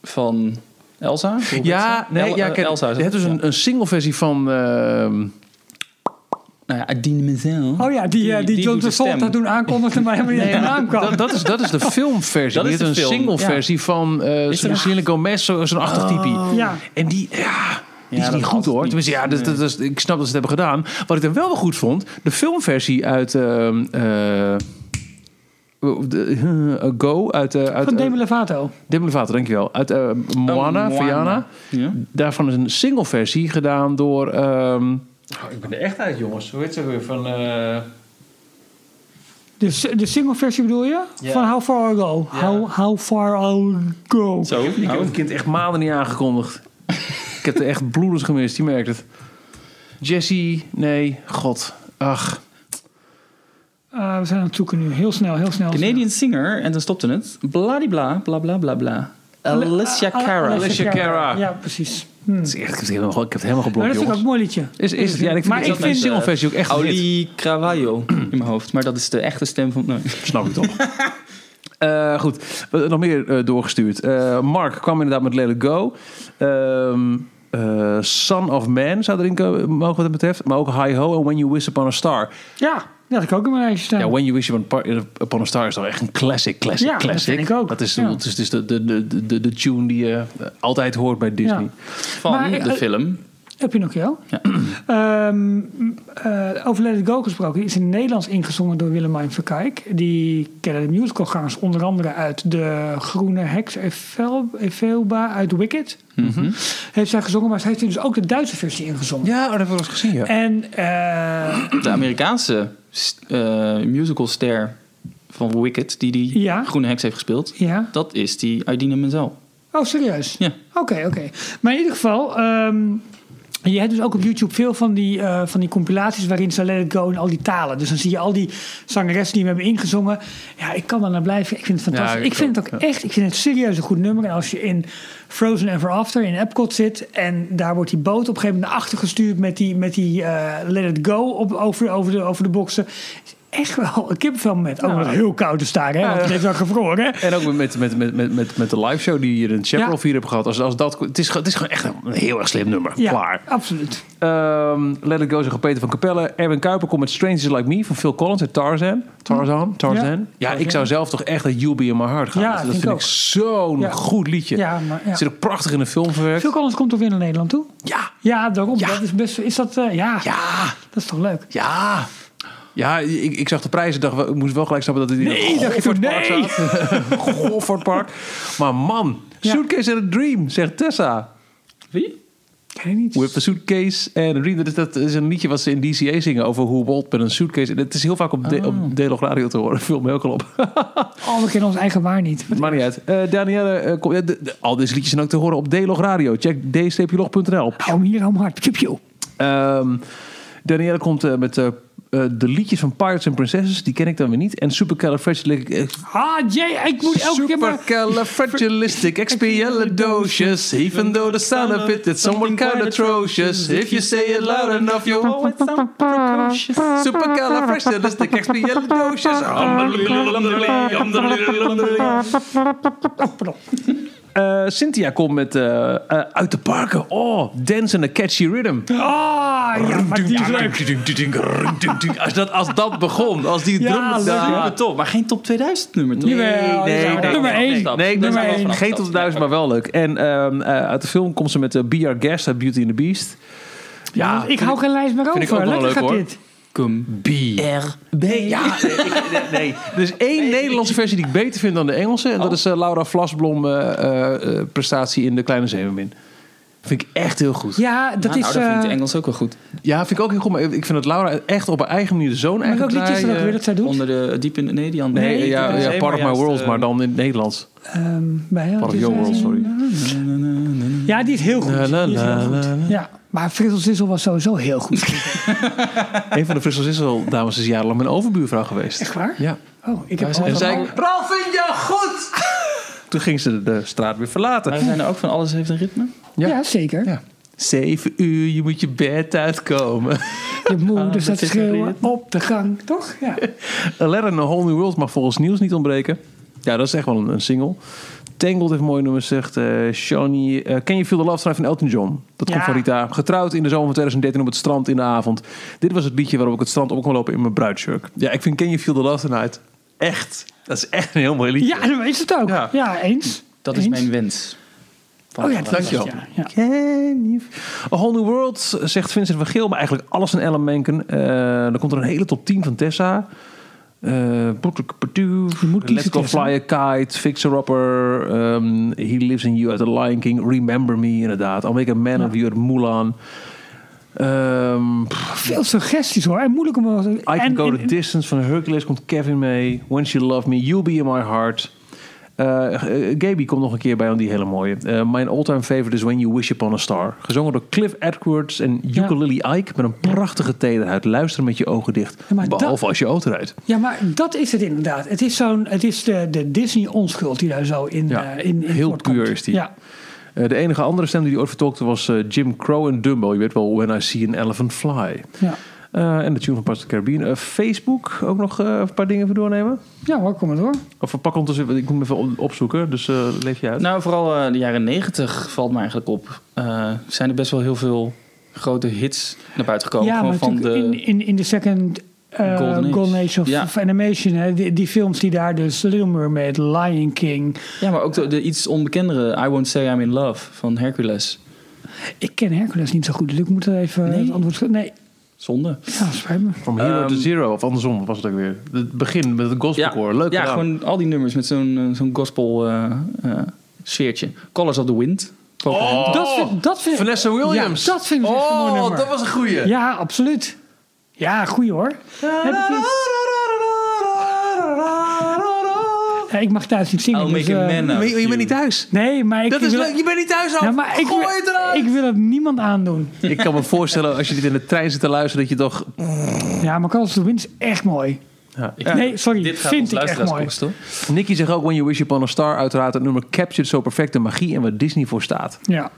Speaker 4: van Elsa. Hoe heet
Speaker 2: Ja,
Speaker 4: ze?
Speaker 2: nee,
Speaker 4: El-
Speaker 2: ja,
Speaker 4: eh,
Speaker 2: kijk,
Speaker 4: Elsa. is
Speaker 2: je hebt dus
Speaker 4: Ja.
Speaker 2: een, een single versie van... ehm,
Speaker 4: Nou ja, Adine Menzel.
Speaker 3: Oh ja, die, eh, die,
Speaker 4: Die- die
Speaker 3: John
Speaker 4: doet de
Speaker 3: Travolta
Speaker 4: stem.
Speaker 3: toen aankondigde, maar helemaal niet
Speaker 2: Nee,
Speaker 3: aan aankwam.
Speaker 2: dat, dat, is, dat is de filmversie.
Speaker 4: Dat
Speaker 2: Je
Speaker 4: is
Speaker 2: hebt een
Speaker 4: de film,
Speaker 2: single
Speaker 4: ja.
Speaker 2: versie van eh
Speaker 4: Is er-
Speaker 2: Selena Gomez, zo- zo'n achtertypie.
Speaker 3: Ja.
Speaker 2: En die, ja, die
Speaker 4: Ja,
Speaker 2: is
Speaker 4: dat
Speaker 2: niet goed
Speaker 4: past
Speaker 2: hoor.
Speaker 4: niet.
Speaker 2: Tenminste, ja, dat, dat, dat is- ik snap dat ze het hebben gedaan. Wat ik dan wel wel goed vond, de filmversie uit... ehm, eh, de- eh, Go uit, eh, uit
Speaker 3: Van
Speaker 2: eh,
Speaker 3: Demi Lovato.
Speaker 2: Demi Lovato, dankjewel. Uit eh, Moana,
Speaker 4: Oh, Moana.
Speaker 2: Fiana.
Speaker 4: Ja.
Speaker 2: Daarvan is een single versie gedaan door... ehm, oh, ik ben er echt uit, jongens. Hoe heet ze ook weer? Van... eh,
Speaker 3: De, s- de single versie bedoel je?
Speaker 2: Ja.
Speaker 3: Van How Far I Go. How, how Far I'll Go.
Speaker 4: Zo,
Speaker 2: Ik heb
Speaker 4: nou,
Speaker 2: het kind echt maanden niet aangekondigd. ik heb er echt bloeders gemist, die merkt het. Jesse, nee, god. Ach,
Speaker 3: Eh, we zijn aan het zoeken nu. Heel snel, heel snel.
Speaker 4: Canadian singer, en dan stopte het. Bladibla, bla bla bla bla. Alicia
Speaker 3: Al-
Speaker 4: Cara.
Speaker 2: Alicia Cara.
Speaker 3: Ja, precies.
Speaker 2: het is echt, ik, heb het helemaal, ik heb het helemaal
Speaker 3: Maar
Speaker 2: geblokt,
Speaker 3: dat vind ik
Speaker 2: jongens.
Speaker 3: ook een mooi liedje.
Speaker 2: Is, is, het- ja, ik vind,
Speaker 3: Maar
Speaker 2: ik
Speaker 3: ik
Speaker 2: vind de
Speaker 3: vind,
Speaker 2: singleversie ook echt een hit.
Speaker 4: Auli Cravalho in mijn hoofd. Maar dat is de echte stem van... Nee.
Speaker 2: Snap ik toch. Eh, goed, We- nog meer eh, doorgestuurd. Eh, Mark kwam inderdaad met Let It Go. Ehm, eh, Son of Man zou erin komen, mogen wat het betreft. Maar ook Hi Ho en When You Wish Upon a Star.
Speaker 3: Ja, die had ik ook in mijn lijstje staan.
Speaker 2: Ja, When You Wish Upon a Par- Upon a Star is toch echt een classic, classic,
Speaker 3: Ja, dat
Speaker 2: classic.
Speaker 3: vind ik ook.
Speaker 2: Dat is,
Speaker 3: Ja.
Speaker 2: dat is dus de, de, de, de, de tune die je altijd hoort bij Disney.
Speaker 4: Van
Speaker 3: Maar,
Speaker 4: de
Speaker 3: eh,
Speaker 4: film.
Speaker 3: Heb je nog jou?
Speaker 4: Ja.
Speaker 3: Ehm, eh, over Let It Go gesproken. Is in het Nederlands ingezongen door Willemijn Verkijk. Die kennen de musicalgangers onder andere uit De Groene Heks Efel- Evelba uit Wicked.
Speaker 4: Mhm.
Speaker 3: Mhm. Heeft zij gezongen, maar ze heeft hier dus ook de Duitse versie ingezongen.
Speaker 2: Ja, oh, dat hebben we wel eens gezien, ja.
Speaker 3: En eh,
Speaker 4: De Amerikaanse musical musicalster van Wicked, die die
Speaker 3: Ja.
Speaker 4: groene heks heeft gespeeld.
Speaker 3: ja.
Speaker 4: Dat is die Idina Menzel.
Speaker 3: Oh, serieus?
Speaker 4: Ja.
Speaker 3: Oké, oké. Maar in ieder geval, ehm, je hebt dus ook op YouTube veel van die, eh, van die compilaties waarin ze Let It Go in al die talen. Dus dan zie je al die zangeressen die hem hebben ingezongen. Ja, ik kan daar naar blijven. Ik vind het fantastisch.
Speaker 2: Ja,
Speaker 3: ik,
Speaker 2: ik
Speaker 3: vind
Speaker 2: ook,
Speaker 3: het ook echt, ik vind het serieus een goed nummer. En als je in Frozen Ever After in Epcot zit en daar wordt die boot op een gegeven moment naar achter gestuurd met die, met die eh, Let It Go op, over, over, de, over de boksen. Is Echt wel een kippenvel moment. Ook omdat het heel koud is daar, hè? Want het is wel gevroren, hè?
Speaker 2: En ook met, met, met, met, met, met de live show die je in het Chaparral
Speaker 3: Ja.
Speaker 2: 4 hebt gehad. Als, als dat, het, is, gewoon- het is gewoon echt een heel erg slim nummer.
Speaker 3: Ja,
Speaker 2: Klaar.
Speaker 3: absoluut.
Speaker 2: Ehm Let It Go zegt Peter van Capelle. Erwin Kuiper komt met Strangers Like Me van Phil Collins en Tarzan. Tarzan? Tarzan? Ja,
Speaker 3: Ja.
Speaker 2: ik zou zelf toch echt dat You'll Be In My Heart gaan.
Speaker 3: Ja,
Speaker 2: dat
Speaker 3: vind ik
Speaker 2: vind ik
Speaker 3: ook.
Speaker 2: zo'n
Speaker 3: Ja.
Speaker 2: goed liedje.
Speaker 3: Ja, maar, ja.
Speaker 2: Zit ook prachtig in de film verwerkt.
Speaker 3: Phil Collins komt toch weer naar Nederland toe?
Speaker 2: Ja,
Speaker 3: Ja, daarom.
Speaker 2: Ja.
Speaker 3: Dat is best. Is dat. eh, ja,
Speaker 2: ja,
Speaker 3: dat is toch leuk?
Speaker 2: ja. Ja, ik, ik zag de prijzen dacht, ik moest wel gelijk snappen dat het in
Speaker 3: Nee, dacht ik toen,
Speaker 2: Goffertpark
Speaker 3: nee.
Speaker 2: staat. Goffertpark. Maar man,
Speaker 3: Ja.
Speaker 2: Suitcase and a Dream, zegt Tessa.
Speaker 4: Wie?
Speaker 3: Ken ik niet.
Speaker 2: With a Suitcase and a Dream. Dat is, dat is een liedje wat ze in DCA zingen over hoe Walt met een suitcase... En het is heel vaak op, de, op Delog Radio te horen. Veel me ook al op.
Speaker 3: Oh, we kennen ons eigen waar niet.
Speaker 2: Maakt niet uit. Eh, Danielle, eh, kom- ja, de- de- al deze liedjes zijn ook te horen op D-Log Radio. Check d-log.nl.
Speaker 3: Hou hem hier, hou hem hard. Piu, piu.
Speaker 2: Ehm, Danielle komt eh, met eh, eh, de liedjes van Pirates and Princesses. Die ken ik dan weer niet. En Supercalifragilistic...
Speaker 3: Ah, Jay, ik moet elke keer maar...
Speaker 2: Supercalifragilistic expialidocious Even though the sound of it is somewhat kind of atrocious If you say it loud enough you'll
Speaker 4: Oh, it's so precocious.
Speaker 2: Supercalifragilistic expialidocious Eh, Cynthia komt met eh, eh, Uit de Parken. Oh, Dance in a Catchy Rhythm.
Speaker 3: Ah, ja, maar die is leuk.
Speaker 2: Als dat, als dat begon, als die
Speaker 3: Ja,
Speaker 2: drum...
Speaker 3: leuk.
Speaker 2: Ja.
Speaker 4: top. Maar geen top 2000 nummer toch?
Speaker 3: Jawel, jawel. Nummer één.
Speaker 2: Nee, nee, ik ben
Speaker 3: Nummer één.
Speaker 2: wel geen tot duizend, maar wel leuk. En ehm, eh, uit de film komt ze met eh, Be Our Guest uit Beauty and the Beast. Ja,
Speaker 3: ik hou geen lijst meer over.
Speaker 2: vind ik ook wel
Speaker 3: Lekker
Speaker 2: leuk,
Speaker 3: gaat
Speaker 2: hoor.
Speaker 3: dit.
Speaker 2: B. Ja, nee, ik- nee, nee. Er is één Nederlandse versie die ik beter vind dan de Engelse. En dat is eh, Laura Vlasblom eh, eh, eh, prestatie in De Kleine Zeemermin. Vind ik echt heel goed. Ja.
Speaker 3: Ja, dat is...
Speaker 4: Nou, dat vind ik
Speaker 3: eh,
Speaker 4: de Engels ook wel goed.
Speaker 2: vind ik ook heel goed. Maar ik vind dat Laura echt op haar eigen manier zo'n
Speaker 3: maar
Speaker 2: eigen
Speaker 3: welk liedje is dat ook
Speaker 2: draai,
Speaker 3: weer
Speaker 2: eh,
Speaker 3: dat zij doet?
Speaker 4: Onder de diep in nee, die andere.
Speaker 2: Nee,
Speaker 3: Nee,
Speaker 2: eh, ja,
Speaker 4: Diep in de
Speaker 2: ja,
Speaker 4: Zee,
Speaker 2: Part of My
Speaker 4: juist,
Speaker 2: World,
Speaker 4: eh,
Speaker 2: maar dan in het Nederlands.
Speaker 3: Ehm, bij
Speaker 2: Part of Your World, sorry.
Speaker 3: Ja, die is heel goed.
Speaker 2: La, la,
Speaker 3: Die is heel
Speaker 2: la,
Speaker 3: goed.
Speaker 2: la, la.
Speaker 3: Ja, maar Frissel Sissel was sowieso heel goed.
Speaker 2: Een van de Frissels is al, dames, is jarenlang mijn overbuurvrouw geweest.
Speaker 3: Echt waar?
Speaker 2: Ja.
Speaker 3: Oh, ik heb
Speaker 4: zijn-
Speaker 2: En
Speaker 3: altijd
Speaker 2: zei
Speaker 3: al-
Speaker 2: ik, Ralf, vind je goed? Toen ging ze de straat weer verlaten.
Speaker 4: Maar we zijn er ook van alles heeft een ritme.
Speaker 2: Ja.
Speaker 3: ja. zeker.
Speaker 2: Ja. Zeven uur, je moet je bed uitkomen.
Speaker 3: Je moeder staat te
Speaker 4: Ah, is een
Speaker 3: schreeuwen
Speaker 4: ritme.
Speaker 3: op de gang, toch? Ja.
Speaker 2: Aladdin Eh, in A Whole New World mag volgens Niels niet ontbreken. Ja, dat is echt wel een, een single. Tangled heeft mooie nummers, zegt eh Shawnee. Eh, Can You Feel The Love Drive van Elton John. Dat
Speaker 3: Ja.
Speaker 2: komt van Rita. Getrouwd in de zomer van 2013 op het strand in de avond. Dit was het liedje waarop ik het strand op kon lopen in mijn bruidsjurk. Ja, ik vind Can You Feel The Love Tonight echt... Dat is echt een heel mooi liedje.
Speaker 3: Ja, dat is het ook.
Speaker 2: Ja.
Speaker 3: Ja, eens.
Speaker 4: Dat is
Speaker 3: Eens.
Speaker 4: mijn wens.
Speaker 3: Oh ja,
Speaker 2: Dankjewel.
Speaker 3: Ja, ja.
Speaker 2: Can you- A Whole New World, zegt Vincent van Geel. Maar eigenlijk alles van Ellen Menken. Eh dan komt er een hele top 10 van Tessa. Eh
Speaker 3: moet
Speaker 2: Let's
Speaker 3: kiezen,
Speaker 2: Go
Speaker 3: Tessa.
Speaker 2: Fly a Kite, Fixer Upper, ehm, He Lives in You uit The Lion King, Remember Me inderdaad, I'll Make a Man of You uit Mulan, Ehm, pff,
Speaker 3: Veel suggesties hoor. En moeilijk om...
Speaker 2: I Can Go The Distance van Hercules komt Kevin mee, When She Loved Me, You'll Be In My Heart, Eh eh, Gaby komt nog een keer bij, want die hele mooie. Eh, mijn all-time favorite is When You Wish Upon a Star, gezongen door Cliff Edwards en
Speaker 3: Ja.
Speaker 2: Ukulele Ike met een prachtige tederheid. Luister met je ogen dicht,
Speaker 3: Ja, maar dat-
Speaker 2: behalve als je auto rijdt.
Speaker 3: Ja, maar dat is het inderdaad. Het is, zo'n, het is de, de Disney-onschuld die daar zo in,
Speaker 2: Ja,
Speaker 3: eh, in, in
Speaker 2: heel
Speaker 3: voortkomt.
Speaker 2: puur is die.
Speaker 3: Ja.
Speaker 2: Eh, de enige andere stem die hij ooit vertolkte was eh, Jim Crow en Dumbo. Je weet wel, When I See an Elephant Fly.
Speaker 3: Ja.
Speaker 2: Eh, en de tune van Pirates of the Caribbean. Eh, Facebook, ook nog eh, een paar dingen voor doornemen?
Speaker 3: ja hoor, kom maar door.
Speaker 2: Of we pakken ondertussen, want ik moet hem even op- opzoeken. Dus eh, leef je uit.
Speaker 4: Nou, vooral eh, de jaren 90 valt me eigenlijk op. Eh, zijn er best wel heel veel grote hits naar buiten gekomen.
Speaker 3: ja,
Speaker 4: Gewoon
Speaker 3: maar
Speaker 4: van de...
Speaker 3: natuurlijk in, in, in de second eh,
Speaker 4: Golden Age.
Speaker 3: Golden, Age of,
Speaker 4: Ja.
Speaker 3: of Animation. Hè, die, die films die daar dus... Little Mermaid, Lion King.
Speaker 4: Ja, maar ook de, de iets onbekendere I Won't Say I'm In Love van Hercules.
Speaker 3: Ik ken Hercules niet zo goed, dus ik moet er even
Speaker 4: Nee?
Speaker 3: het antwoord schrijven. Nee,
Speaker 4: Zonde.
Speaker 3: ja, spijt me.
Speaker 2: From Hero
Speaker 4: ehm,
Speaker 2: to Zero, of andersom was het ook weer. Het begin met het gospel koor. Leuk
Speaker 4: ja
Speaker 2: gedaan.
Speaker 4: gewoon al die nummers met zo'n eh, zo'n gospel eh, eh, sfeertje. Colors of the Wind. Pocahontas.
Speaker 2: Oh,
Speaker 3: dat vind, dat vind,
Speaker 2: Vanessa Williams.
Speaker 3: Ja, dat vind ik echt een mooi
Speaker 2: Oh,
Speaker 3: nummer.
Speaker 2: dat was een goeie.
Speaker 3: Ja, absoluut. Ja, goeie hoor. Heb ik niet- Ja, ik mag thuis niet zingen.
Speaker 4: I'll
Speaker 3: dus,
Speaker 4: make a
Speaker 3: eh,
Speaker 4: man out
Speaker 2: Maar
Speaker 4: of
Speaker 2: je, je
Speaker 4: you.
Speaker 2: bent niet thuis.
Speaker 3: Nee, maar ik
Speaker 2: dat is
Speaker 3: wil...
Speaker 2: leuk, je bent niet thuis al.
Speaker 3: Ja, maar ik,
Speaker 2: Gooi
Speaker 3: wil,
Speaker 2: het eruit.
Speaker 3: ik wil het niemand aandoen.
Speaker 2: Ik kan me voorstellen, als je dit in de trein zit te luisteren, dat je toch...
Speaker 3: Ja, maar Carlos de Wind is echt mooi.
Speaker 2: Ja.
Speaker 3: Nee, sorry,
Speaker 4: Dit gaat ons
Speaker 3: vind ik echt
Speaker 4: luisteraars
Speaker 3: mooi.
Speaker 4: kosten. hoor.
Speaker 2: Nicky zegt ook When You Wish Upon a Star. Uiteraard het nummer captured zo perfect de magie en waar Disney voor staat.
Speaker 3: Ja.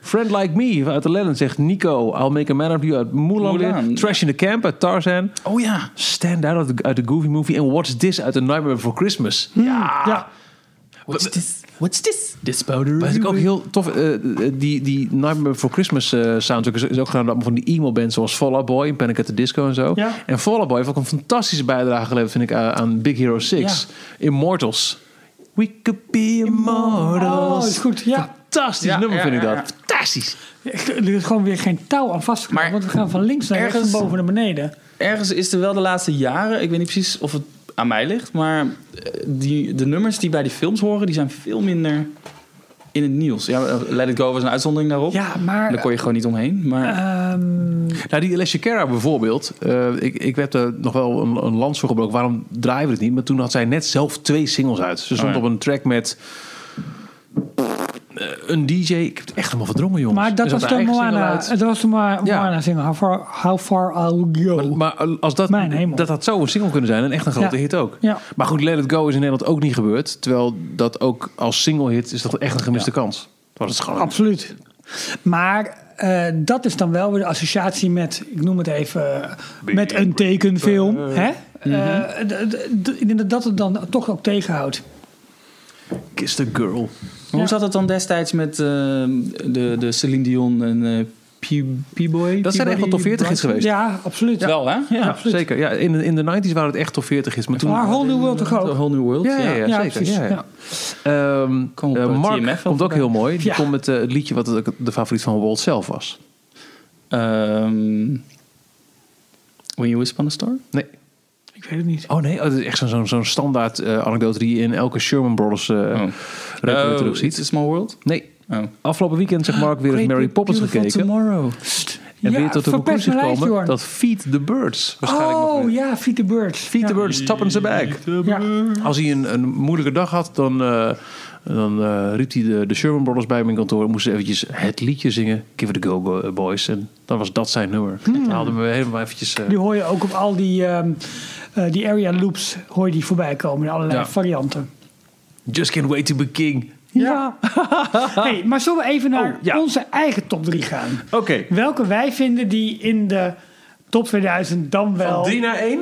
Speaker 2: Friend Like Me uit Aladdin zegt Nico. I'll Make a Man of You uit Mulan.
Speaker 4: Mulan.
Speaker 2: weer. Trash in the Camp uit Tarzan.
Speaker 4: Oh ja.
Speaker 2: Stand Out uit de, uit de Goofy Movie. En What's This uit The Nightmare Before Christmas.
Speaker 3: Mm, Ja.
Speaker 4: What's this? What's this? This powder.
Speaker 2: Maar het is ook heel tof. eh, eh, die, die Nightmare Before Christmas eh, soundtrack is, is ook gedaan door van die emo bands zoals Fall Out Boy en Panic at the Disco en zo.
Speaker 3: Ja.
Speaker 2: En Fall Out Boy heeft ook een fantastische bijdrage geleverd, vind ik, aan- aan Big Hero 6. Immortals. We could be
Speaker 3: Oh,
Speaker 2: immortals.
Speaker 3: is goed. Ja.
Speaker 2: Fantastisch
Speaker 4: Ja,
Speaker 2: nummer
Speaker 4: ja,
Speaker 2: vind ik
Speaker 4: ja,
Speaker 2: dat.
Speaker 4: ja.
Speaker 2: Fantastisch.
Speaker 3: Er is gewoon weer geen touw aan vastgeknoopt.
Speaker 4: Maar
Speaker 3: Want we gaan van links naar rechts,
Speaker 4: ergens-
Speaker 3: van boven naar beneden.
Speaker 4: Ergens is er wel de laatste jaren, ik weet niet precies of het aan mij ligt, maar eh, die, de nummers die bij die films horen, die zijn veel minder in het nieuws. Ja, eh, Let It Go was een uitzondering daarop.
Speaker 3: Ja,
Speaker 4: Daar
Speaker 3: maar...
Speaker 4: kon je gewoon niet omheen.
Speaker 2: Eh,
Speaker 4: Maar
Speaker 3: ehm,
Speaker 2: Nou, die Alessia Cara bijvoorbeeld. eh, ik, ik heb er nog wel een, een lans voor gebroken. Waarom draaien we het niet? Maar toen had zij net zelf twee singles uit. Ze stond
Speaker 4: Oh, ja.
Speaker 2: op een track met... eh, een DJ. Ik heb het echt helemaal verdrongen, jongens.
Speaker 3: maar dat
Speaker 2: Er zat
Speaker 3: was, de
Speaker 2: haar eigen single
Speaker 3: Moana,
Speaker 2: uit.
Speaker 3: dat was de Moana
Speaker 2: Ja.
Speaker 3: Moana single. How far, how far I'll go.
Speaker 2: Maar als dat,
Speaker 3: Mijn hemel.
Speaker 2: dat had zo een single kunnen zijn en echt een grote
Speaker 3: Ja.
Speaker 2: hit ook.
Speaker 3: Ja.
Speaker 2: Maar goed, Let It Go is in Nederland ook niet gebeurd. Terwijl dat ook als single hit is dat echt een gemiste kans. Dat is gewoon
Speaker 3: Absoluut. Maar eh, dat is dan wel weer de associatie met, ik noem het even, met een tekenfilm. Hè?
Speaker 2: Mhm.
Speaker 3: Eh, d- d- d- ik denk dat dat het dan toch ook tegenhoudt.
Speaker 2: Kiss the Girl.
Speaker 4: Maar hoe zat het dan destijds met eh, de, de Celine Dion en eh, P- P-Boy?
Speaker 2: Dat zijn echt wel top 40 is geweest.
Speaker 3: Ja, absoluut.
Speaker 4: Wel, hè?
Speaker 2: Ja, zeker. Ja, in, de- in de 90s waren het echt top 40 is. Maar toen,
Speaker 3: Maar Whole New World toch
Speaker 4: The
Speaker 3: ook?
Speaker 4: Whole New World.
Speaker 2: Ja, ja, ja,
Speaker 3: Ja,
Speaker 2: zeker.
Speaker 3: precies,
Speaker 2: Ja, ja.
Speaker 3: ja.
Speaker 2: Ehm,
Speaker 4: Kom op,
Speaker 2: eh,
Speaker 4: eh,
Speaker 2: Mark
Speaker 4: TMF
Speaker 2: komt ook
Speaker 4: voorbij.
Speaker 2: heel mooi. Die
Speaker 3: Ja.
Speaker 2: komt met eh, het liedje wat ook de favoriet van Walt zelf was.
Speaker 4: Ehm, when You Whisper on a Star?
Speaker 2: Nee.
Speaker 3: Ik weet het niet.
Speaker 2: Oh nee, oh, dat is echt zo'n zo'n zo'n standaard eh, anekdote die je in elke Sherman Brothers eh
Speaker 4: Oh.
Speaker 2: record weer
Speaker 4: Oh,
Speaker 2: terug
Speaker 4: It's a
Speaker 2: ziet.
Speaker 4: Small World?
Speaker 2: Nee.
Speaker 4: Oh.
Speaker 2: Afgelopen weekend zegt Mark weer eens Mary Poppins
Speaker 4: Beautiful
Speaker 2: gekeken.
Speaker 4: Tomorrow.
Speaker 2: En weer tot de
Speaker 3: verpest
Speaker 2: conclusie
Speaker 3: mijn lijstje,
Speaker 2: gekomen
Speaker 3: hoor.
Speaker 2: dat Feed the Birds waarschijnlijk nog
Speaker 3: Oh
Speaker 2: weer-
Speaker 3: ja, Feed the Birds.
Speaker 2: Feed
Speaker 3: ja.
Speaker 2: the Birds, tappens in bag.
Speaker 3: Ja.
Speaker 2: Als hij een, een moeilijke dag had, dan, eh, dan eh, riep hij de, de Sherman Brothers bij mijn kantoor. Moesten ze eventjes het liedje zingen, Give It A Go Bo- Boys. En dan was dat zijn nummer. Dan haalden we helemaal eventjes... eh,
Speaker 3: Die hoor je ook op al die, ehm, eh, die area loops hoor je die voorbij komen in allerlei
Speaker 2: Ja.
Speaker 3: varianten.
Speaker 2: Just Can't Wait To Be King.
Speaker 3: Ja. hey, maar zullen we even naar
Speaker 2: Oh, ja.
Speaker 3: onze eigen top 3 gaan?
Speaker 2: Oké.
Speaker 3: Welke wij vinden die in de top 2000 dan wel...
Speaker 2: naar één.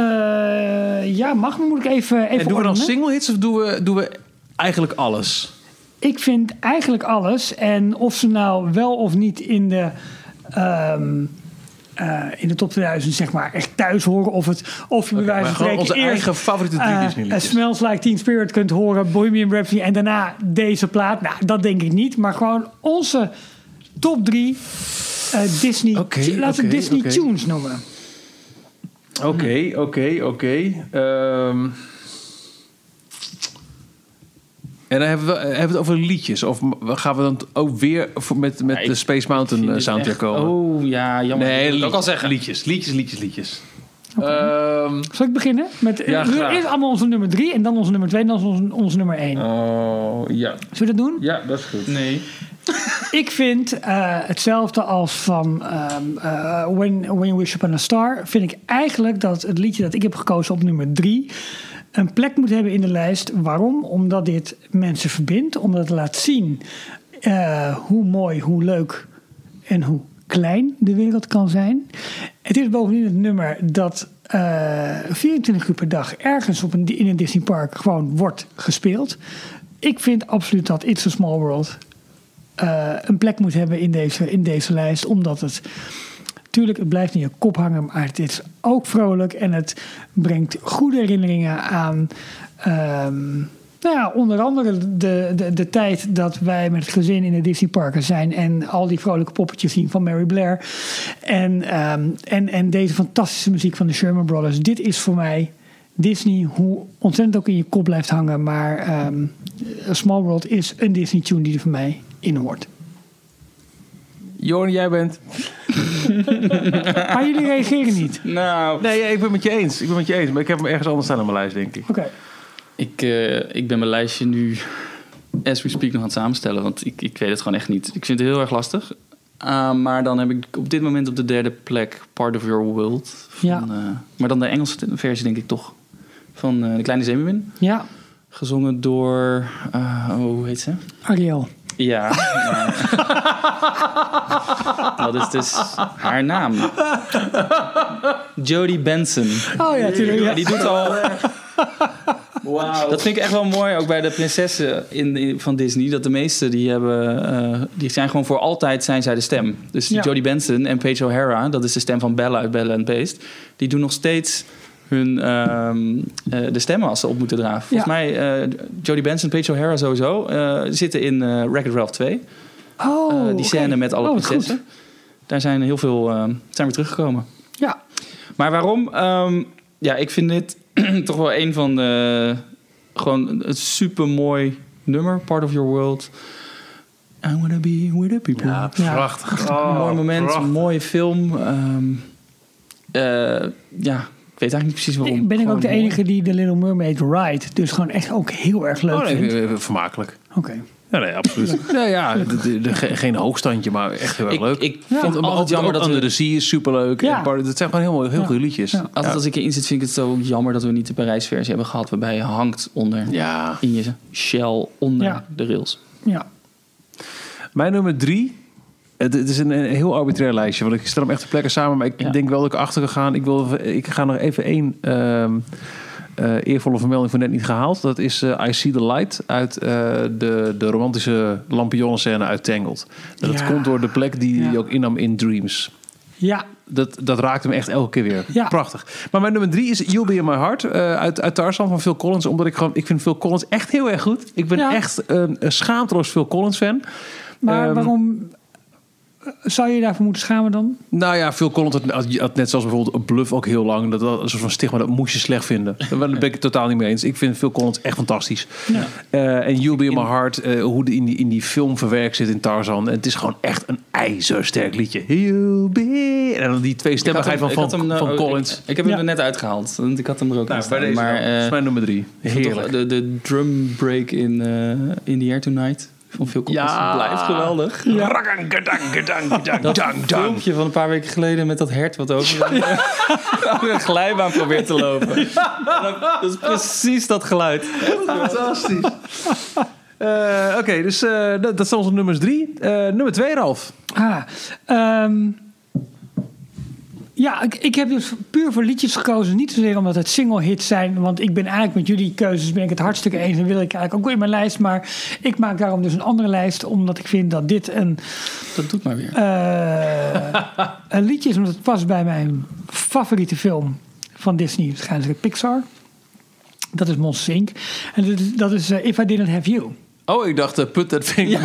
Speaker 3: Eh, ja, mag, maar moet ik even,
Speaker 2: En
Speaker 3: even
Speaker 2: doen we dan
Speaker 3: ordenen?
Speaker 2: single hits of doen we, doen we eigenlijk alles?
Speaker 3: Ik vind eigenlijk alles. En of ze nou wel of niet in de, ehm, eh, in de top 2000 zeg maar echt thuis horen. Of, het, of je bij wijze
Speaker 2: maar
Speaker 3: van
Speaker 2: gewoon
Speaker 3: spreken
Speaker 2: onze
Speaker 3: eerst,
Speaker 2: eigen favoriete drie
Speaker 3: eh,
Speaker 2: Disney liedjes.
Speaker 3: Smells Like Teen Spirit kunt horen. Bohemian Rhapsody. En daarna deze plaat. Nou, dat denk ik niet. Maar gewoon onze top drie eh, Disney...
Speaker 2: Oké,
Speaker 3: tu- laten
Speaker 2: oké,
Speaker 3: we Disney
Speaker 2: oké.
Speaker 3: tunes noemen.
Speaker 2: Oké, oké, oké. Ehm, en dan hebben we, hebben we het over liedjes. Of m- gaan we dan t- ook weer voor- met, met
Speaker 4: Ja, ik
Speaker 2: de Space Mountain eh, soundtrack komen?
Speaker 4: Oh ja, jammer.
Speaker 2: nee,
Speaker 4: dat wil
Speaker 2: liedjes,
Speaker 4: ik ook al zeggen.
Speaker 2: liedjes, liedjes, liedjes, liedjes. Ehm,
Speaker 3: Zal ik beginnen? Met, eh,
Speaker 2: Ja, graag.
Speaker 3: eerst allemaal onze nummer drie. En dan onze nummer twee. En dan onze, onze nummer één.
Speaker 4: Oh ja.
Speaker 3: Zullen we dat doen?
Speaker 4: Ja, dat is goed. Nee.
Speaker 3: Ik vind eh, hetzelfde als van ehm, eh, When, When You Wish Upon a Star. Vind ik eigenlijk dat het liedje dat ik heb gekozen op nummer drie... een plek moet hebben in de lijst. Waarom? Omdat dit mensen verbindt. Omdat het laat zien eh, hoe mooi, hoe leuk en hoe klein de wereld kan zijn. Het is bovendien het nummer dat eh, 24 uur per dag... ergens op een, in een Disneypark gewoon wordt gespeeld. Ik vind absoluut dat It's a Small World eh, een plek moet hebben in deze, in deze lijst. Omdat het. Tuurlijk, het blijft in je kop hangen, maar het is ook vrolijk en het brengt goede herinneringen aan. ehm, nou ja, onder andere de, de, de tijd dat wij met het gezin in de Disneyparken zijn en al die vrolijke poppetjes zien van Mary Blair. En, ehm, en, en deze fantastische muziek van de Sherman Brothers. Dit is voor mij Disney, hoe ontzettend ook in je kop blijft hangen. Maar ehm, A Small World is een Disney tune die er voor mij in hoort.
Speaker 2: Jorn, jij bent...
Speaker 3: Maar jullie reageren niet.
Speaker 4: Nou,
Speaker 2: Nee, ja, ik ben met je eens. Ik ben met je eens. Maar ik heb hem ergens anders staan op mijn lijst, denk ik.
Speaker 3: Oké.
Speaker 4: ik, eh, ik ben mijn lijstje nu as we speak nog aan het samenstellen, want ik, ik weet het gewoon echt niet. Ik vind het heel erg lastig. Ah, maar dan heb ik op dit moment op de derde plek Part of Your World. Van,
Speaker 3: Ja.
Speaker 4: eh, maar dan de Engelse versie, denk ik toch. Van eh, De Kleine Zeemeermin.
Speaker 3: Ja,
Speaker 4: Gezongen door. eh, oh, hoe heet ze?
Speaker 3: Ariel.
Speaker 4: Ja. maar- dat is dus haar naam. Jodie Benson.
Speaker 3: Oh ja, tuurlijk.
Speaker 4: Ja, die doet al. Dat vind ik echt wel mooi, ook bij de prinsessen in, in- van Disney. Dat de meesten die hebben, eh, die zijn gewoon voor altijd zijn zij de stem. Dus die
Speaker 3: Ja.
Speaker 4: Jodie Benson en Paige O'Hara, dat is de stem van Bella uit Bella and Beast. Die doen nog steeds hun ehm, eh, de stemmen als ze op moeten draven. Volgens
Speaker 3: Ja.
Speaker 4: mij eh Jodie Benson, Paige O'Hara sowieso eh, zitten in eh Wreck-It Ralph 2.
Speaker 3: Oh,
Speaker 4: eh, die
Speaker 3: oké.
Speaker 4: scène met alle
Speaker 3: Oh, wat
Speaker 4: prinsessen.
Speaker 3: goed.
Speaker 4: Daar zijn heel veel ehm, zijn weer teruggekomen.
Speaker 3: Ja,
Speaker 4: Maar waarom? Ehm, ja, ik vind dit toch wel een van de. Gewoon een super mooi nummer, Part of Your World. I wanna be with the people.
Speaker 3: Ja.
Speaker 2: prachtig.
Speaker 4: Een mooi moment,
Speaker 2: prachtig.
Speaker 4: een mooie film. Ehm, eh, ja, ik weet eigenlijk niet precies waarom.
Speaker 3: ik ben ik
Speaker 4: Gewoon
Speaker 3: ook de
Speaker 4: mooi.
Speaker 3: enige die de Little Mermaid ride. Dus gewoon echt ook heel erg leuk
Speaker 2: Oh, nee,
Speaker 3: vindt.
Speaker 2: eh, eh, vermakelijk.
Speaker 3: Oké.
Speaker 2: Ja, nee, absoluut. nou ja, de, de- de- ge- geen hoogstandje, maar echt heel erg
Speaker 4: Ik,
Speaker 2: leuk.
Speaker 4: ik vind het
Speaker 2: Altijd
Speaker 4: altijd jammer dat we-
Speaker 2: Under the Sea is superleuk.
Speaker 3: Ja.
Speaker 2: En Part- Het zijn gewoon heel, mooi- heel goede liedjes.
Speaker 3: Ja.
Speaker 4: altijd als ik erin zit, vind ik het zo jammer dat we niet de Parijsversie hebben gehad, waarbij je hangt onder
Speaker 2: Ja.
Speaker 4: in je shell onder
Speaker 3: Ja.
Speaker 4: de rails.
Speaker 3: Ja.
Speaker 2: Mijn nummer drie. Het, het is een, een heel arbitrair lijstje, want ik stel hem echt de plekken samen. Maar ik
Speaker 4: Ja.
Speaker 2: denk wel dat ik achter ga gaan. Ik, wil, ik ga nog even één ehm, eh, eh, eervolle vermelding van net niet gehaald. Dat is eh, I See the Light uit eh, de, de romantische lampionnenscène uit Tangled. Dat
Speaker 3: Ja.
Speaker 2: komt door de plek die hij
Speaker 3: Ja.
Speaker 2: ook innam in Dreams.
Speaker 3: Ja,
Speaker 2: Dat, dat raakt hem echt elke keer weer.
Speaker 3: Ja.
Speaker 2: Prachtig. Maar mijn nummer drie is You'll Be In My Heart eh, uit, uit Tarzan van Phil Collins. Omdat ik gewoon, ik vind Phil Collins echt heel erg goed. Ik ben
Speaker 3: Ja.
Speaker 2: echt een, een schaamteloos Phil Collins fan.
Speaker 3: maar
Speaker 2: Ehm,
Speaker 3: waarom eh, zou je je daarvoor moeten schamen dan?
Speaker 2: Nou ja, Phil Collins had, had- had net zoals bijvoorbeeld een bluff ook heel lang. Dat, dat een soort van stigma, dat moest je slecht vinden. Daar ben ik het totaal niet mee eens. Ik vind Phil Collins echt fantastisch. Eh, en You'll Be In My Heart, eh, hoe die in, die in die film verwerkt zit in Tarzan. En het is gewoon echt een ijzersterk liedje. You'll be... En dan die twee
Speaker 4: Ik had hem-
Speaker 2: stemmigheid van,
Speaker 4: ik
Speaker 2: van,
Speaker 4: had hem, eh,
Speaker 2: van
Speaker 4: oh,
Speaker 2: Collins.
Speaker 4: Ik, ik heb hem
Speaker 3: Ja.
Speaker 4: er net uitgehaald, want ik had hem er ook in
Speaker 2: nou, bij
Speaker 4: staan.
Speaker 2: deze
Speaker 4: Maar
Speaker 2: dan. Dat is
Speaker 4: eh,
Speaker 2: mijn nummer drie.
Speaker 4: ik vond toch
Speaker 2: Heerlijk.
Speaker 4: de, de drum break in, eh, in The Air Tonight van Phil Collins
Speaker 2: Ja.
Speaker 4: blijft geweldig.
Speaker 2: Rakang, gadang, gadang, gadang,
Speaker 4: Dat
Speaker 2: dang, dang.
Speaker 4: filmpje van een paar weken geleden met dat hert wat over over een glijbaan probeert te lopen. Dat, dat is precies dat geluid.
Speaker 2: Fantastisch. Eh, Oké, dus eh, dat, dat zijn onze nummers drie. Eh, nummer twee, Ralf.
Speaker 3: Ah, ehm, ja, ik, ik heb dus puur voor liedjes gekozen. Niet zozeer omdat het single hits zijn. Want ik ben eigenlijk met jullie keuzes ben ik het hartstikke eens. En wil ik eigenlijk ook wel in mijn lijst. Maar ik maak daarom dus een andere lijst. Omdat ik vind dat dit een,
Speaker 4: Dat doet maar weer.
Speaker 3: eh, een liedje is. Omdat het past bij mijn favoriete film van Disney. Waarschijnlijk Pixar. Dat is Monsters Inc. En dat is, dat is eh, If I Didn't Have You.
Speaker 2: Oh, ik dacht, eh, put that thing.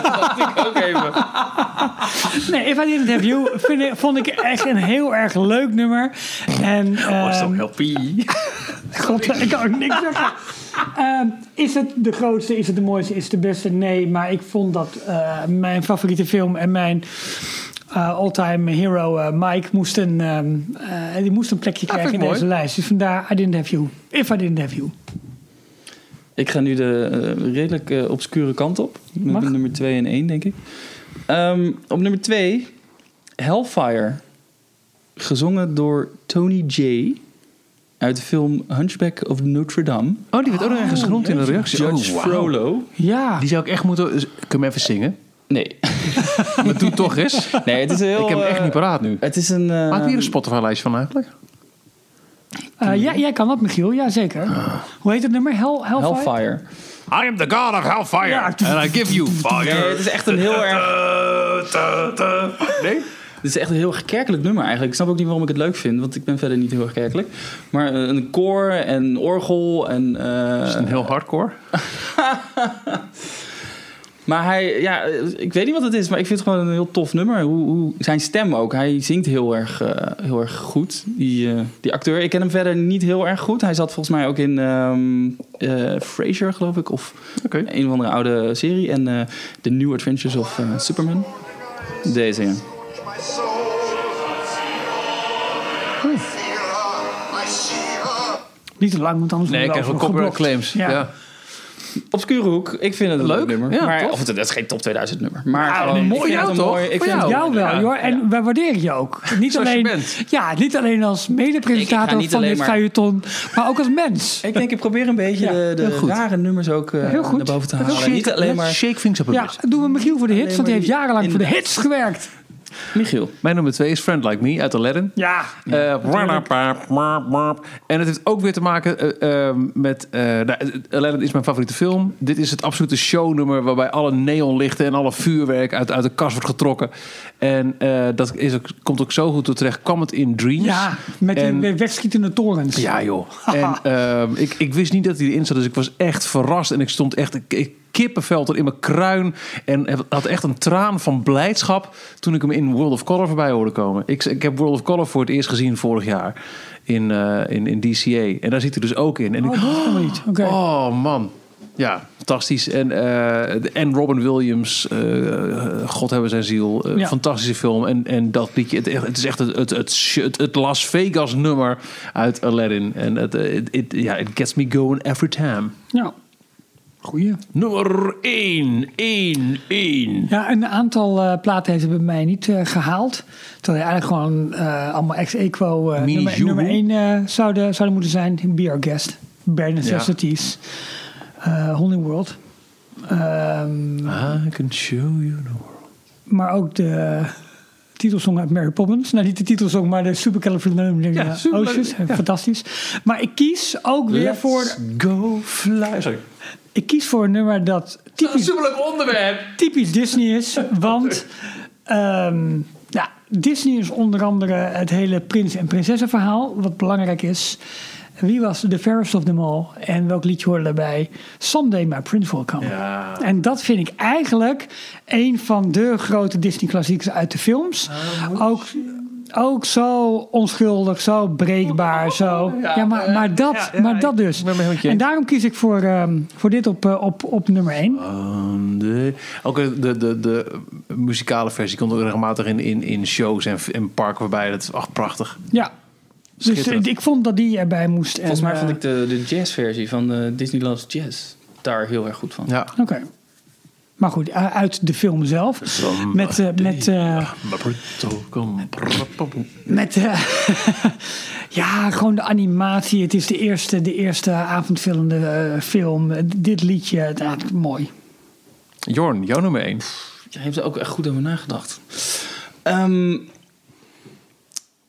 Speaker 4: Ook even.
Speaker 3: Nee, If I Didn't Have You vind ik- vond ik echt een heel erg leuk nummer. En,
Speaker 2: Oh,
Speaker 3: ehm,
Speaker 2: so helpy.
Speaker 3: God, ik kan ook niks zeggen. Ehm, is het de grootste, is het de mooiste, is het de beste? Nee, maar ik vond dat eh, mijn favoriete film en mijn eh, all-time hero eh, Mike moest een, ehm, eh, die moest een plekje krijgen in
Speaker 2: Ah, vind ik
Speaker 3: deze lijst. Dus vandaar I Didn't Have You. If I Didn't Have You.
Speaker 4: Ik ga nu de eh, redelijk eh, obscure kant op. Met
Speaker 3: Mag.
Speaker 4: nummer 2 en 1, denk ik. Ehm, op nummer 2, Hellfire. Gezongen door Tony J. Uit de film Hunchback of Notre Dame.
Speaker 2: Oh, die werd ook nog ergens genoemd in een reactie.
Speaker 4: Judge
Speaker 2: oh, wauw.
Speaker 4: Frollo.
Speaker 3: Ja.
Speaker 2: Die zou ik echt moeten... Kun je hem even zingen?
Speaker 4: Nee.
Speaker 2: Maar doe toch eens.
Speaker 4: nee, het is een heel...
Speaker 2: ik heb hem echt
Speaker 4: eh,
Speaker 2: niet paraat nu.
Speaker 4: Het is een... eh,
Speaker 2: Maak hier een Spotify-lijst van eigenlijk.
Speaker 3: Eh, ja, jij kan dat, Michiel. Ja, zeker.
Speaker 2: Ah.
Speaker 3: Hoe heet het nummer? Hell, Hellfire?
Speaker 4: Hellfire.
Speaker 2: I am the god of hellfire.
Speaker 3: Ja.
Speaker 2: And I give you fire.
Speaker 4: Nee, het is echt een heel erg...
Speaker 2: Nee?
Speaker 4: Het is echt een heel erg kerkelijk nummer eigenlijk. Ik snap ook niet waarom ik het leuk vind, want ik ben verder niet heel erg kerkelijk. Maar eh, een koor en orgel en... eh,
Speaker 2: Is het een heel hardcore?
Speaker 4: Maar hij, ja, ik weet niet wat het is, maar ik vind het gewoon een heel tof nummer. Hoe, hoe, zijn stem ook. Hij zingt heel erg, eh, heel erg goed. Die, eh, die acteur, ik ken hem verder niet heel erg goed. Hij zat volgens mij ook in ehm eh, Frasier, geloof ik. Of
Speaker 2: Oké.
Speaker 4: een of andere oude serie. En eh The New Adventures of eh, Superman. Deze, ja.
Speaker 5: My soul. Fear her. I see her.
Speaker 3: Niet te lang, want anders
Speaker 2: Nee, ik
Speaker 3: worden
Speaker 2: krijg
Speaker 3: we
Speaker 2: wel
Speaker 3: overal
Speaker 2: copyright
Speaker 3: geblokt.
Speaker 2: claims. Ja.
Speaker 4: Obscure hoek. Ik vind het een
Speaker 2: Leuk,
Speaker 4: leuk, nummer.
Speaker 2: ja,
Speaker 4: maar,
Speaker 2: tof.
Speaker 4: of het, het is geen top 2000 nummer. Maar
Speaker 3: Nou,
Speaker 2: Ja,
Speaker 3: Ah,
Speaker 4: gewoon,
Speaker 2: een
Speaker 4: ik
Speaker 2: mooi
Speaker 4: vind
Speaker 2: jou
Speaker 4: het een
Speaker 2: toch?
Speaker 4: mooi- Ik
Speaker 2: Voor
Speaker 4: vind het een
Speaker 2: jou.
Speaker 3: Jou
Speaker 4: mooi-
Speaker 3: wel,
Speaker 4: ja.
Speaker 3: joh. En wij waarderen je ook. Niet
Speaker 2: Zoals je
Speaker 3: alleen,
Speaker 2: bent.
Speaker 3: Ja, niet alleen als
Speaker 4: Ik- ik
Speaker 3: medepresentator
Speaker 4: ga niet
Speaker 3: van
Speaker 4: alleen
Speaker 3: dit
Speaker 4: maar-
Speaker 3: feuilleton, maar ook als mens.
Speaker 4: Ik denk, ik probeer een beetje
Speaker 3: Ja,
Speaker 4: de,
Speaker 2: heel
Speaker 4: de
Speaker 2: goed.
Speaker 4: rare nummers ook eh,
Speaker 3: Heel goed.
Speaker 4: naar boven te
Speaker 3: Heel
Speaker 4: halen.
Speaker 3: goed.
Speaker 4: Niet alleen maar...
Speaker 2: Shake things up a
Speaker 3: Ja,
Speaker 2: bit.
Speaker 3: dat doen we Michiel voor de hits,
Speaker 4: Alleen
Speaker 3: want die
Speaker 4: maar
Speaker 3: heeft
Speaker 4: die-
Speaker 3: jarenlang voor de
Speaker 4: inderdaad.
Speaker 3: hits gewerkt.
Speaker 4: Michiel.
Speaker 2: Mijn nummer twee is Friend Like Me uit Aladdin.
Speaker 3: Ja.
Speaker 2: Eh, wap, wap, wap, wap. en het heeft ook weer te maken eh, eh, met... eh nou, Aladdin is mijn favoriete film. Dit is het absolute shownummer... waarbij alle neonlichten en alle vuurwerk uit, uit de kast wordt getrokken. En eh, dat is ook, komt ook zo goed tot terecht. Kwam het in Dreams.
Speaker 3: Ja, met die
Speaker 2: En-
Speaker 3: wegschietende torens.
Speaker 2: Ja, joh. En ehm, ik, ik wist niet dat hij erin zat, dus ik was echt verrast. En ik stond echt, ik, ik kippenvel tot in mijn kruin. En heb- had echt een traan van blijdschap toen ik hem in World of Color voorbij hoorde komen. Ik, ik heb World of Color voor het eerst gezien vorig jaar in, eh, in, in DCA. En daar zit hij dus ook in. En
Speaker 3: Oh,
Speaker 2: ik,
Speaker 3: dat kan niet. Oké.
Speaker 2: Oh man. Ja, fantastisch. En, eh, de- en Robin Williams, eh, God hebben zijn ziel. eh,
Speaker 3: Ja.
Speaker 2: Fantastische film. En, en dat liedje, het, het is echt het, het, het, sh- het, het Las Vegas nummer uit Aladdin. En het, eh, het, het- ja, it gets me going every time.
Speaker 3: Ja. Goeie.
Speaker 2: Nummer 1, 1, 1.
Speaker 3: Ja, een aantal eh, platen heeft hij bij mij niet eh, gehaald. Terwijl hij eigenlijk gewoon eh, allemaal ex-equo eh,
Speaker 2: Mini
Speaker 3: nummer,
Speaker 2: Joe.
Speaker 3: nummer 1 zouden, zouden moeten zijn. Be Our Guest, Bare Necessities, eh, Whole New World. Ehm,
Speaker 2: I can show you the world.
Speaker 3: maar ook de, titelsong uit Mary Poppins. Nou, niet de titelsong, maar de
Speaker 2: Ja,
Speaker 3: Supercalifragilisticexpialidocious.
Speaker 2: superleuk.
Speaker 3: Oceans. eh, Fantastisch. Maar ik kies ook weer
Speaker 4: Let's
Speaker 3: voor...
Speaker 2: Go fly. Sorry.
Speaker 3: Ik kies voor een nummer dat typisch
Speaker 4: superleuk onderwerp.
Speaker 3: typisch Disney is. Want ehm, ja, Disney is onder andere het hele prins- en prinsessenverhaal, wat belangrijk is. Wie was de fairest of them all? En welk liedje hoorde daarbij? Someday My Prince Will Come.
Speaker 2: Ja.
Speaker 3: En dat vind ik eigenlijk een van de grote Disney-klassiekers uit de films.
Speaker 2: Oh,
Speaker 3: ook, ook zo onschuldig, zo breekbaar, zo. Ja, maar, maar, dat,
Speaker 2: ja, ja,
Speaker 3: maar dat
Speaker 2: ik
Speaker 3: dus.
Speaker 2: ben het helemaal met je
Speaker 3: En daarom kies ik voor, ehm, voor dit op, eh, op, op nummer 1.
Speaker 2: Um, de, ook de, de, de muzikale versie komt ook regelmatig in, in, in shows en, en parken voorbij. Dat is echt prachtig.
Speaker 3: Ja. Dus
Speaker 2: Schitterend.
Speaker 3: eh, ik vond dat die erbij moest.
Speaker 4: Volgens
Speaker 3: en,
Speaker 4: mij
Speaker 3: eh,
Speaker 4: vond ik de, de jazzversie van de Disney Loves Jazz daar heel erg goed van.
Speaker 2: Ja.
Speaker 3: Oké. Maar goed, u- uit de film zelf. Met, eh, met, eh, met eh, ja, gewoon de animatie. Het is de eerste, de eerste avondvullende eh, film. Eh, Dit liedje, het- ja, het- mooi.
Speaker 2: Jorn, jouw nummer 1.
Speaker 4: Jij hebt er ook echt goed over nagedacht. Ehm,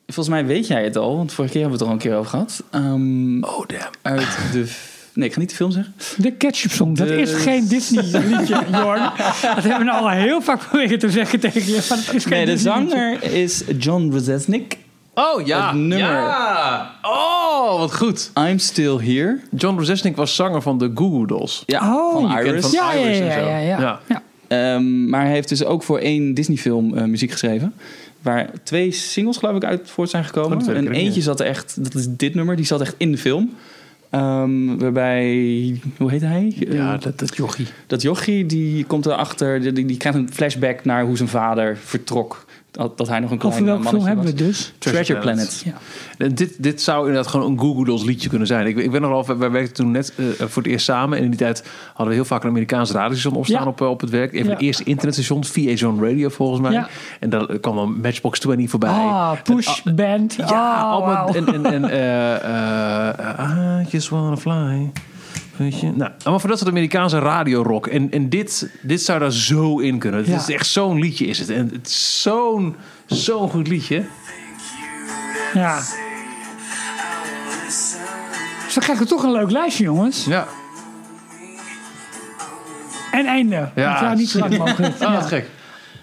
Speaker 4: volgens mij weet jij het al, want vorige keer hebben we het er al een keer over gehad. Ehm,
Speaker 2: Oh, damn.
Speaker 4: uit de... f- Nee, ik ga niet de film zeggen.
Speaker 3: De Ketchup Song, dat
Speaker 4: De-
Speaker 3: is geen Disney liedje, Jorn. Dat hebben we nou al heel vaak proberen te zeggen tegen je. Maar dat is geen
Speaker 4: Nee, de
Speaker 3: Disney liedje.
Speaker 4: zanger is John Resesnick.
Speaker 2: Oh, ja.
Speaker 4: Het nummer.
Speaker 2: Ja. Oh, wat goed.
Speaker 4: I'm Still Here.
Speaker 2: John Brzezinski was zanger van de Goo Goo Dolls.
Speaker 4: Ja,
Speaker 3: Oh,
Speaker 4: van
Speaker 2: je kent
Speaker 4: Iris.
Speaker 2: van-
Speaker 3: Ja, ja,
Speaker 2: Iris en
Speaker 3: ja,
Speaker 2: zo.
Speaker 3: ja, ja,
Speaker 2: Ja.
Speaker 3: ja.
Speaker 4: Ehm, maar hij heeft dus ook voor één Disney-film eh, muziek geschreven. Waar twee singles, geloof ik, uit voort zijn
Speaker 2: Oh,
Speaker 4: gekomen.
Speaker 2: dat weet ik
Speaker 4: en
Speaker 2: niet, ja.
Speaker 4: eentje zat echt, dat is dit nummer, die zat echt in de film. Ehm, waarbij, hoe heet hij?
Speaker 2: Ja,
Speaker 4: Eh,
Speaker 2: dat, dat jochie.
Speaker 4: dat jochie, die komt erachter, die, die, die krijgt een flashback naar hoe zijn vader vertrok. Dat, dat hij nog een klein eh,
Speaker 3: Over welke
Speaker 4: mannetje
Speaker 3: film hebben we
Speaker 4: was.
Speaker 3: het dus?
Speaker 4: Treasure
Speaker 2: Treasure
Speaker 4: Planet.
Speaker 2: Planet.
Speaker 3: Ja.
Speaker 2: En Dit, dit zou inderdaad gewoon een Google Dolls liedje kunnen zijn. Ik, ik weet nog wel, wij- wij werkten toen net eh, voor het eerst samen. En in die tijd hadden we heel vaak een Amerikaans radiostation opstaan
Speaker 3: Ja.
Speaker 2: op, eh, op het werk. Een van de
Speaker 3: Ja.
Speaker 2: eerste internetstations, VA Zone Radio volgens mij.
Speaker 3: Ja.
Speaker 2: En daar eh, kwam dan Matchbox 20 voorbij.
Speaker 3: Ah, Push Band.
Speaker 2: Ja,
Speaker 3: Ah,
Speaker 2: allemaal.
Speaker 3: wauw.
Speaker 2: En, en, en eh, eh, I just wanna fly. Weet je? Nou, maar voor dat soort Amerikaanse radiorock. En, en dit, dit zou daar zo in kunnen. Het
Speaker 3: Ja.
Speaker 2: is echt zo'n liedje is het. En het is zo'n zo'n goed liedje.
Speaker 3: Ja. Zo krijgen we toch een leuk lijstje, jongens.
Speaker 2: Ja,
Speaker 3: En einde.
Speaker 2: Ja,
Speaker 3: Ja, ja niet zo lang mogelijk.
Speaker 2: ah,
Speaker 3: Ja.
Speaker 2: wat gek.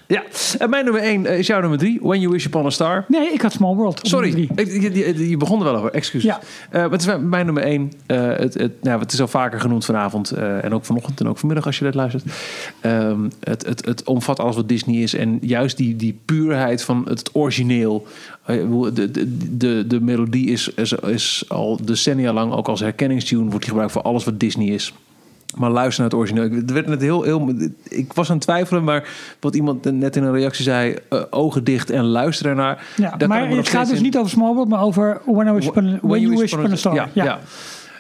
Speaker 2: Ja, en mijn nummer 1 is jouw nummer 3. When You Wish Upon a Star.
Speaker 3: Nee, ik had Small World. op
Speaker 2: Sorry,
Speaker 3: nummer drie.
Speaker 2: ik, je, je- je begon er wel over, excuses.
Speaker 3: Ja.
Speaker 2: Eh, maar het is mijn- mijn nummer één. Eh, het, het, nou, het is al vaker genoemd vanavond eh, en ook vanochtend en ook vanmiddag als je dat luistert. Ehm, het, het, het omvat alles wat Disney is en juist die, die puurheid van het origineel. Eh, ik bedoel, de, de, de, de melodie is, is, is al decennia lang ook als herkenningstune wordt die gebruikt voor alles wat Disney is. Maar luister naar het origineel. Ik, het werd net heel, heel, ik was aan het twijfelen, maar wat iemand net in een reactie zei: eh, ogen dicht en luister ernaar. Daar kan
Speaker 3: Ja,
Speaker 2: ik
Speaker 3: maar
Speaker 2: me nog
Speaker 3: het gaat
Speaker 2: steeds
Speaker 3: dus
Speaker 2: in-
Speaker 3: niet over Small World, maar over When, I wish upon, when, You Wish Upon a Star.
Speaker 2: Ja, ja.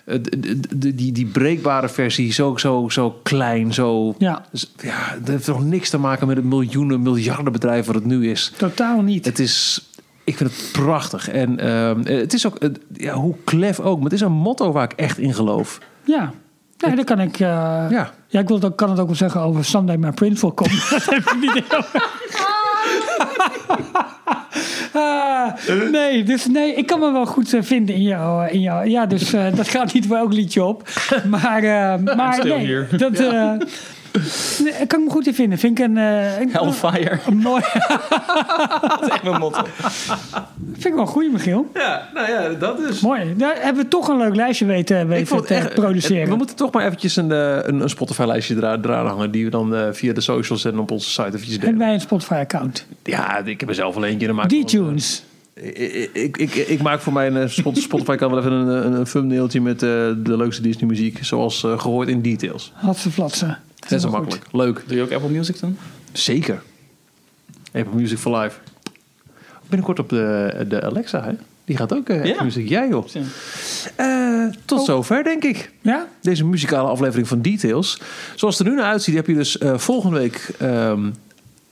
Speaker 2: Eh, d- d- d- die, die breekbare versie, zo, zo, zo klein, zo...
Speaker 3: Ja.
Speaker 2: z- ja, dat heeft nog niks te maken met het miljoenen, miljarden bedrijf wat het nu is.
Speaker 3: Totaal niet.
Speaker 2: Het is... Ik vind het prachtig. En ehm, eh, het is ook... eh, ja, hoe klef ook. Maar het is een motto waar ik echt in geloof.
Speaker 3: ja. Nee, daar kan ik... eh, ja.
Speaker 2: Ja.
Speaker 3: ik wil het ook, kan het ook wel zeggen over Someday My Prince Will Come. dat heb ik niet heel...
Speaker 2: Oh.
Speaker 3: Ah, nee, dus nee, ik kan me wel goed eh, vinden in jou. eh, In jou. Ja, dus eh, dat gaat niet voor elk liedje op. Maar, eh maar
Speaker 4: still
Speaker 3: nee,
Speaker 4: here.
Speaker 3: dat eh, nee, ik kan ik me goed in vinden. Vind ik een, eh, een,
Speaker 4: Hellfire.
Speaker 3: een mooi,
Speaker 4: dat is echt mijn motto.
Speaker 3: vind ik wel een goeie, Michiel.
Speaker 2: Ja, nou ja, dat is...
Speaker 3: Mooi. Daar hebben we toch een leuk lijstje weten,
Speaker 2: Ik vond
Speaker 3: weten
Speaker 2: het
Speaker 3: te
Speaker 2: echt, eh,
Speaker 3: produceren.
Speaker 2: we moeten toch maar eventjes een, eh, een, een Spotify-lijstje eraan, eraan hangen... die we dan eh, via de socials en op onze site eventjes
Speaker 3: Hebben
Speaker 2: delen.
Speaker 3: wij een Spotify-account?
Speaker 2: Ja, ik heb er zelf al eentje. dan maak ik wel-
Speaker 3: D-Tunes.
Speaker 2: Ik, ik, ik, ik maak voor mijn eh, Spot- Spotify kan wel even een, een, een thumbnailtje met eh, de leukste Disney muziek. Zoals eh, gehoord in details.
Speaker 3: Had ze flatsen.
Speaker 2: Dat is makkelijk. Leuk.
Speaker 4: Doe je ook Apple Music dan?
Speaker 2: Zeker. Apple Music for Life. Binnenkort op de, de Alexa, hè? Die gaat ook eh Apple
Speaker 4: Ja. Oh.
Speaker 2: Music. Jij, joh.
Speaker 4: Ja.
Speaker 2: Eh, tot zover, denk ik.
Speaker 3: Ja?
Speaker 2: Deze muzikale aflevering van Details. Zoals het er nu naar uitziet, heb je dus eh, volgende week ehm,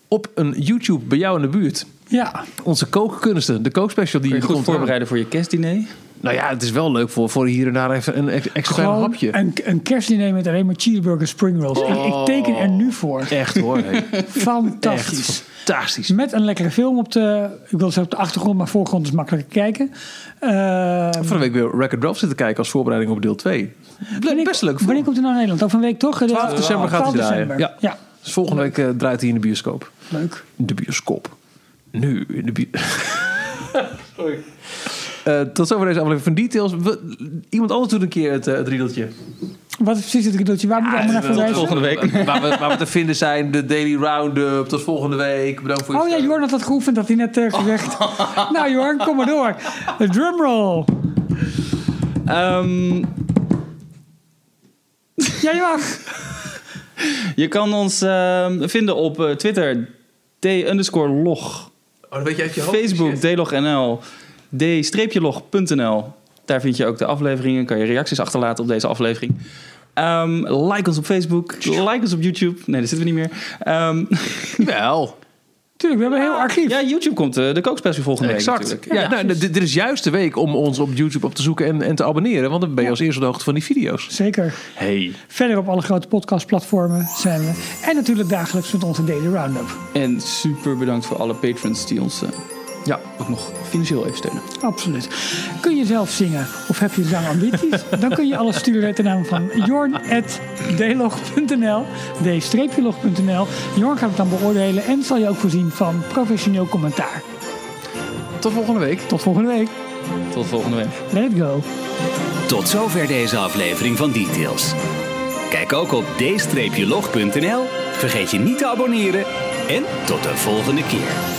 Speaker 2: op een YouTube bij jou in de buurt...
Speaker 3: Ja.
Speaker 2: onze kookkunsten, de kookspecial die
Speaker 4: Kun je
Speaker 2: komt
Speaker 4: goed
Speaker 2: eraan.
Speaker 4: voorbereiden voor je kerstdiner?
Speaker 2: Nou ja, het is wel leuk voor, voor hier en daar even een ex- extra klein
Speaker 3: Gewoon
Speaker 2: hapje. Oh.
Speaker 3: Een, een kerstdiner met alleen maar cheeseburger spring rolls. Ik, ik teken er nu voor.
Speaker 2: Echt hoor. Hey.
Speaker 3: Fantastisch.
Speaker 2: Echt fantastisch.
Speaker 3: Met een lekkere film op de, ik wil zeggen op de achtergrond, maar voorgrond is makkelijker kijken. Eh,
Speaker 2: Van de week weer Record Ralph zitten kijken als voorbereiding op deel 2.
Speaker 3: wanneer-
Speaker 2: Best leuk film.
Speaker 3: Wanneer komt hij naar Nederland? Over een week toch?
Speaker 2: 12 december gaat hij
Speaker 3: 12
Speaker 2: draaien.
Speaker 3: december.
Speaker 2: Ja.
Speaker 3: Ja.
Speaker 2: Dus volgende week eh, draait hij in de bioscoop.
Speaker 3: leuk.
Speaker 2: De bioscoop. Nu in de bi- Sorry. Eh, tot zover deze aflevering van Details. We- iemand anders doet een keer het, eh, het riedeltje.
Speaker 3: Wat is precies het cadeautje? Waar moet ik allemaal naar
Speaker 4: Tot
Speaker 3: verwijzen?
Speaker 4: volgende week.
Speaker 2: waar, we, waar we te vinden zijn, de Daily Roundup. Tot volgende week. Bedankt voor je
Speaker 3: Oh ja,
Speaker 2: steun.
Speaker 3: Jorn had dat geoefend, dat hij net eh, gezegd. Nou Jorn, kom maar door. De drumroll.
Speaker 4: Ehm,
Speaker 3: Ja, je mag.
Speaker 4: je kan ons ehm, vinden op eh, Twitter, d underscore log.
Speaker 2: Oh, dan weet je uit je hoofd.
Speaker 4: Facebook, dlognl, d-log.nl. Daar vind je ook de afleveringen. Kan je reacties achterlaten op deze aflevering. Ehm, like ons op Facebook. Like ons op YouTube. Nee, daar zitten we niet meer. Ehm,
Speaker 2: Wel.
Speaker 3: Tuurlijk, we hebben een heel archief.
Speaker 4: ja, YouTube komt eh, de kookspecial volgende week
Speaker 2: Exact.
Speaker 4: natuurlijk.
Speaker 2: Ja, nou, dit, dit is juist de week om ons op YouTube op te zoeken en, en te abonneren. Want dan ben je als eerste op de hoogte van die video's.
Speaker 3: Zeker.
Speaker 2: Hey.
Speaker 3: Verder op alle grote podcastplatformen zijn we. En natuurlijk dagelijks met onze Daily Roundup.
Speaker 4: En super bedankt voor alle patrons die ons eh,
Speaker 2: Ja.
Speaker 4: ook nog financieel even steunen.
Speaker 3: Absoluut. Kun je zelf zingen of heb je zangambities? Dan kun je alles sturen ten naam van jorn.dlog.nl d-log.nl Jorn gaat het dan beoordelen en zal je ook voorzien van professioneel commentaar.
Speaker 2: Tot volgende week.
Speaker 3: Tot volgende week.
Speaker 4: Tot volgende week.
Speaker 3: Let it go.
Speaker 1: Tot zover deze aflevering van Details. Kijk ook op d-log.nl. Vergeet je niet te abonneren. En tot de volgende keer.